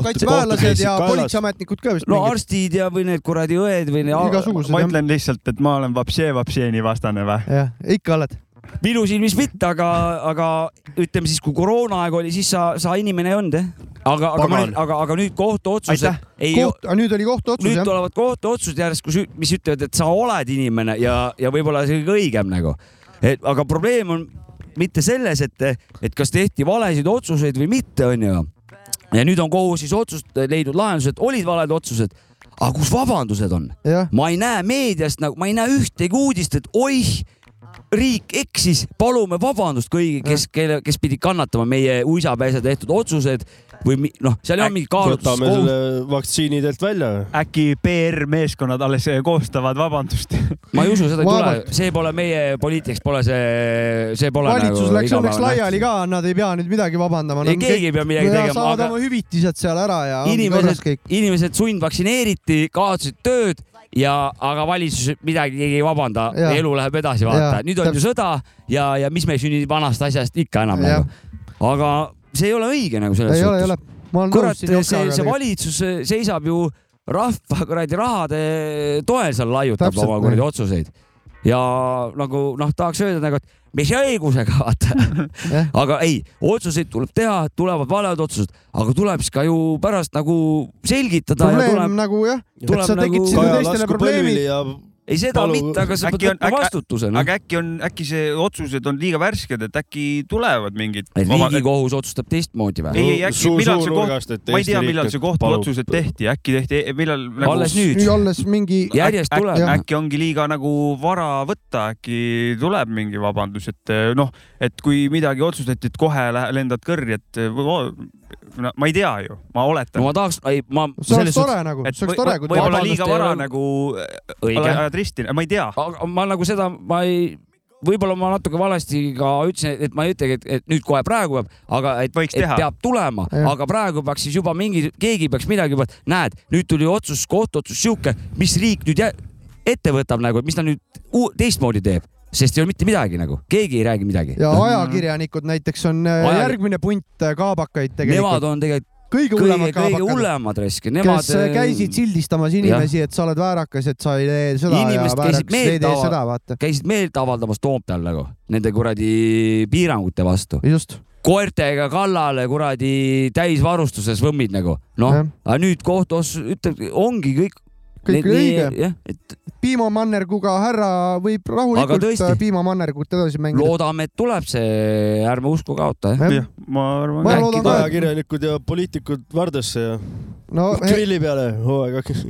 S1: kaitseväelased ja . politseiametnikud ka vist .
S3: no arstid ja , või need kuradi õed või need .
S2: ma ütlen lihtsalt , et ma olen vapsee vapseeni vastane või ?
S1: jah , ikka oled .
S3: minu silmis mitte , aga , aga ütleme siis , kui koroonaaeg oli , siis sa , sa inimene ei olnud jah . aga , aga ma
S1: Pagan.
S3: nüüd , aga , aga nüüd kohtuotsused
S1: aitäh . koht , nüüd oli kohtuotsus
S3: nüüd
S1: jah ?
S3: tulevad kohtuotsused järsku , mis ütlevad , et sa oled inimene ja , ja võib-olla see kõige õigem nagu . et aga probleem on mitte selles , et , et kas tehti valesid otsuseid või mitte , onju . ja nüüd on kohus siis otsust , leidnud lahendused , olid valed otsused , aga kus vabandused on ? ma ei näe meediast nagu , ma ei näe ühtegi uudist , et oih , riik eksis , palume vabandust kõigi , kes , kelle , kes pidid kannatama meie uisapäisa tehtud otsused või mi- noh , seal ei ole mingit
S4: võtame
S3: kaalutluskohust
S4: selle Äh, vaktsiinidelt välja .
S2: äkki PR-meeskonnad alles äh, koostavad vabandust ?
S3: ma ei usu , seda ei tule
S1: Vaevalt. ,
S3: see pole meie poliitikas pole see , see pole
S1: valitsus
S3: nagu
S1: läks õnneks laiali ka , nad ei pea nüüd midagi vabandama .
S3: Ei, keegi ei pea midagi tegema,
S1: saavad
S3: aga-
S1: oma hüvitised seal ära ja ongi korras
S3: inimesed
S1: kõik .,
S3: inimesed sundvaktsineeriti , kaotasid tööd ja , aga valitsus midagi keegi ei vabanda
S1: Jaa. ,
S3: elu läheb edasi , vaata
S1: Jaa, .
S3: nüüd on ju
S1: täpselt.
S3: sõda ja , ja mis me siin vanast asjast ikka enam
S1: Jah.
S3: nagu . aga see ei ole õige nagu selles
S1: ei ole , ei ole
S3: suhtes .
S1: ma olen
S3: kurat ,
S1: nõus siin
S3: see ,
S1: Jokaga
S3: see . valitsus seisab ju rahva kuradi rahade toel seal laiutab
S1: Täpselt,
S3: oma kuradi
S1: jah.
S3: otsuseid ja nagu noh , tahaks öelda nagu , et mis õigusega vaata . aga ei , otsuseid tuleb teha , tulevad valed otsused , aga tuleb siis ka ju pärast nagu selgitada ja
S1: probleem
S3: tuleb .
S1: nagu jah , et sa tekid sinu teistele probleemi .
S3: ei , seda mitte , aga sa pead võtma vastutuse . noh.
S2: aga äkki on , äkki see otsused on liiga värsked , et äkki tulevad mingid .
S3: et Riigikohus otsustab teistmoodi või ?
S2: ei , ei äkki , millal see koht , ma ei tea , millal see kohtuotsused tehti , äkki tehti , millal nagu... .
S3: Alles nüüd. Nüüd
S1: alles mingi
S2: äkki,
S1: Jah.
S2: äkki ongi liiga nagu vara võtta , äkki tuleb mingi vabandus , et eh, noh , et kui midagi otsustati , et kohe lähe, lendad kõrri , et eh, vo- no, ma ei tea ju , ma oletan .
S3: no ma tahaks , ei ma .
S1: See oleks tore nagu, see oleks tore, kui ta-
S2: võib-olla
S1: Vabandust
S2: liiga
S1: ei
S2: vara
S1: ole.
S2: nagu eh,
S3: Õige.
S2: ajad risti , ma ei tea .
S3: aga ma nagu seda , ma ei , võib-olla ma natuke valesti ka ütlesin , et ma ei ütlegi , et , et nüüd kohe praegu peab , aga et,
S2: Võiks
S3: et
S2: teha.
S3: peab tulema ,
S2: Jah.
S3: aga praegu peaks siis juba mingi , keegi peaks midagi juba , näed , nüüd tuli otsus , kohtuotsus sihuke , mis riik nüüd jä- ette võtab nagu , mis ta nüüd uu- teistmoodi teeb , sest ei ole mitte midagi nagu , keegi ei räägi midagi . Noh,
S1: ja ajakirjanikud näiteks on äh,
S3: Ajakir-
S1: järgmine punt äh, kaabakaid
S3: Nemad
S1: tegelikult .
S3: on tegelikult
S1: Kõige hullemad
S3: kõige
S1: kaabakad.
S3: hullemad risk , nemad . ähm,
S1: kes äh, käisid sildistamas inimesi , et sa oled väärakas , et sa ei tee seda ja
S3: inimesed
S1: väärakas
S3: käisid
S1: ei
S3: meelt
S1: tee seda ,
S3: ava-
S1: vaata .
S3: käisid meelt avaldamas Toompeal nagu nende kuradi piirangute vastu .
S1: just .
S3: koertega kallale kuradi täisvarustuses võmmid nagu , noh , aga nüüd kohtuotsus ütleb , ongi kõik .
S1: Kõik õige.
S3: jah , et
S1: piimamannerguga härra võib rahulikult
S3: tõesti.
S1: äh, piimamannergut edasi mängida .
S3: loodame , et tuleb see , ärme usku kaota .
S1: Jah.
S2: ma arvan
S1: Ma loodan ka, et-
S4: ajakirjanikud ja poliitikud Vardasse ja
S1: no
S4: grilli peale hooaeg hakkas .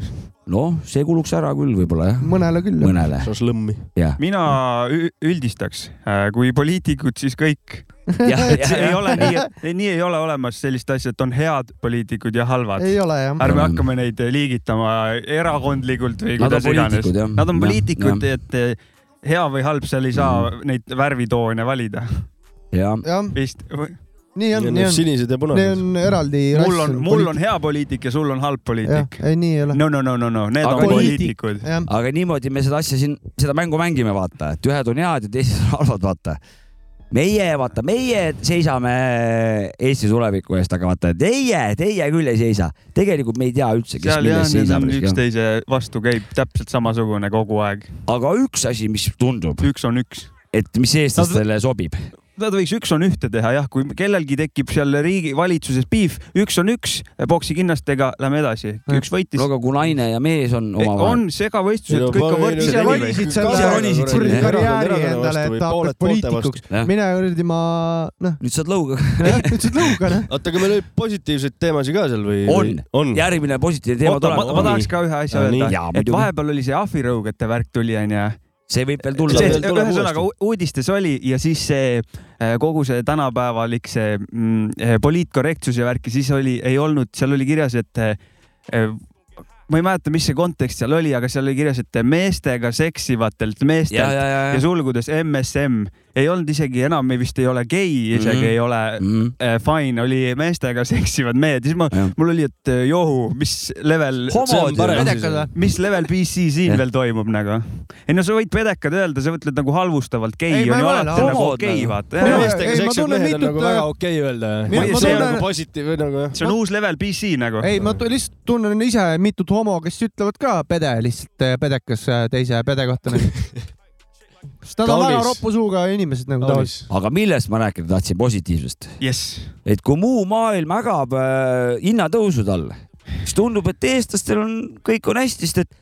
S3: noh , see kuluks ära küll võib-olla jah .
S1: mõnele küll .
S3: mõnele .
S4: saaks lõmmi .
S3: jah .
S2: mina ü- üldistaks , kui poliitikud , siis kõik .
S3: Jah,
S2: et see
S3: jah,
S2: ei
S3: jah.
S2: ole nii , nii ei ole olemas sellist asja , et on head poliitikud ja halvad .
S1: Ei ole, jah.
S2: ärme hakkame neid eh, liigitama erakondlikult või
S3: Nad on
S2: kuidas iganes
S3: poliitikud, jah. .
S2: Nad on
S3: Jah, Mm.
S2: poliitikud , et eh, hea või halb , seal ei saa neid värvitoone valida .
S3: jah .
S1: jah ,
S2: vist .
S1: nii on , nii on .
S4: sinised ja punased .
S1: Need on eraldi
S2: mul on , mul on hea poliitik ja sul on halb poliitik .
S1: ei , nii ei ole .
S2: no , no , no , no , no , need
S3: Aga
S2: on
S3: poliitik-
S2: poliitikud .
S3: aga niimoodi me seda asja siin , seda mängu mängime , vaata , et ühed on head ja teised on halvad , vaata . meie , vaata , meie seisame Eesti tuleviku eest , aga vaata , teie , teie küll ei seisa . tegelikult me ei tea üldse , kes
S2: seal jah ,
S3: milles
S2: need
S3: seisab
S2: on . üksteise vastu käib täpselt samasugune kogu aeg .
S3: aga üks asi , mis tundub .
S2: üks on üks .
S3: et mis eestlastele sobib .
S2: Nad võiks üks on ühte teha jah , kui kellelgi tekib seal riigi valitsuses piif , üks on üks , poksikinnastega lähme edasi , üks võitis .
S3: no aga kui naine ja mees on omavahel .
S2: Eh, on segavõistlused , kõik on võrdsed .
S1: ise valisid selle kuradi karjääri endale , et tahad poliitikuks . mine kuradi ma , noh .
S3: nüüd saad lõuga .
S1: nüüd saad lõuga , noh .
S4: oota , aga meil oli positiivseid teemasid ka seal või ?
S3: on, on. , järgmine positiivne teema
S2: oota , ma,
S3: tuleb .
S2: ma tahaks ka ühe asja öelda , et . vahepeal oli see ahvirõugete värk tuli onju .
S3: see võib veel tulla. See tuleb
S2: ühesõnaga
S3: uuesti.
S2: u- uudistes oli ja siis see eh, kogu see tänapäevalik see mm, eh, poliitkorrektsuse värk ja siis oli , ei olnud , seal oli kirjas , et eh, eh, ma ei mäleta , mis see kontekst seal oli , aga seal oli kirjas , et meestega seksivatelt meestelt
S3: Ja, ja, ja, ja.
S2: ja sulgudes MSM ei olnud isegi enam , vist ei ole gei , isegi mm
S3: Mhm.
S2: -hmm. ei ole mm -hmm. fine , oli meestega seksivad mehed , siis ma , mul oli , et eh, johu , mis level
S3: Homod See on ju. parem Pedekad siis. või?
S2: mis level PC siin veel toimub nagu ? ei no sa võid pedekad öelda , sa mõtled nagu halvustavalt gei
S1: Ei,
S2: on
S1: ma ei
S2: ju
S1: mõelnud,
S2: alati nagu
S1: homod
S2: okei
S1: nagu.
S2: vaata .
S1: Ei, ei, ma tunnen mitut, äh,
S2: nagu okei öelda .
S1: mina- ma
S2: see on
S1: tunnen-
S2: nagu positiivne nagu jah . see on uus level PC nagu .
S1: ei , ma tu- lihtsalt tunnen ise mitut homo , kes ütlevad ka pede lihtsalt , pedekas äh, teise pede kohta . sest nad on
S3: Kaunis.
S1: väga roppu suuga inimesed nagu tavaliselt .
S3: aga millest ma rääkida tahtsin , positiivsest
S2: yes. .
S3: et kui muu maailm ägab äh, hinnatõusude all , siis tundub , et eestlastel on , kõik on hästi , sest et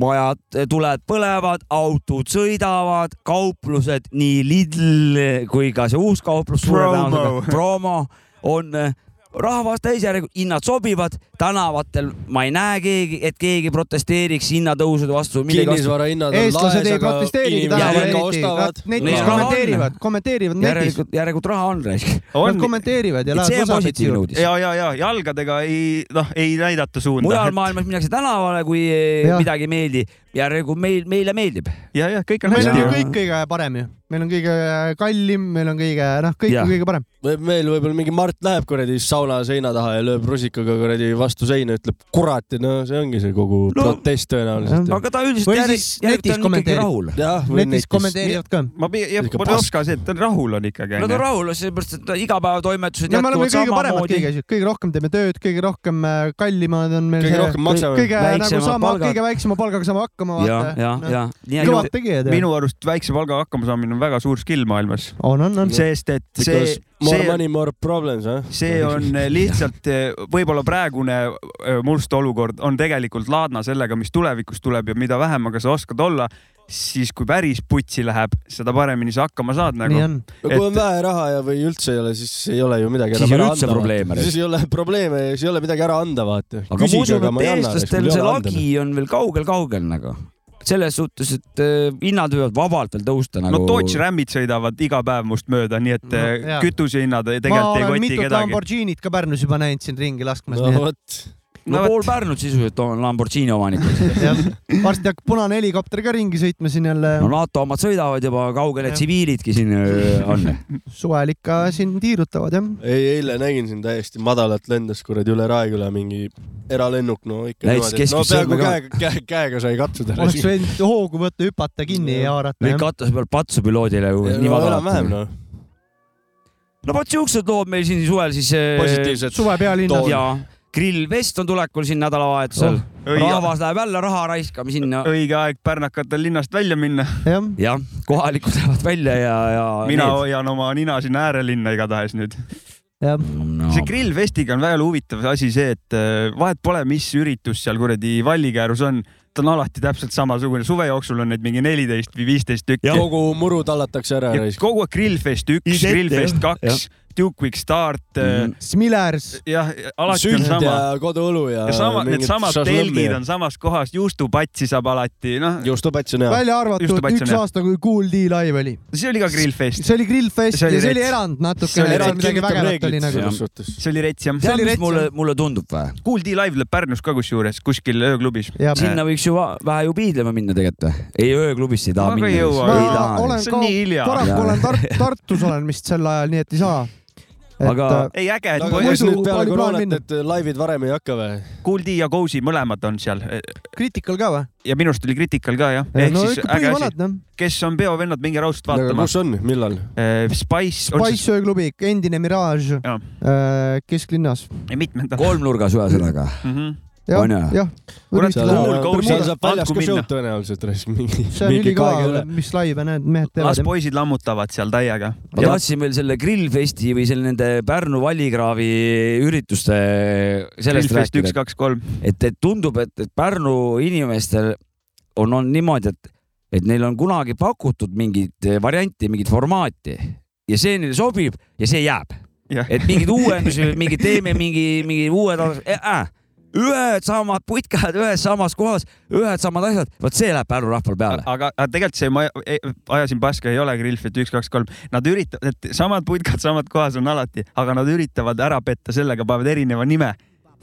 S3: majad , tuled põlevad , autod sõidavad , kauplused , nii Lidl äh, kui ka see uus kauplus , suure
S2: Promo.
S3: tõenäosusega promo on äh, rahvas täisjärgu , hinnad sobivad , tänavatel ma ei näe keegi , et keegi protesteeriks hinnatõusude vastu .
S4: Kinnisvarahinnad on
S1: eestlased ei protesteerigi tänaval eriti , nad neid kes kommenteerivad , kommenteerivad netis .
S3: järelikult , järelikult raha on raisk .
S1: Nad kommenteerivad ja lähevad osapidi juurde .
S2: ja , ja , ja jalgadega ei , noh , ei näidata suunda .
S3: mujal maailmas minnakse tänavale , kui
S1: Jah.
S3: ja. midagi ei meeldi , järelikult meil , meile meeldib .
S2: ja , ja kõik
S1: meil on ju kõik . kõige parem ju , meil on kõige kallim , meil on kõige , noh , kõik on kõige parem .
S4: meil võib-olla mingi Mart läheb kuradi sauna seina taha ja lööb rusikaga kuradi vastu seina , ütleb kurat ja no see ongi see kogu no. protest tõenäoliselt .
S3: aga ta üldiselt
S1: Või siis netis kommenteerivad .
S4: jah , või
S1: netis kommenteerivad ka .
S2: ma ei , jah ,
S4: Ikka
S2: ma ei
S4: pask.
S2: oska see , et ta on rahul on ikkagi .
S3: Nad on rahul , sellepärast et igapäevatoimetused
S1: no me oleme
S3: jätkuvad
S1: kõige paremad kõige
S3: samamoodi .
S1: asjad , kõige rohkem teeme tööd , kõige rohkem äh, kallimad on meil .
S3: Kõige rohkem maksame.
S1: kõige nagu
S3: Väiksemad
S1: sama ,
S3: palgad.
S1: kõige väiksema palgaga saame hakkama .
S2: Ja, ja,
S1: noh.
S2: ja. Nii on
S1: kõvad
S2: ju.
S1: tegijad .
S2: minu arust väikse palga hakkamasaamine on väga suur skill maailmas .
S1: on , on , on .
S2: sest et see
S4: Because , more
S2: see
S4: money , more problems , jah .
S2: see on lihtsalt eh, võib-olla praegune eh, must olukord on tegelikult laadna sellega , mis tulevikus tuleb ja mida vähem , aga sa oskad olla , siis kui päris putsi läheb , seda paremini sa hakkama saad nagu .
S4: no kui on vähe raha ja , või üldse ei ole , siis ei ole ju midagi
S3: Siis ei
S4: enam ära
S3: ole üldse
S4: anda, vaata.
S3: probleeme,
S4: siis ei ole probleeme ja siis ei ole midagi ära anda , vaata .
S3: aga ma usun , et eestlastel see lagi on veel kaugel-kaugel nagu . selles suhtes , et eh, hinnad võivad vabalt veel tõusta nagu .
S2: no Dodge Ramid sõidavad iga päev must mööda , nii et eh,
S1: No, jaa.
S2: kütusehinnad ei-
S1: ma
S2: tegelikult ei
S1: olen
S2: koti
S1: mitut
S2: kedagi .
S1: Lamborghinit ka Pärnus juba näinud siin ringi laskmas .
S2: No
S4: vot .
S3: no pool Pärnut sisuliselt on Lamborghini omanikud .
S1: varsti hakkab punane helikopter ka ringi sõitma siin jälle .
S3: no NATO omad sõidavad juba kaugele , tsiviilidki siin eh, on .
S1: suvel ikka siin tiirutavad jah .
S4: ei , eile nägin siin täiesti madalalt lendas kuradi üle Raeküla mingi eralennuk , no ikka
S3: Näitas
S4: niimoodi , et no
S3: keskmist
S4: peaaegu
S3: sõrme
S4: käega , käega , käega sai katsuda .
S1: oleks võinud hoogu võtta , hüpata kinni ja haarata
S3: või . katuse peal patsu piloodile ju
S4: Ei,
S3: nii
S4: no
S3: madalalt
S4: enam-vähem, . noh.
S3: no vot siuksed lood meil siin suvel siis . eh,
S4: Positiivsed
S1: Suve pealinnas. toon.
S3: jaa , grillvest on tulekul siin nädalavahetusel
S2: Oh.
S3: oh. . rahvas läheb jälle raha raiskama sinna .
S2: õige aeg pärnakatel linnast välja minna .
S3: jah , kohalikud lähevad välja ja , ja .
S2: mina . hoian oma nina sinna äärelinna igatahes nüüd .
S1: jah .
S2: see grillfestiga on väga huvitav asi see , et äh, vahet pole , mis üritus seal kuradi Vallikäärus on , ta on alati täpselt samasugune , suve jooksul on neid mingi neliteist või viisteist tükki .
S4: kogu muru tallatakse ära .
S2: kogu aeg grillfest üks ,
S4: Identne,
S2: grillfest
S4: jah.
S2: kaks , Duke Quick Start mm. ,
S1: Smilers .
S2: jah , alati on
S4: sült
S2: sama .
S4: ja koduõlu ja
S2: ja sama ,
S4: mingid
S2: needsamad
S4: šašlõmmi
S2: telgid
S4: ja-
S2: on samas kohas , juustupatsi saab alati , noh .
S4: juustupats on
S1: välja arvatud üks . aasta , kui Kool D live oli .
S2: see oli ka grillfest .
S1: see oli grillfest
S2: See
S1: ja
S2: oli
S1: see oli
S2: rets.
S1: erand natukene , seal midagi vägevat oli nagu .
S2: see oli rets jah .
S1: See oli Tead, mis rets, mulle- jah.
S3: mulle tundub või ?
S2: Kool D Live läheb Pärnus ka kusjuures kuskil ööklubis .
S3: sinna võiks ju va- vähe ju piidlema minna tegelikult või ? ei , ööklubisse ei taha
S2: Aga
S3: minna .
S2: ei jõua.
S3: ei
S2: Ma
S3: taha
S1: olen . ka , paraku olen Tar- , Tartus olen vist sel ajal , nii et ei saa .
S3: Aga-
S2: ei äge , et
S4: aga kas nüüd peale
S1: oli plaan
S4: koroonat
S1: minna.
S4: need laivid varem ei hakka või ?
S2: Kool D ja Cozy mõlemad on seal
S1: Critical ka või ?
S2: ja minu arust oli Critical ka jah .
S1: no ikka põhivanad noh .
S2: kes on peovennad , minge raudselt vaatama .
S4: kus on , millal ?
S2: Spice .
S1: Spice ööklubi , endine Mirage äh,
S2: Jah. ,
S1: kesklinnas .
S2: mitmendal .
S3: kolmnurgas ühesõnaga .
S1: Ah.
S2: mm . -hmm.
S1: onju . jah ,
S4: tõenäoliselt raisk mingi .
S1: see on ülikõva , mis laive need mehed
S2: las
S1: teevad .
S2: poisid lammutavad seal täiega .
S3: ma tahtsin veel selle grillfesti või selle nende Pärnu vallikraavi ürituste sellest
S2: Grillfest
S3: rääkida .
S2: üks, kaks, kolm .
S3: et , et tundub , et , et Pärnu inimestel on , on niimoodi , et , et neil on kunagi pakutud mingit varianti , mingit formaati ja see neile sobib ja see jääb . et mingeid uuendusi , mingi teeme mingi , mingi uued äh, , ühed samad putkad ühes samas kohas , ühed samad asjad , vot see läheb Pärnu rahval peale .
S2: aga , aga tegelikult see , ma e- ajasin paska , ei ole Grillfit üks , kaks , kolm , nad üritavad , et samad putkad samad kohas on alati , aga nad üritavad ära petta sellega , panevad erineva nime .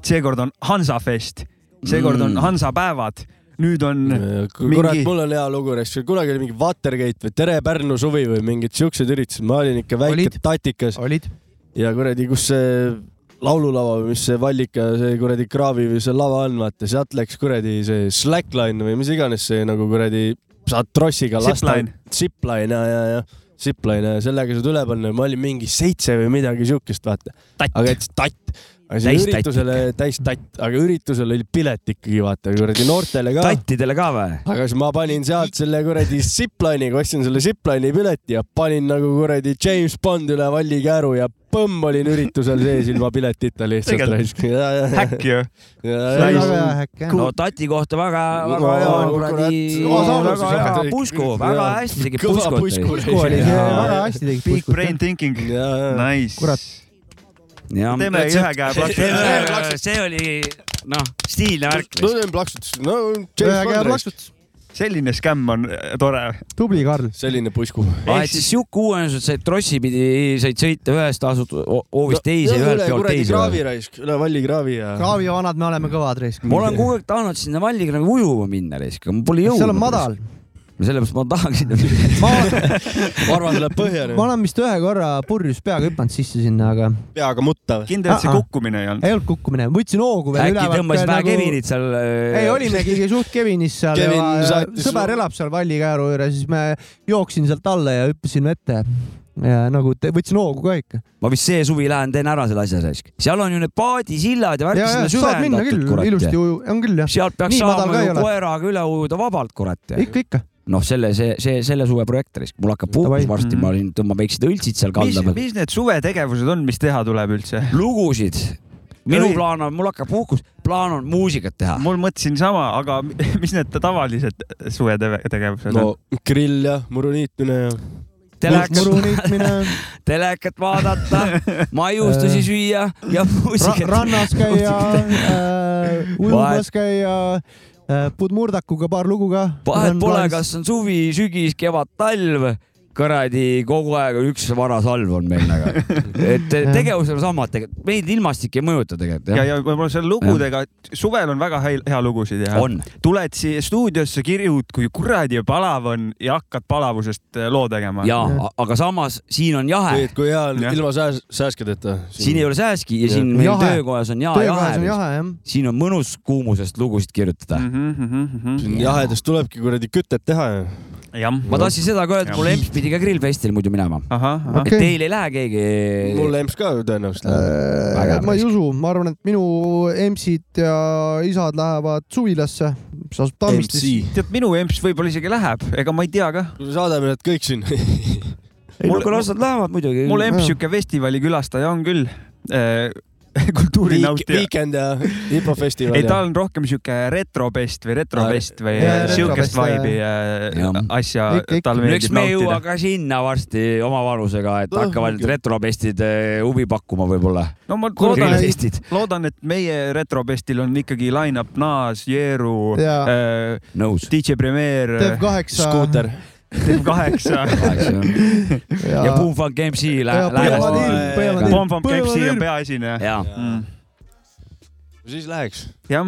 S2: seekord on Hansafest , seekord on
S4: Mm.
S2: Hansapäevad , nüüd on
S4: kurat ,
S2: mingi ,
S4: mul on hea lugu , kunagi oli mingi Watergate või Tere Pärnu suvi või mingid siuksed üritused , ma olin ikka väike
S1: Olid.
S4: tatikas . ja kuradi , kus see laululava või mis see vallika , see kuradi kraavi või see lava on , vaata sealt läks kuradi see slackline või mis iganes see nagu kuradi , saad trossiga lasta
S2: Zipline. .
S4: Zipline ja , ja , ja zipline ja sellega saad üle panna ja ma olin mingi seitse või midagi siukest , vaata . aga et tatt . aga
S3: Täis
S4: see
S3: tatt.
S4: üritusele , täis tatt , aga üritusel oli pilet ikkagi , vaata kuradi noortele ka .
S3: tattidele ka või ?
S4: aga siis ma panin sealt selle kuradi zipline'iga , ostsin selle zipline'i pileti ja panin nagu kuradi James Bond üle vallikääru ja põmm olin üritusel sees ilma piletita lihtsalt
S3: Tegelikult
S4: raisk . häkk
S2: ju .
S3: no tati kohta väga , väga hea
S4: No,
S3: kuradi
S4: kurat. ,
S3: väga hea pusku , väga hästi tegi puskut .
S1: hästi tegi .
S2: Big brain thinking , nice . teeme ühe käe plaksu .
S3: see oli , noh , stiilne värk .
S4: no teen plaksutus , no
S2: Ühe käe
S4: James Bond raisk .
S1: plaksutus.
S2: selline skämm on äh, tore .
S1: tubli , Karl .
S4: selline pusku .
S3: vahet siis sihuke uuendus , et said trossi pidi , said sõita ühest asut- , hoovist teise , ühelt peolt
S4: kraavi
S3: teise .
S4: raisk , üle vallikraavi ja .
S1: kraavi vanad , me oleme kõvad raisk .
S3: ma olen kogu aeg tahtnud sinna valliga nagu ujuma minna , aga ma pole jõudnud .
S1: seal on madal ..
S3: sellepärast ma tahaks sinna minna .
S4: ma arvan , see läheb põhja
S1: ma . olen vist ühe korra purjus peaga hüpanud sisse sinna , aga
S4: peaga mutta või ?
S2: kindel , et see
S1: Ah-ah.
S2: kukkumine ei olnud ?
S1: ei olnud kukkumine , võtsin hoogu veel nagu-
S3: äkki tõmbasid vähe Kevinit seal .
S1: ei ,
S2: äh,
S1: olimegi ikka suht Kevinis seal
S4: Kevin
S1: ja
S4: saatis-
S1: sõber elab seal Vallikääru juures , siis me jooksin sealt alla ja hüppasin vette . ja nagu te, võtsin hoogu ka ikka .
S3: ma vist see suvi lähen teen ära selle asja raisk . seal on ju need paadisillad ja värk
S1: ja , ja
S3: sinna
S1: saad minna
S3: süvendatud ,
S1: küll , ilusti
S3: kurat .
S1: uju , on küll jah .
S3: sealt peaks
S1: Nii madal
S2: nagu
S3: saama
S1: ka ei
S3: ju
S1: ole.
S3: koeraga üle ujuda vabalt , kurat .
S1: ikka , ikka .
S3: noh , selle , see , see , selle suve projekt raisk , mul hakkab puhkus varsti , ma olin , tõmban väiksed õltsid seal
S2: mis
S3: kalda , peal .
S2: mis need suvetegevused on , mis teha tuleb üldse ?
S3: lugusid , minu
S2: Ei.
S3: plaan on , mul hakkab puhkus , plaan on muusikat teha .
S2: mul mõtlesin sama , aga mis need tavalised suvetegevused
S4: no
S2: on ?
S4: grill ja muruniitmine ja .
S3: telekat ,
S1: muru niitmine ,
S3: telekat vaadata , maiustusi süüa ja muusikat .
S1: rannas käia äh, , ujumas käia äh, , puud murdakuga paar lugu ka .
S3: vahet pole , kas on suvi , sügis , kevad , talv , kuradi kogu aeg on üks varasalv on meil nagu . et tegevused on samad tegelikult , meid ilmastik ei mõjuta tegelikult
S2: ja ,
S3: jah .
S2: ja võib-olla seal lugudega , suvel on väga hea , hea lugusid ja
S3: on ,
S2: tuled siia stuudiosse , kirjud , kui kuradi palav on ja hakkad palavusest äh, loo tegema .
S3: ja aga samas siin on jahe ,
S4: kui hea on
S2: Jah.
S4: ilma sääs- , sääskedeta .
S3: siin ei ole sääski ja siin
S4: Jah.
S3: meil
S1: Jahe.
S3: töökojas on ja
S1: töökohas on
S3: jahe .
S1: jahe jah .
S3: siin on mõnus kuumusest lugusid kirjutada .
S2: Mhm,
S4: jahedast tulebki kuradi kütet teha ju .
S2: jah ,
S3: ma tahtsin seda ka öelda ,
S2: Ja.
S3: mul emps pidi ka grillfestil muidu minema .
S2: ahah , ahah .
S3: et
S1: Okei.
S3: teil ei lähe keegi .
S4: mul emps ka ju tõenäoliselt läheb .
S3: Väga
S1: Äh, ma ei
S3: raisk.
S1: usu , ma arvan , et minu emsid ja isad lähevad suvilasse , mis asub Tammistisse .
S4: MC .
S2: tead , minu emps võib-olla isegi läheb , ega ma ei tea ka .
S4: saadame nad kõik siin .
S3: ei no
S2: mul-
S3: aga las nad lähevad muidugi .
S2: mul emps
S1: Jaa.
S2: sihuke festivali külastaja on küll äh, kultuurinautija .
S4: Weekend ja hipofestival .
S2: ei , tal on rohkem sihuke retrobest või retrobest või
S1: Jaa,
S2: sihukest
S1: retrobest,
S2: vibe'i
S3: Jah.
S2: äh, asja
S1: Ikka, ikka.
S2: tal
S3: no eks
S2: meeldib
S3: me ei jõua
S2: nautida .
S3: ka sinna varsti oma vanusega ,
S4: Oh,
S3: et hakkavad need retrobestid eh, huvi pakkuma võib-olla .
S2: no ma loodan , et
S3: grillfestid ,
S2: loodan , et meie retrobestil on ikkagi line-up Nas , Jeeru ,
S1: Jaa.
S2: äh,
S3: nõus .
S2: DJ Premier ,
S1: Dev kaheksa .
S4: skuuter .
S2: Dev kaheksa ,
S3: ja Boom Funk MC
S1: Ja Põlva
S3: läheb .
S1: tiim, Põlva tiim.
S2: Bomb Bomb Kepsi on
S1: Põlva-
S2: peaesineja .
S3: ja
S4: siis läheks .
S2: jah ,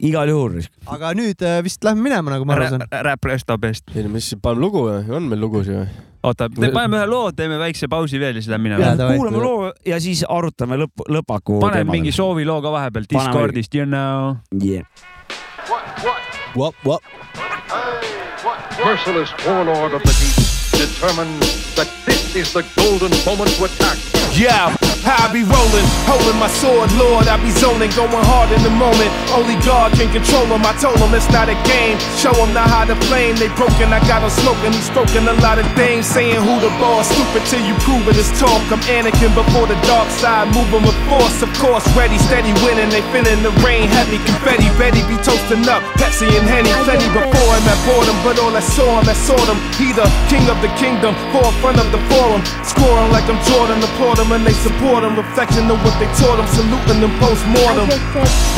S3: igal juhul ,
S1: aga nüüd äh, vist lähme minema , nagu ma aru saan .
S2: Rap Restobest .
S4: ei no mis , paneme lugu või ? on meil lugusid või ?
S2: oota , me paneme ühe loo , teeme väikse pausi veel ja siis lähme
S1: Jaa,
S2: minema .
S1: davai.
S3: kuulame loo ja siis arutame lõpp , lõpaku .
S2: paneme mingi sooviloo ka vahepeal
S3: Paneme.
S2: Discordist , you know .
S3: yeah. .
S4: Vap , vap .
S7: merciless warlord of the deep determined that this is the golden moment to attack.
S9: Yeah,
S14: How I be rolling, holding my sword, Lord. I be zoning, going hard in the moment. Only God can control him. I told him it's not a game. Show him not how to flame. They broken, I got him smoking. He's spoken a lot of things, saying who the boss. Stupid till you prove it. It's talk. I'm Anakin before the dark side, moving with force. Of course, ready, steady winning. They feeling the rain, heavy confetti. Betty be toasting up, Pepsi and Henny. Plenty before him at boredom, but all I saw him, I saw them. He the king of the kingdom, for in front of the forum. Scoring like I'm Jordan, applaud him and they support him. Reflection of what they taught him, saluting them post mortem.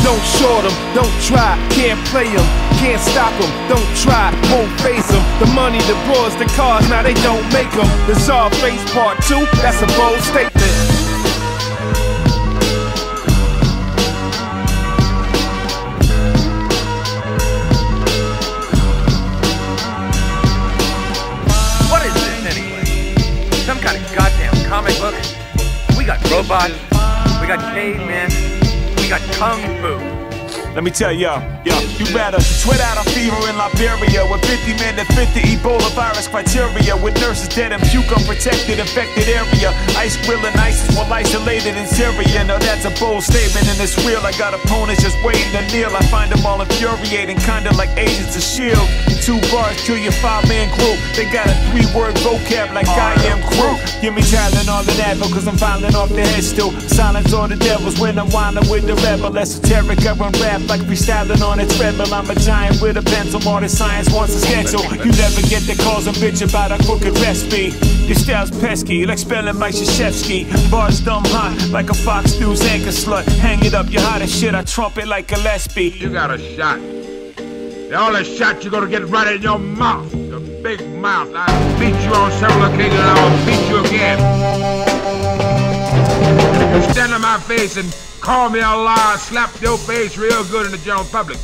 S14: Don't short him, don't try, can't play him, can't stop him, don't try, won't face him. The money, the broads, the cars, now they don't make them. The Czar face part two, that's a bold statement.
S9: What is this anyway? Some kind of goddamn comic book? We got robots, we got cavemen, we got kung fu.
S15: Let me tell ya, yo, you better sweat out a fever in Liberia with 50 men to fit the Ebola virus criteria with nurses dead and puke unprotected infected area. Ice grilling ISIS while isolated in Syria. Now that's a bold statement and it's real. I got opponents just waiting to kneel. I find them all infuriating, kinda like agents of S.H.I.E.L.D. E Two bars kill your five man group. They got a three word vocab like I am crew. Give me Tylenol and Advil cause I'm filing off the head still. Silence all the devils when I'm winding with the rebel. Esoteric, I run rap like freestyling on a treadmill. I'm a giant with a pencil. All the science wants a schedule. You never get the calls and bitch about a crooked recipe. Your style's pesky, like spelling Mike Shashevsky. Bars dumb hot, like a Fox News anchor slut. Hang it up, you're hot as shit. I trump it like Gillespie. You got a shot.
S16: The only shot you're gonna get right in your mouth. Your big mouth. I beat you on several occasions and I'll beat you again. You stand in my face and call me a liar, slap your face real good in the general public.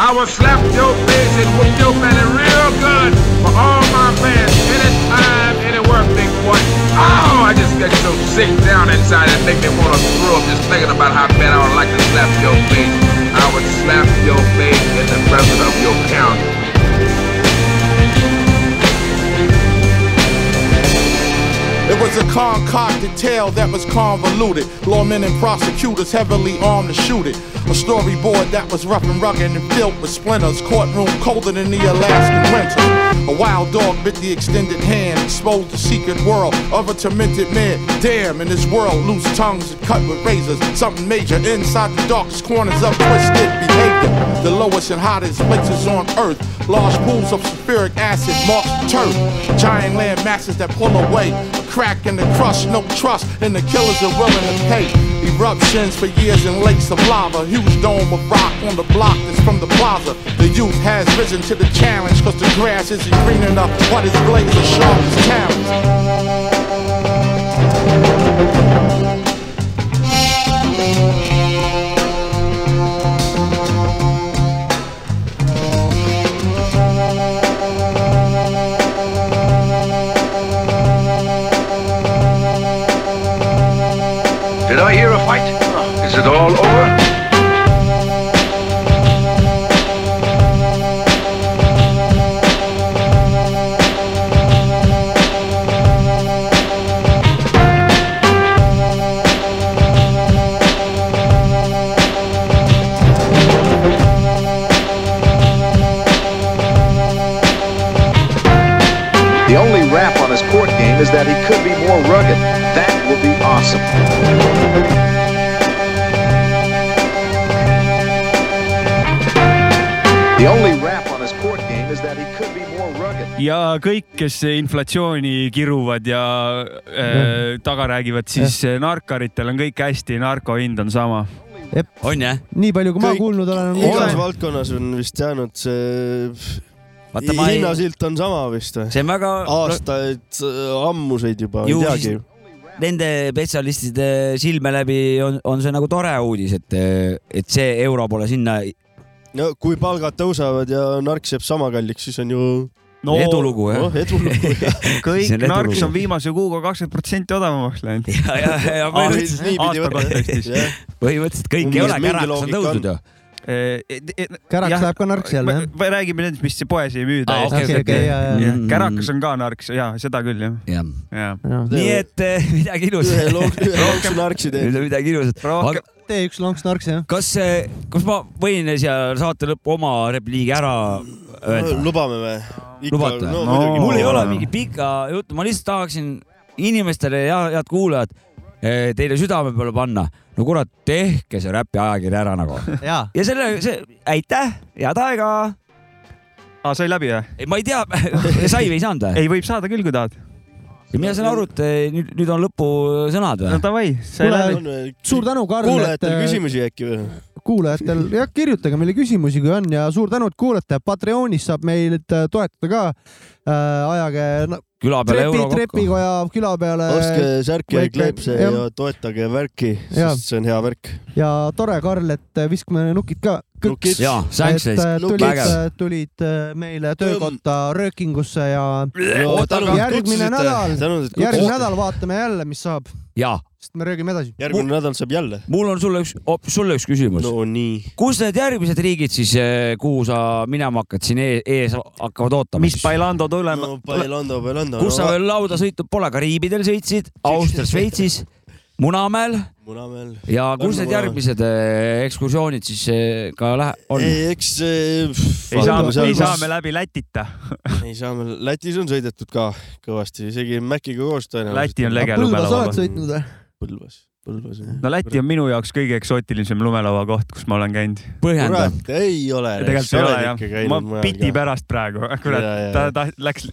S16: I will slap your face and whoop your belly real good for all my fans anytime, anywhere, big boy. Oh, I just get so sick down inside and make me wanna throw up just thinking about how bad I would like to slap your face. I would slap your face in the presence of your county.
S17: It was a concocted tale that was convoluted. Lawmen and prosecutors heavily armed to shoot it. A storyboard that was rough and rugged and filled with splinters. Courtroom colder than the Alaskan winter. A wild dog bit the extended hand, exposed the secret world of a tormented man. Damn, in this world, loose tongues are cut with razors. Something major inside the darkest corners of twisted behavior. The lowest and hottest places on earth. Large pools of sulfuric acid mark the turf. Giant land masses that pull away. A crack in the crush, no trust, and the killers are willing to pay. Eruptions for years in lakes of lava. Huge dome of rock on the block that's from the plaza. The youth has risen to the challenge, cause the grass isn't green enough, but its blades are sharp as talons.
S16: Did I hear a fight? Is it all over?
S18: The only rap on his court game is that he could be more rugged. That will be awesome. The only rap on his court game is that he could be more rugged.
S2: ja kõik , kes inflatsiooni kiruvad ja äh, taga räägivad , siis äh, narkaritel on kõik hästi , narko hind on sama .
S3: on jah ?
S1: nii palju , kui ma kuulnud olen , on
S4: igas
S1: mure .
S4: valdkonnas on vist jäänud see
S3: Vaata,
S4: Vaata,
S3: ma ei-
S4: hinnasilt on sama vist või ?
S3: see on väga .
S4: aastaid äh, ammuseid juba , ei
S3: ju
S4: teagi
S3: siis . nende spetsialistide silme läbi on , on see nagu tore uudis , et , et see euro pole sinna
S4: no kui palgad tõusevad ja nark jääb sama kalliks , siis on ju
S3: No- Edulugu, jah.
S4: oh, . edulugu jah .
S3: See on
S2: kõik
S3: edulugu.
S2: narks on viimase kuuga kakskümmend protsenti odavamaks läinud .
S3: ja- ja- ja põhimõtteliselt-
S2: aasta
S3: Jah.
S2: kontekstis .
S3: põhimõtteliselt kõik ei
S2: Umbes
S3: olegi ära ,
S2: mingi
S3: kas on
S2: loogika
S3: tõusnud
S2: on.
S3: ju ?
S1: Käraks läheb ka narks jälle, jah?
S2: või räägime nendest , mis poes ei müüda
S1: Aa, okei, okei, okei, jaa, jaa. Mm.
S2: kärakas on ka narks ja seda küll jah
S3: ja. .
S2: Ja.
S3: nii et eh, midagi
S1: Ühe
S3: ilusat .
S1: lonks- ühe lonksu narksi teed.
S3: midagi ilusat .
S1: tee üks lonks narks jah .
S3: kas , kas ma võin siia saate lõppu oma repliigi ära öelda ?
S4: lubame või ?
S3: lubate
S4: no, muidugi.
S3: mul ei ole
S4: Jaa.
S3: mingit pikka juttu , ma lihtsalt tahaksin inimestele ja head kuulajad eh, teile südame peale panna . no kurat , tehke see räpi ajakiri ära nagu .
S1: ja
S3: selle , see , aitäh , head aega .
S2: aa , sai läbi või ?
S3: ei , ma ei tea , sai või ei saanud või ?
S2: Ah, ei , võib saada küll , kui tahad .
S3: mina saan aru , et eh, nüüd , nüüd on lõpusõnad või ?
S2: no davai , sai läbi .
S1: suur tänu , Karl . eh,
S4: kuulajatel eh, küsimusi äkki või ?
S1: kuulajatel , jah , kirjutage meile küsimusi , kui on ja suur tänu , et kuulate . Patreonis saab meid äh, toetada ka äh, . ajage no,
S3: Küla peale euro kokku.
S1: trepikoja küla peale .
S4: ostke särki ja kleepse ja toetage värki ,
S1: Jah.
S4: sest see on hea värk .
S1: ja tore , Karl , et äh, viskame nukid ka .
S4: Nukid. Jaa, thanks,
S1: et äh,
S4: Nukid.
S1: tulid
S4: Vägev. ,
S1: tulid äh, meile töökotta röökingusse ja
S4: Joo, tänud, et
S1: järgmine
S4: kutsusite.
S1: nädal ,
S4: Tänud, et
S1: järgmine
S4: kutsusite.
S1: nädal vaatame jälle , mis saab ,
S3: ja
S1: sest me röögime edasi .
S4: järgmine nädal saab jälle .
S3: mul on sulle üks , hoopis sulle üks küsimus .
S4: no nii .
S3: kus need järgmised riigid siis , kuhu sa minema hakkad , siin ees, ees hakkavad ootama ?
S2: mis Bailando tulema
S4: no, ? Bailando , Bailando .
S3: kus sa veel lauda sõitnud pole , Kariibidel sõitsid , Austrias , Šveitsis , Munamäel
S4: Munamäel .
S3: ja kus need järgmised eh, ekskursioonid siis eh, ka lähe- , on ?
S4: ei , eks . eh,
S2: ei saa , ei saa me läbi Lätita .
S4: ei saa me , Lätis on sõidetud ka kõvasti , isegi Maciga koos tõenäoliselt .
S2: Läti on lege Aga Põlvas lumelauaga. oled sõitnud
S1: või ?
S4: Põlvas , Põlvas .
S2: no Läti on minu jaoks kõige eksootilisem lumelauakoht , kus ma olen käinud .
S3: Põhjenda.
S4: kurat , ei ole .
S2: tegelikult ei ole jah , ma piti . pärast praegu , kurat
S4: Ja, , ja,
S2: ta ,
S4: ja.
S2: ta läks ,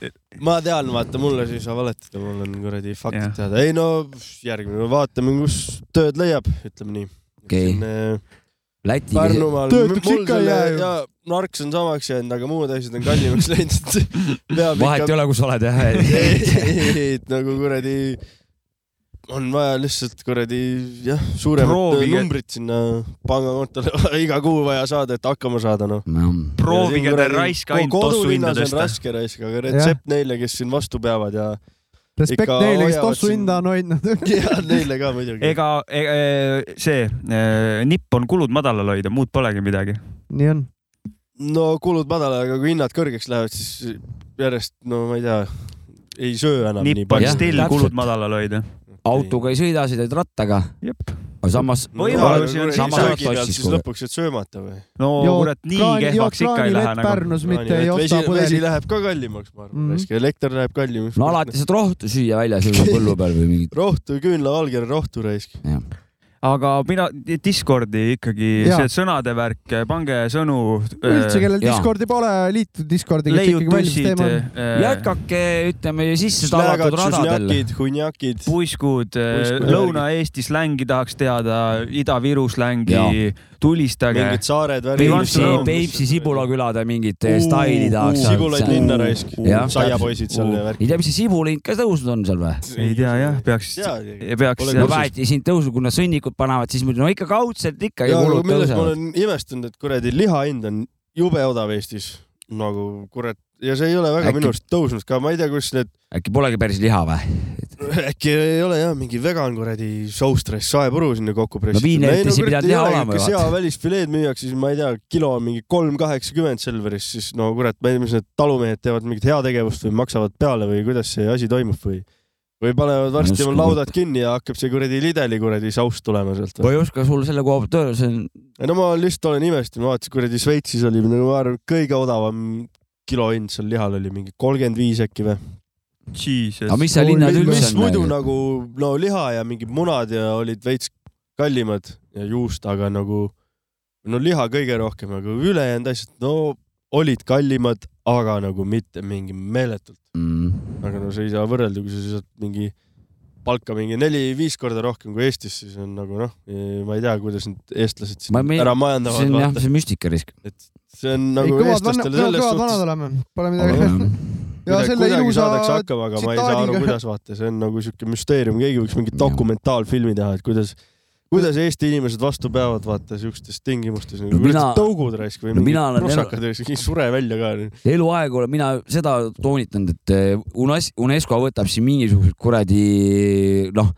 S4: ma tean , vaata mulle siis ei saa valetada , mul on kuradi faktid teada . ei no järgmine , vaatame , kus tööd leiab , ütleme nii .
S3: okei . Läti .
S4: Pärnumaal .
S3: Töötuks ikka ei jää ju.
S4: ju . narks on samaks jäänud , aga muud asjad on kallimaks läinud .
S3: Vahet ei ole, kus oled, jah.
S4: et nagu kuradi , on vaja lihtsalt kuradi jah , suuremat
S2: Proovige.
S4: Proovige. numbrit sinna pangakontole iga kuu vaja saada , et hakkama saada , noh .
S2: Proovige te raisk ainult tossuhinda tõsta.
S4: on raske raisk , aga retsept neile , kes siin vastu peavad ja .
S1: respekt neile , kes tossu hinda on hoidnud .
S4: ja neile ka muidugi .
S2: ega ega, eh, see eh, nipp on kulud madalal hoida , muud polegi midagi .
S1: nii on .
S4: no kulud madalad , aga kui hinnad kõrgeks lähevad , siis järjest , no ma ei tea , ei söö enam nii
S2: nipp on
S4: palju .
S2: still , kulud madalal hoida .
S3: autoga ei sõida , sõidad rattaga . aga samas .
S4: võimalusi on
S3: samas oled
S4: söögi pealt
S3: sossis
S4: siis
S3: kogu aeg .
S4: lõpuks , et söömata või ?
S2: no kurat , nii kehvaks ikka ei lähe
S1: Pärnus
S2: nagu .
S1: mitte ei
S4: vesi
S1: osta ,
S4: vesi
S1: pudelit .
S4: läheb ka kallimaks , ma arvan
S1: Mhm.
S4: mm. , elekter läheb kallimaks .
S3: no alati saad rohtu süüa väljas võib-olla põllu peal või mingit .
S4: rohtu , küünlavalger rohtu raisk .
S2: aga mina , Discordi ikkagi ,
S1: Jaa.
S2: see sõnade värk , pange sõnu . e,
S1: üldse , kellel Discordi pole , liitu Discordiga , et ikkagi valmis
S2: leiutussid
S1: teema on .,
S3: jätkake , ütleme sisse tallatud radadel .
S4: hunjakid .
S2: puiskud,
S4: Puiskud.
S2: puiskud , Lõuna-Eesti slängi tahaks teada , Ida-Viru slängi
S3: Jaa. ,
S2: tulistage .
S4: Mingid saared, värgid.
S3: Peipsi , Peipsi sibulakülade mingid eh,
S4: Uu,
S3: staili tahaks .
S4: uu, sibulaid linna raisk. Saiapoisid seal ja värk.
S3: ei tea , mis see sibulahind ka tõusnud on seal või ?
S2: ei tea jah , peaks , peaks .
S3: no väeti siin tõusu , kuna sõnnikud panevad , siis muidu no ikka kaudselt ikkagi
S4: ja
S3: kulud
S4: millest ma olen
S3: tõusevad .
S4: imestanud , et kuradi liha hind on jube odav Eestis , nagu kurat , ja see ei ole väga
S3: Äkki-
S4: minu arust tõusnud ka , ma ei tea , kus need ,
S3: äkki polegi päris liha või ?
S4: äkki ei ole jah , mingi vegan kuradi saustress , saepuru sinna kokku pressitud .
S3: viinerites ei pidanud liha olema ju,
S4: kui sea
S3: vaata.
S4: välisfileed müüakse , siis ma ei tea , kilo on mingi kolm kaheksakümmend Selveris , siis no kurat , ma ei tea , mis need talumehed teevad mingit heategevust või maksavad peale või kuidas see asi toimub või või panevad varsti
S3: Uskumatu.
S4: oma laudad kinni ja hakkab see kuradi Lidli kuradi saus tulema sealt .
S3: ma ei oska sul selle koha pealt öelda , see on ,
S4: ei no ma lihtsalt olen imestanud , ma vaatasin kuradi Šveitsis oli nagu ma arvan , kõige odavam kilohind seal lihal oli mingi kolmkümmend viis äkki või .
S2: Jesus .
S3: Aga mis seal linnas üldse
S4: mis
S3: on
S4: muidu
S3: nagu?
S4: nagu no liha ja mingid munad ja olid veits kallimad ja juust , aga nagu no liha kõige rohkem , aga ülejäänud asjad , no olid kallimad , aga nagu mitte mingi meeletult
S3: mm. .
S4: aga no sa ei saa võrrelda , kui sa saad mingi palka mingi neli-viis korda rohkem kui Eestis , siis on nagu noh , ma ei tea , kuidas need eestlased siin
S3: Ma ei-
S4: ära majandavad .
S3: see on jah , see on müstikarisk .
S4: see on nagu eestlastele selles
S1: kõvad vanad
S4: suhtes .
S1: oleme , pole midagi teha . ja selle
S4: kuidagi
S1: ilusa
S4: saadakse hakkama , aga ma ei saa aru , kuidas vaata , see on nagu siuke müsteerium , keegi võiks mingi dokumentaalfilmi teha , et kuidas , kuidas Eesti inimesed vastu peavad , vaata siukestes tingimustes no, .
S3: mina-
S4: tõugud raisk või
S3: no mina
S4: mingid
S3: olen
S4: prossakad raisk , ei sure välja ka .
S3: eluaeg olen mina seda toonitanud , et eh, UNES- UNESCO võtab siin mingisugused kuradi noh ,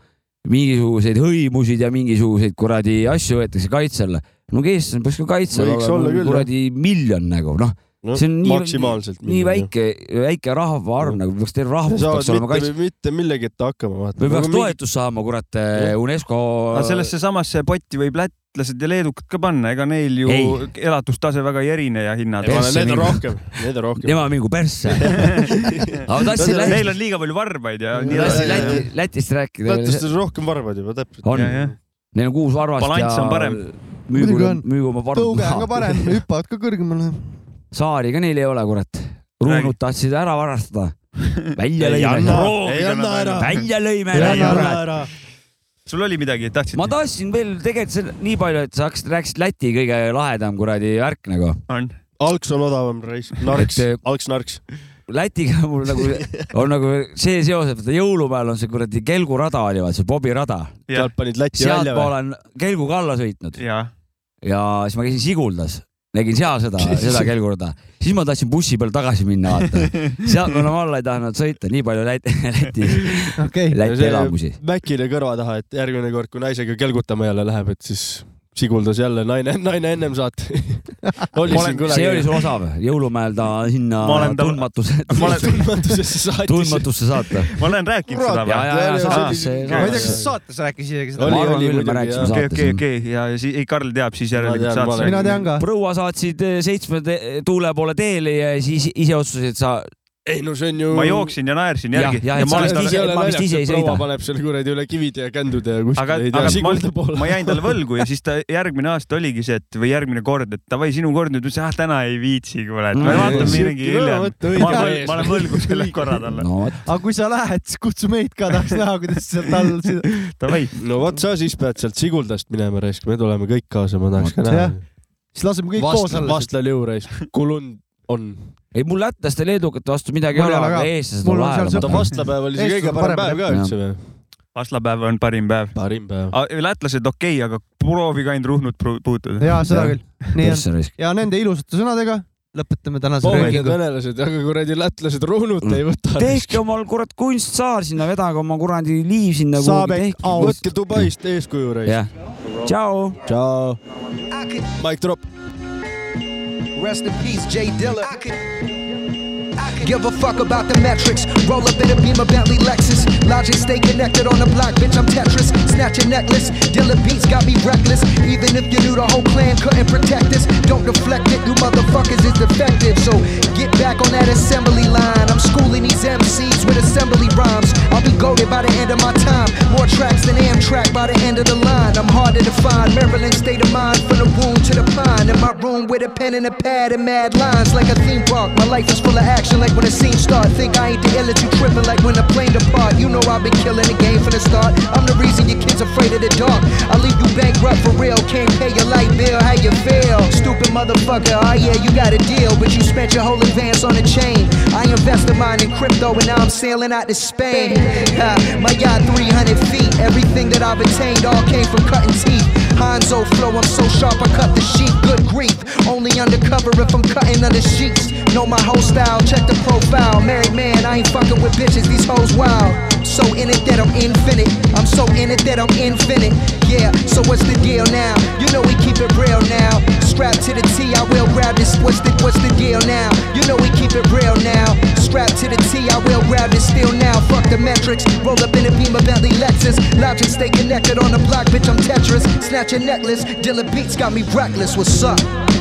S3: mingisuguseid hõimusid ja mingisuguseid kuradi asju võetakse kaitse alla . no kes on , peaks ka kaitse all
S4: Võiks olla
S3: olema
S4: küll,
S3: kuradi miljon nagu noh
S4: No,
S3: see on nii,
S4: maksimaalselt
S3: nii
S4: miljon,
S3: väike , väike rahvaarv nagu peaks terve
S4: sa
S3: rahvas peaks
S4: saad
S3: olema
S4: mitte,
S3: kaitse-
S4: mitte millegita hakkama , Nagu vaata .
S3: või peaks toetust saama , kurat , UNESCO .
S2: aga sellesse samasse potti võib lätlased ja leedukad ka panna , ega neil ju
S3: Ei.
S2: elatustase väga ei erine ja hinnad .
S4: Need on rohkem , need on rohkem .
S3: tema mingu persse . aga tahtsin
S2: Neil
S3: Lätist ,
S2: on liiga palju varbaid ja .
S3: tahtsin Läti , Lätist rääkida .
S4: lätlastel on rohkem varvad juba täpselt .
S3: on , neil on kuus varvast
S2: Balanss on parem.
S3: müügu
S1: Muidugi on. ,
S3: müügu oma varvad
S1: tõuge on ka parem , hüppavad ka kõrgemale .
S3: saari ka neil ei ole , kurat . ruunud tahtsid ära varastada . välja
S2: Ei
S3: lõime
S2: anna, . ei anna ära.
S3: välja lõime
S2: Ei anna
S3: ära ,
S2: ära,
S3: kurat .
S2: sul oli midagi , tahtsid ?
S3: ma tahtsin veel tegelikult seda- nii palju , et sa hakkasid , rääkisid Läti kõige lahedam kuradi värk nagu .
S2: on .
S4: alks on odavam , narks , alks narks .
S3: eh, Lätiga mul nagu on nagu see seos , et vaata jõulupäeval on see kuradi kelgurada oli , vaata see Bobi rada .
S4: sealt panid Läti välja
S3: sealtpool
S4: või ?
S3: on kelguga alla sõitnud .
S2: ja
S3: siis ma käisin Siguldas , nägin seal seda , seda kelgurada , siis ma tahtsin bussi peal tagasi minna vaata . sealt ma enam alla ei tahtnud sõita , nii palju Läti , Läti , Läti elamusi .
S4: Mäkile kõrva taha , et järgmine kord , kui naisega kelgutama jälle läheb , et siis siguldas jälle naine , naine ennem saate . oli siin kunagi .
S3: see oli su osa või ? jõulumäel ta sinna
S4: Ma olen ta-
S3: tundmatuse ,
S4: tundmatusesse saatis .
S3: tundmatusse saata .
S2: ma olen rääkinud seda
S3: ja , ja , ja saates see .
S1: ma ei tea , kas saates rääkis isegi seda .
S3: Oli, Ma arvan oli küll, me muidugi, rääkisime jah.
S2: okei ,
S3: saates,
S2: okei ,
S3: jah.
S2: okei ja siis , ei , Karl teab siis järelikult
S4: tean, ma
S2: saates .
S4: olen- Mina tean
S1: ka.
S3: proua saatsid eh, seitsme te- tuule poole teele ja siis ise otsustasid sa .
S4: ei no see on ju
S2: ma jooksin ja naersin järgi
S3: jah , jah ,
S2: ja
S3: et
S2: ma
S3: sa
S2: olen talle
S3: vist ise , ma vist ise ei sõida
S4: proua . paneb selle kuradi üle kivide ja kändude ja
S2: aga ,
S4: kuskile ei
S2: aga
S4: tea , sigulda
S2: ma,
S4: poole .
S2: ma jäin talle võlgu ja siis ta järgmine aasta oligi see , et või järgmine kord , et davai , sinu kord nüüd , ma ütlesin , ah täna ei viitsi , kuule , et me
S4: Mm.
S2: vaatame
S4: Siuke
S2: midagi hiljem .
S1: võta õige
S2: ma olen ,
S1: ees.
S2: ma olen võlgu selle korra talle .
S3: no
S1: aga kui sa lähed , siis kutsu meid ka , tahaks näha , kuidas sa tal .
S2: davai .
S4: no vot , sa siis pead sealt Siguldast minema , raisk , me tuleme kõik kaasa , ma tahaks ka näha
S1: Jah. . siis laseme kõik koos
S4: vastla ,
S1: alla .
S4: vastla liu , raisk , kulund on .
S3: ei mul lätlaste , leedukate vastu midagi ei ole , aga eestlased on
S4: ta vastlapäev oli see kõige parem päev ka üldse või ?
S2: vastlapäev on parim päev .
S4: parim päev .
S2: lätlased okei okay, , aga proovige ainult ruhnut pru- puutuda .
S1: ja seda küll , nii on
S3: Perseraisk. .
S1: ja nende ilusate sõnadega lõpetame tänase
S4: pommid
S1: röökingu .
S4: venelased , aga kuradi lätlased runut ei võta .
S3: tehke omal kurat kunstsaar sinna , vedage oma kuradi liiv sinna .
S2: Nagu
S4: Saabek , võtke Dubaist eeskuju ,
S3: Jah.
S4: raisk .
S3: tšau .
S4: tšau . Mike Drop .
S19: Rest in peace, Jay Dilla. Give a fuck about the metrics. Roll up in a beam of Bentley Lexus. Logic stay connected on the block, bitch. I'm Tetris. Snatch a necklace. Dilla beats got me reckless. Even if you knew the whole clan couldn't protect us, don't deflect it. You motherfuckers is defective. So get back on that assembly line. I'm schooling these MCs with assembly rhymes. I'll be goaded by the end of my time. More tracks than Amtrak by the end of the line. I'm harder to find. Maryland state of mind from the womb to the pine. In my room with a pen and a pad and mad lines like a theme park. My life is full of action like when the scene start. Think I ain't the ill that you tripping like when the plane depart. You know I've been killing the game from the start. I'm the reason your kids afraid of the dark. I leave you bankrupt for real. Can't pay your light bill. How you feel? Stupid motherfucker. Oh yeah, you got a deal, but you spent your whole advance on a chain. I invested mine in crypto and now I'm sailing out to Spain. Ha, my yacht 300 feet. Everything that I've attained all came from cutting teeth. Hanzo flow, I'm so sharp I cut the sheet. Good grief, only undercover if I'm cutting under sheets. Know my whole style, check the profile. Married man, I ain't fucking with bitches, these hoes wild. So in it that I'm infinite. I'm so in it that I'm infinite. Yeah, so what's the deal now? You know we keep it real now. Strapped to the T, I will grab this. What's the what's the deal now? You know we keep it real now. Strapped to the T, I will grab this still now. Fuck the metrics. Roll up in a beam of Bentley Lexus. Logic stay connected on the block, bitch. I'm Tetris. Snatch a necklace. Dilla beats got me reckless. What's up?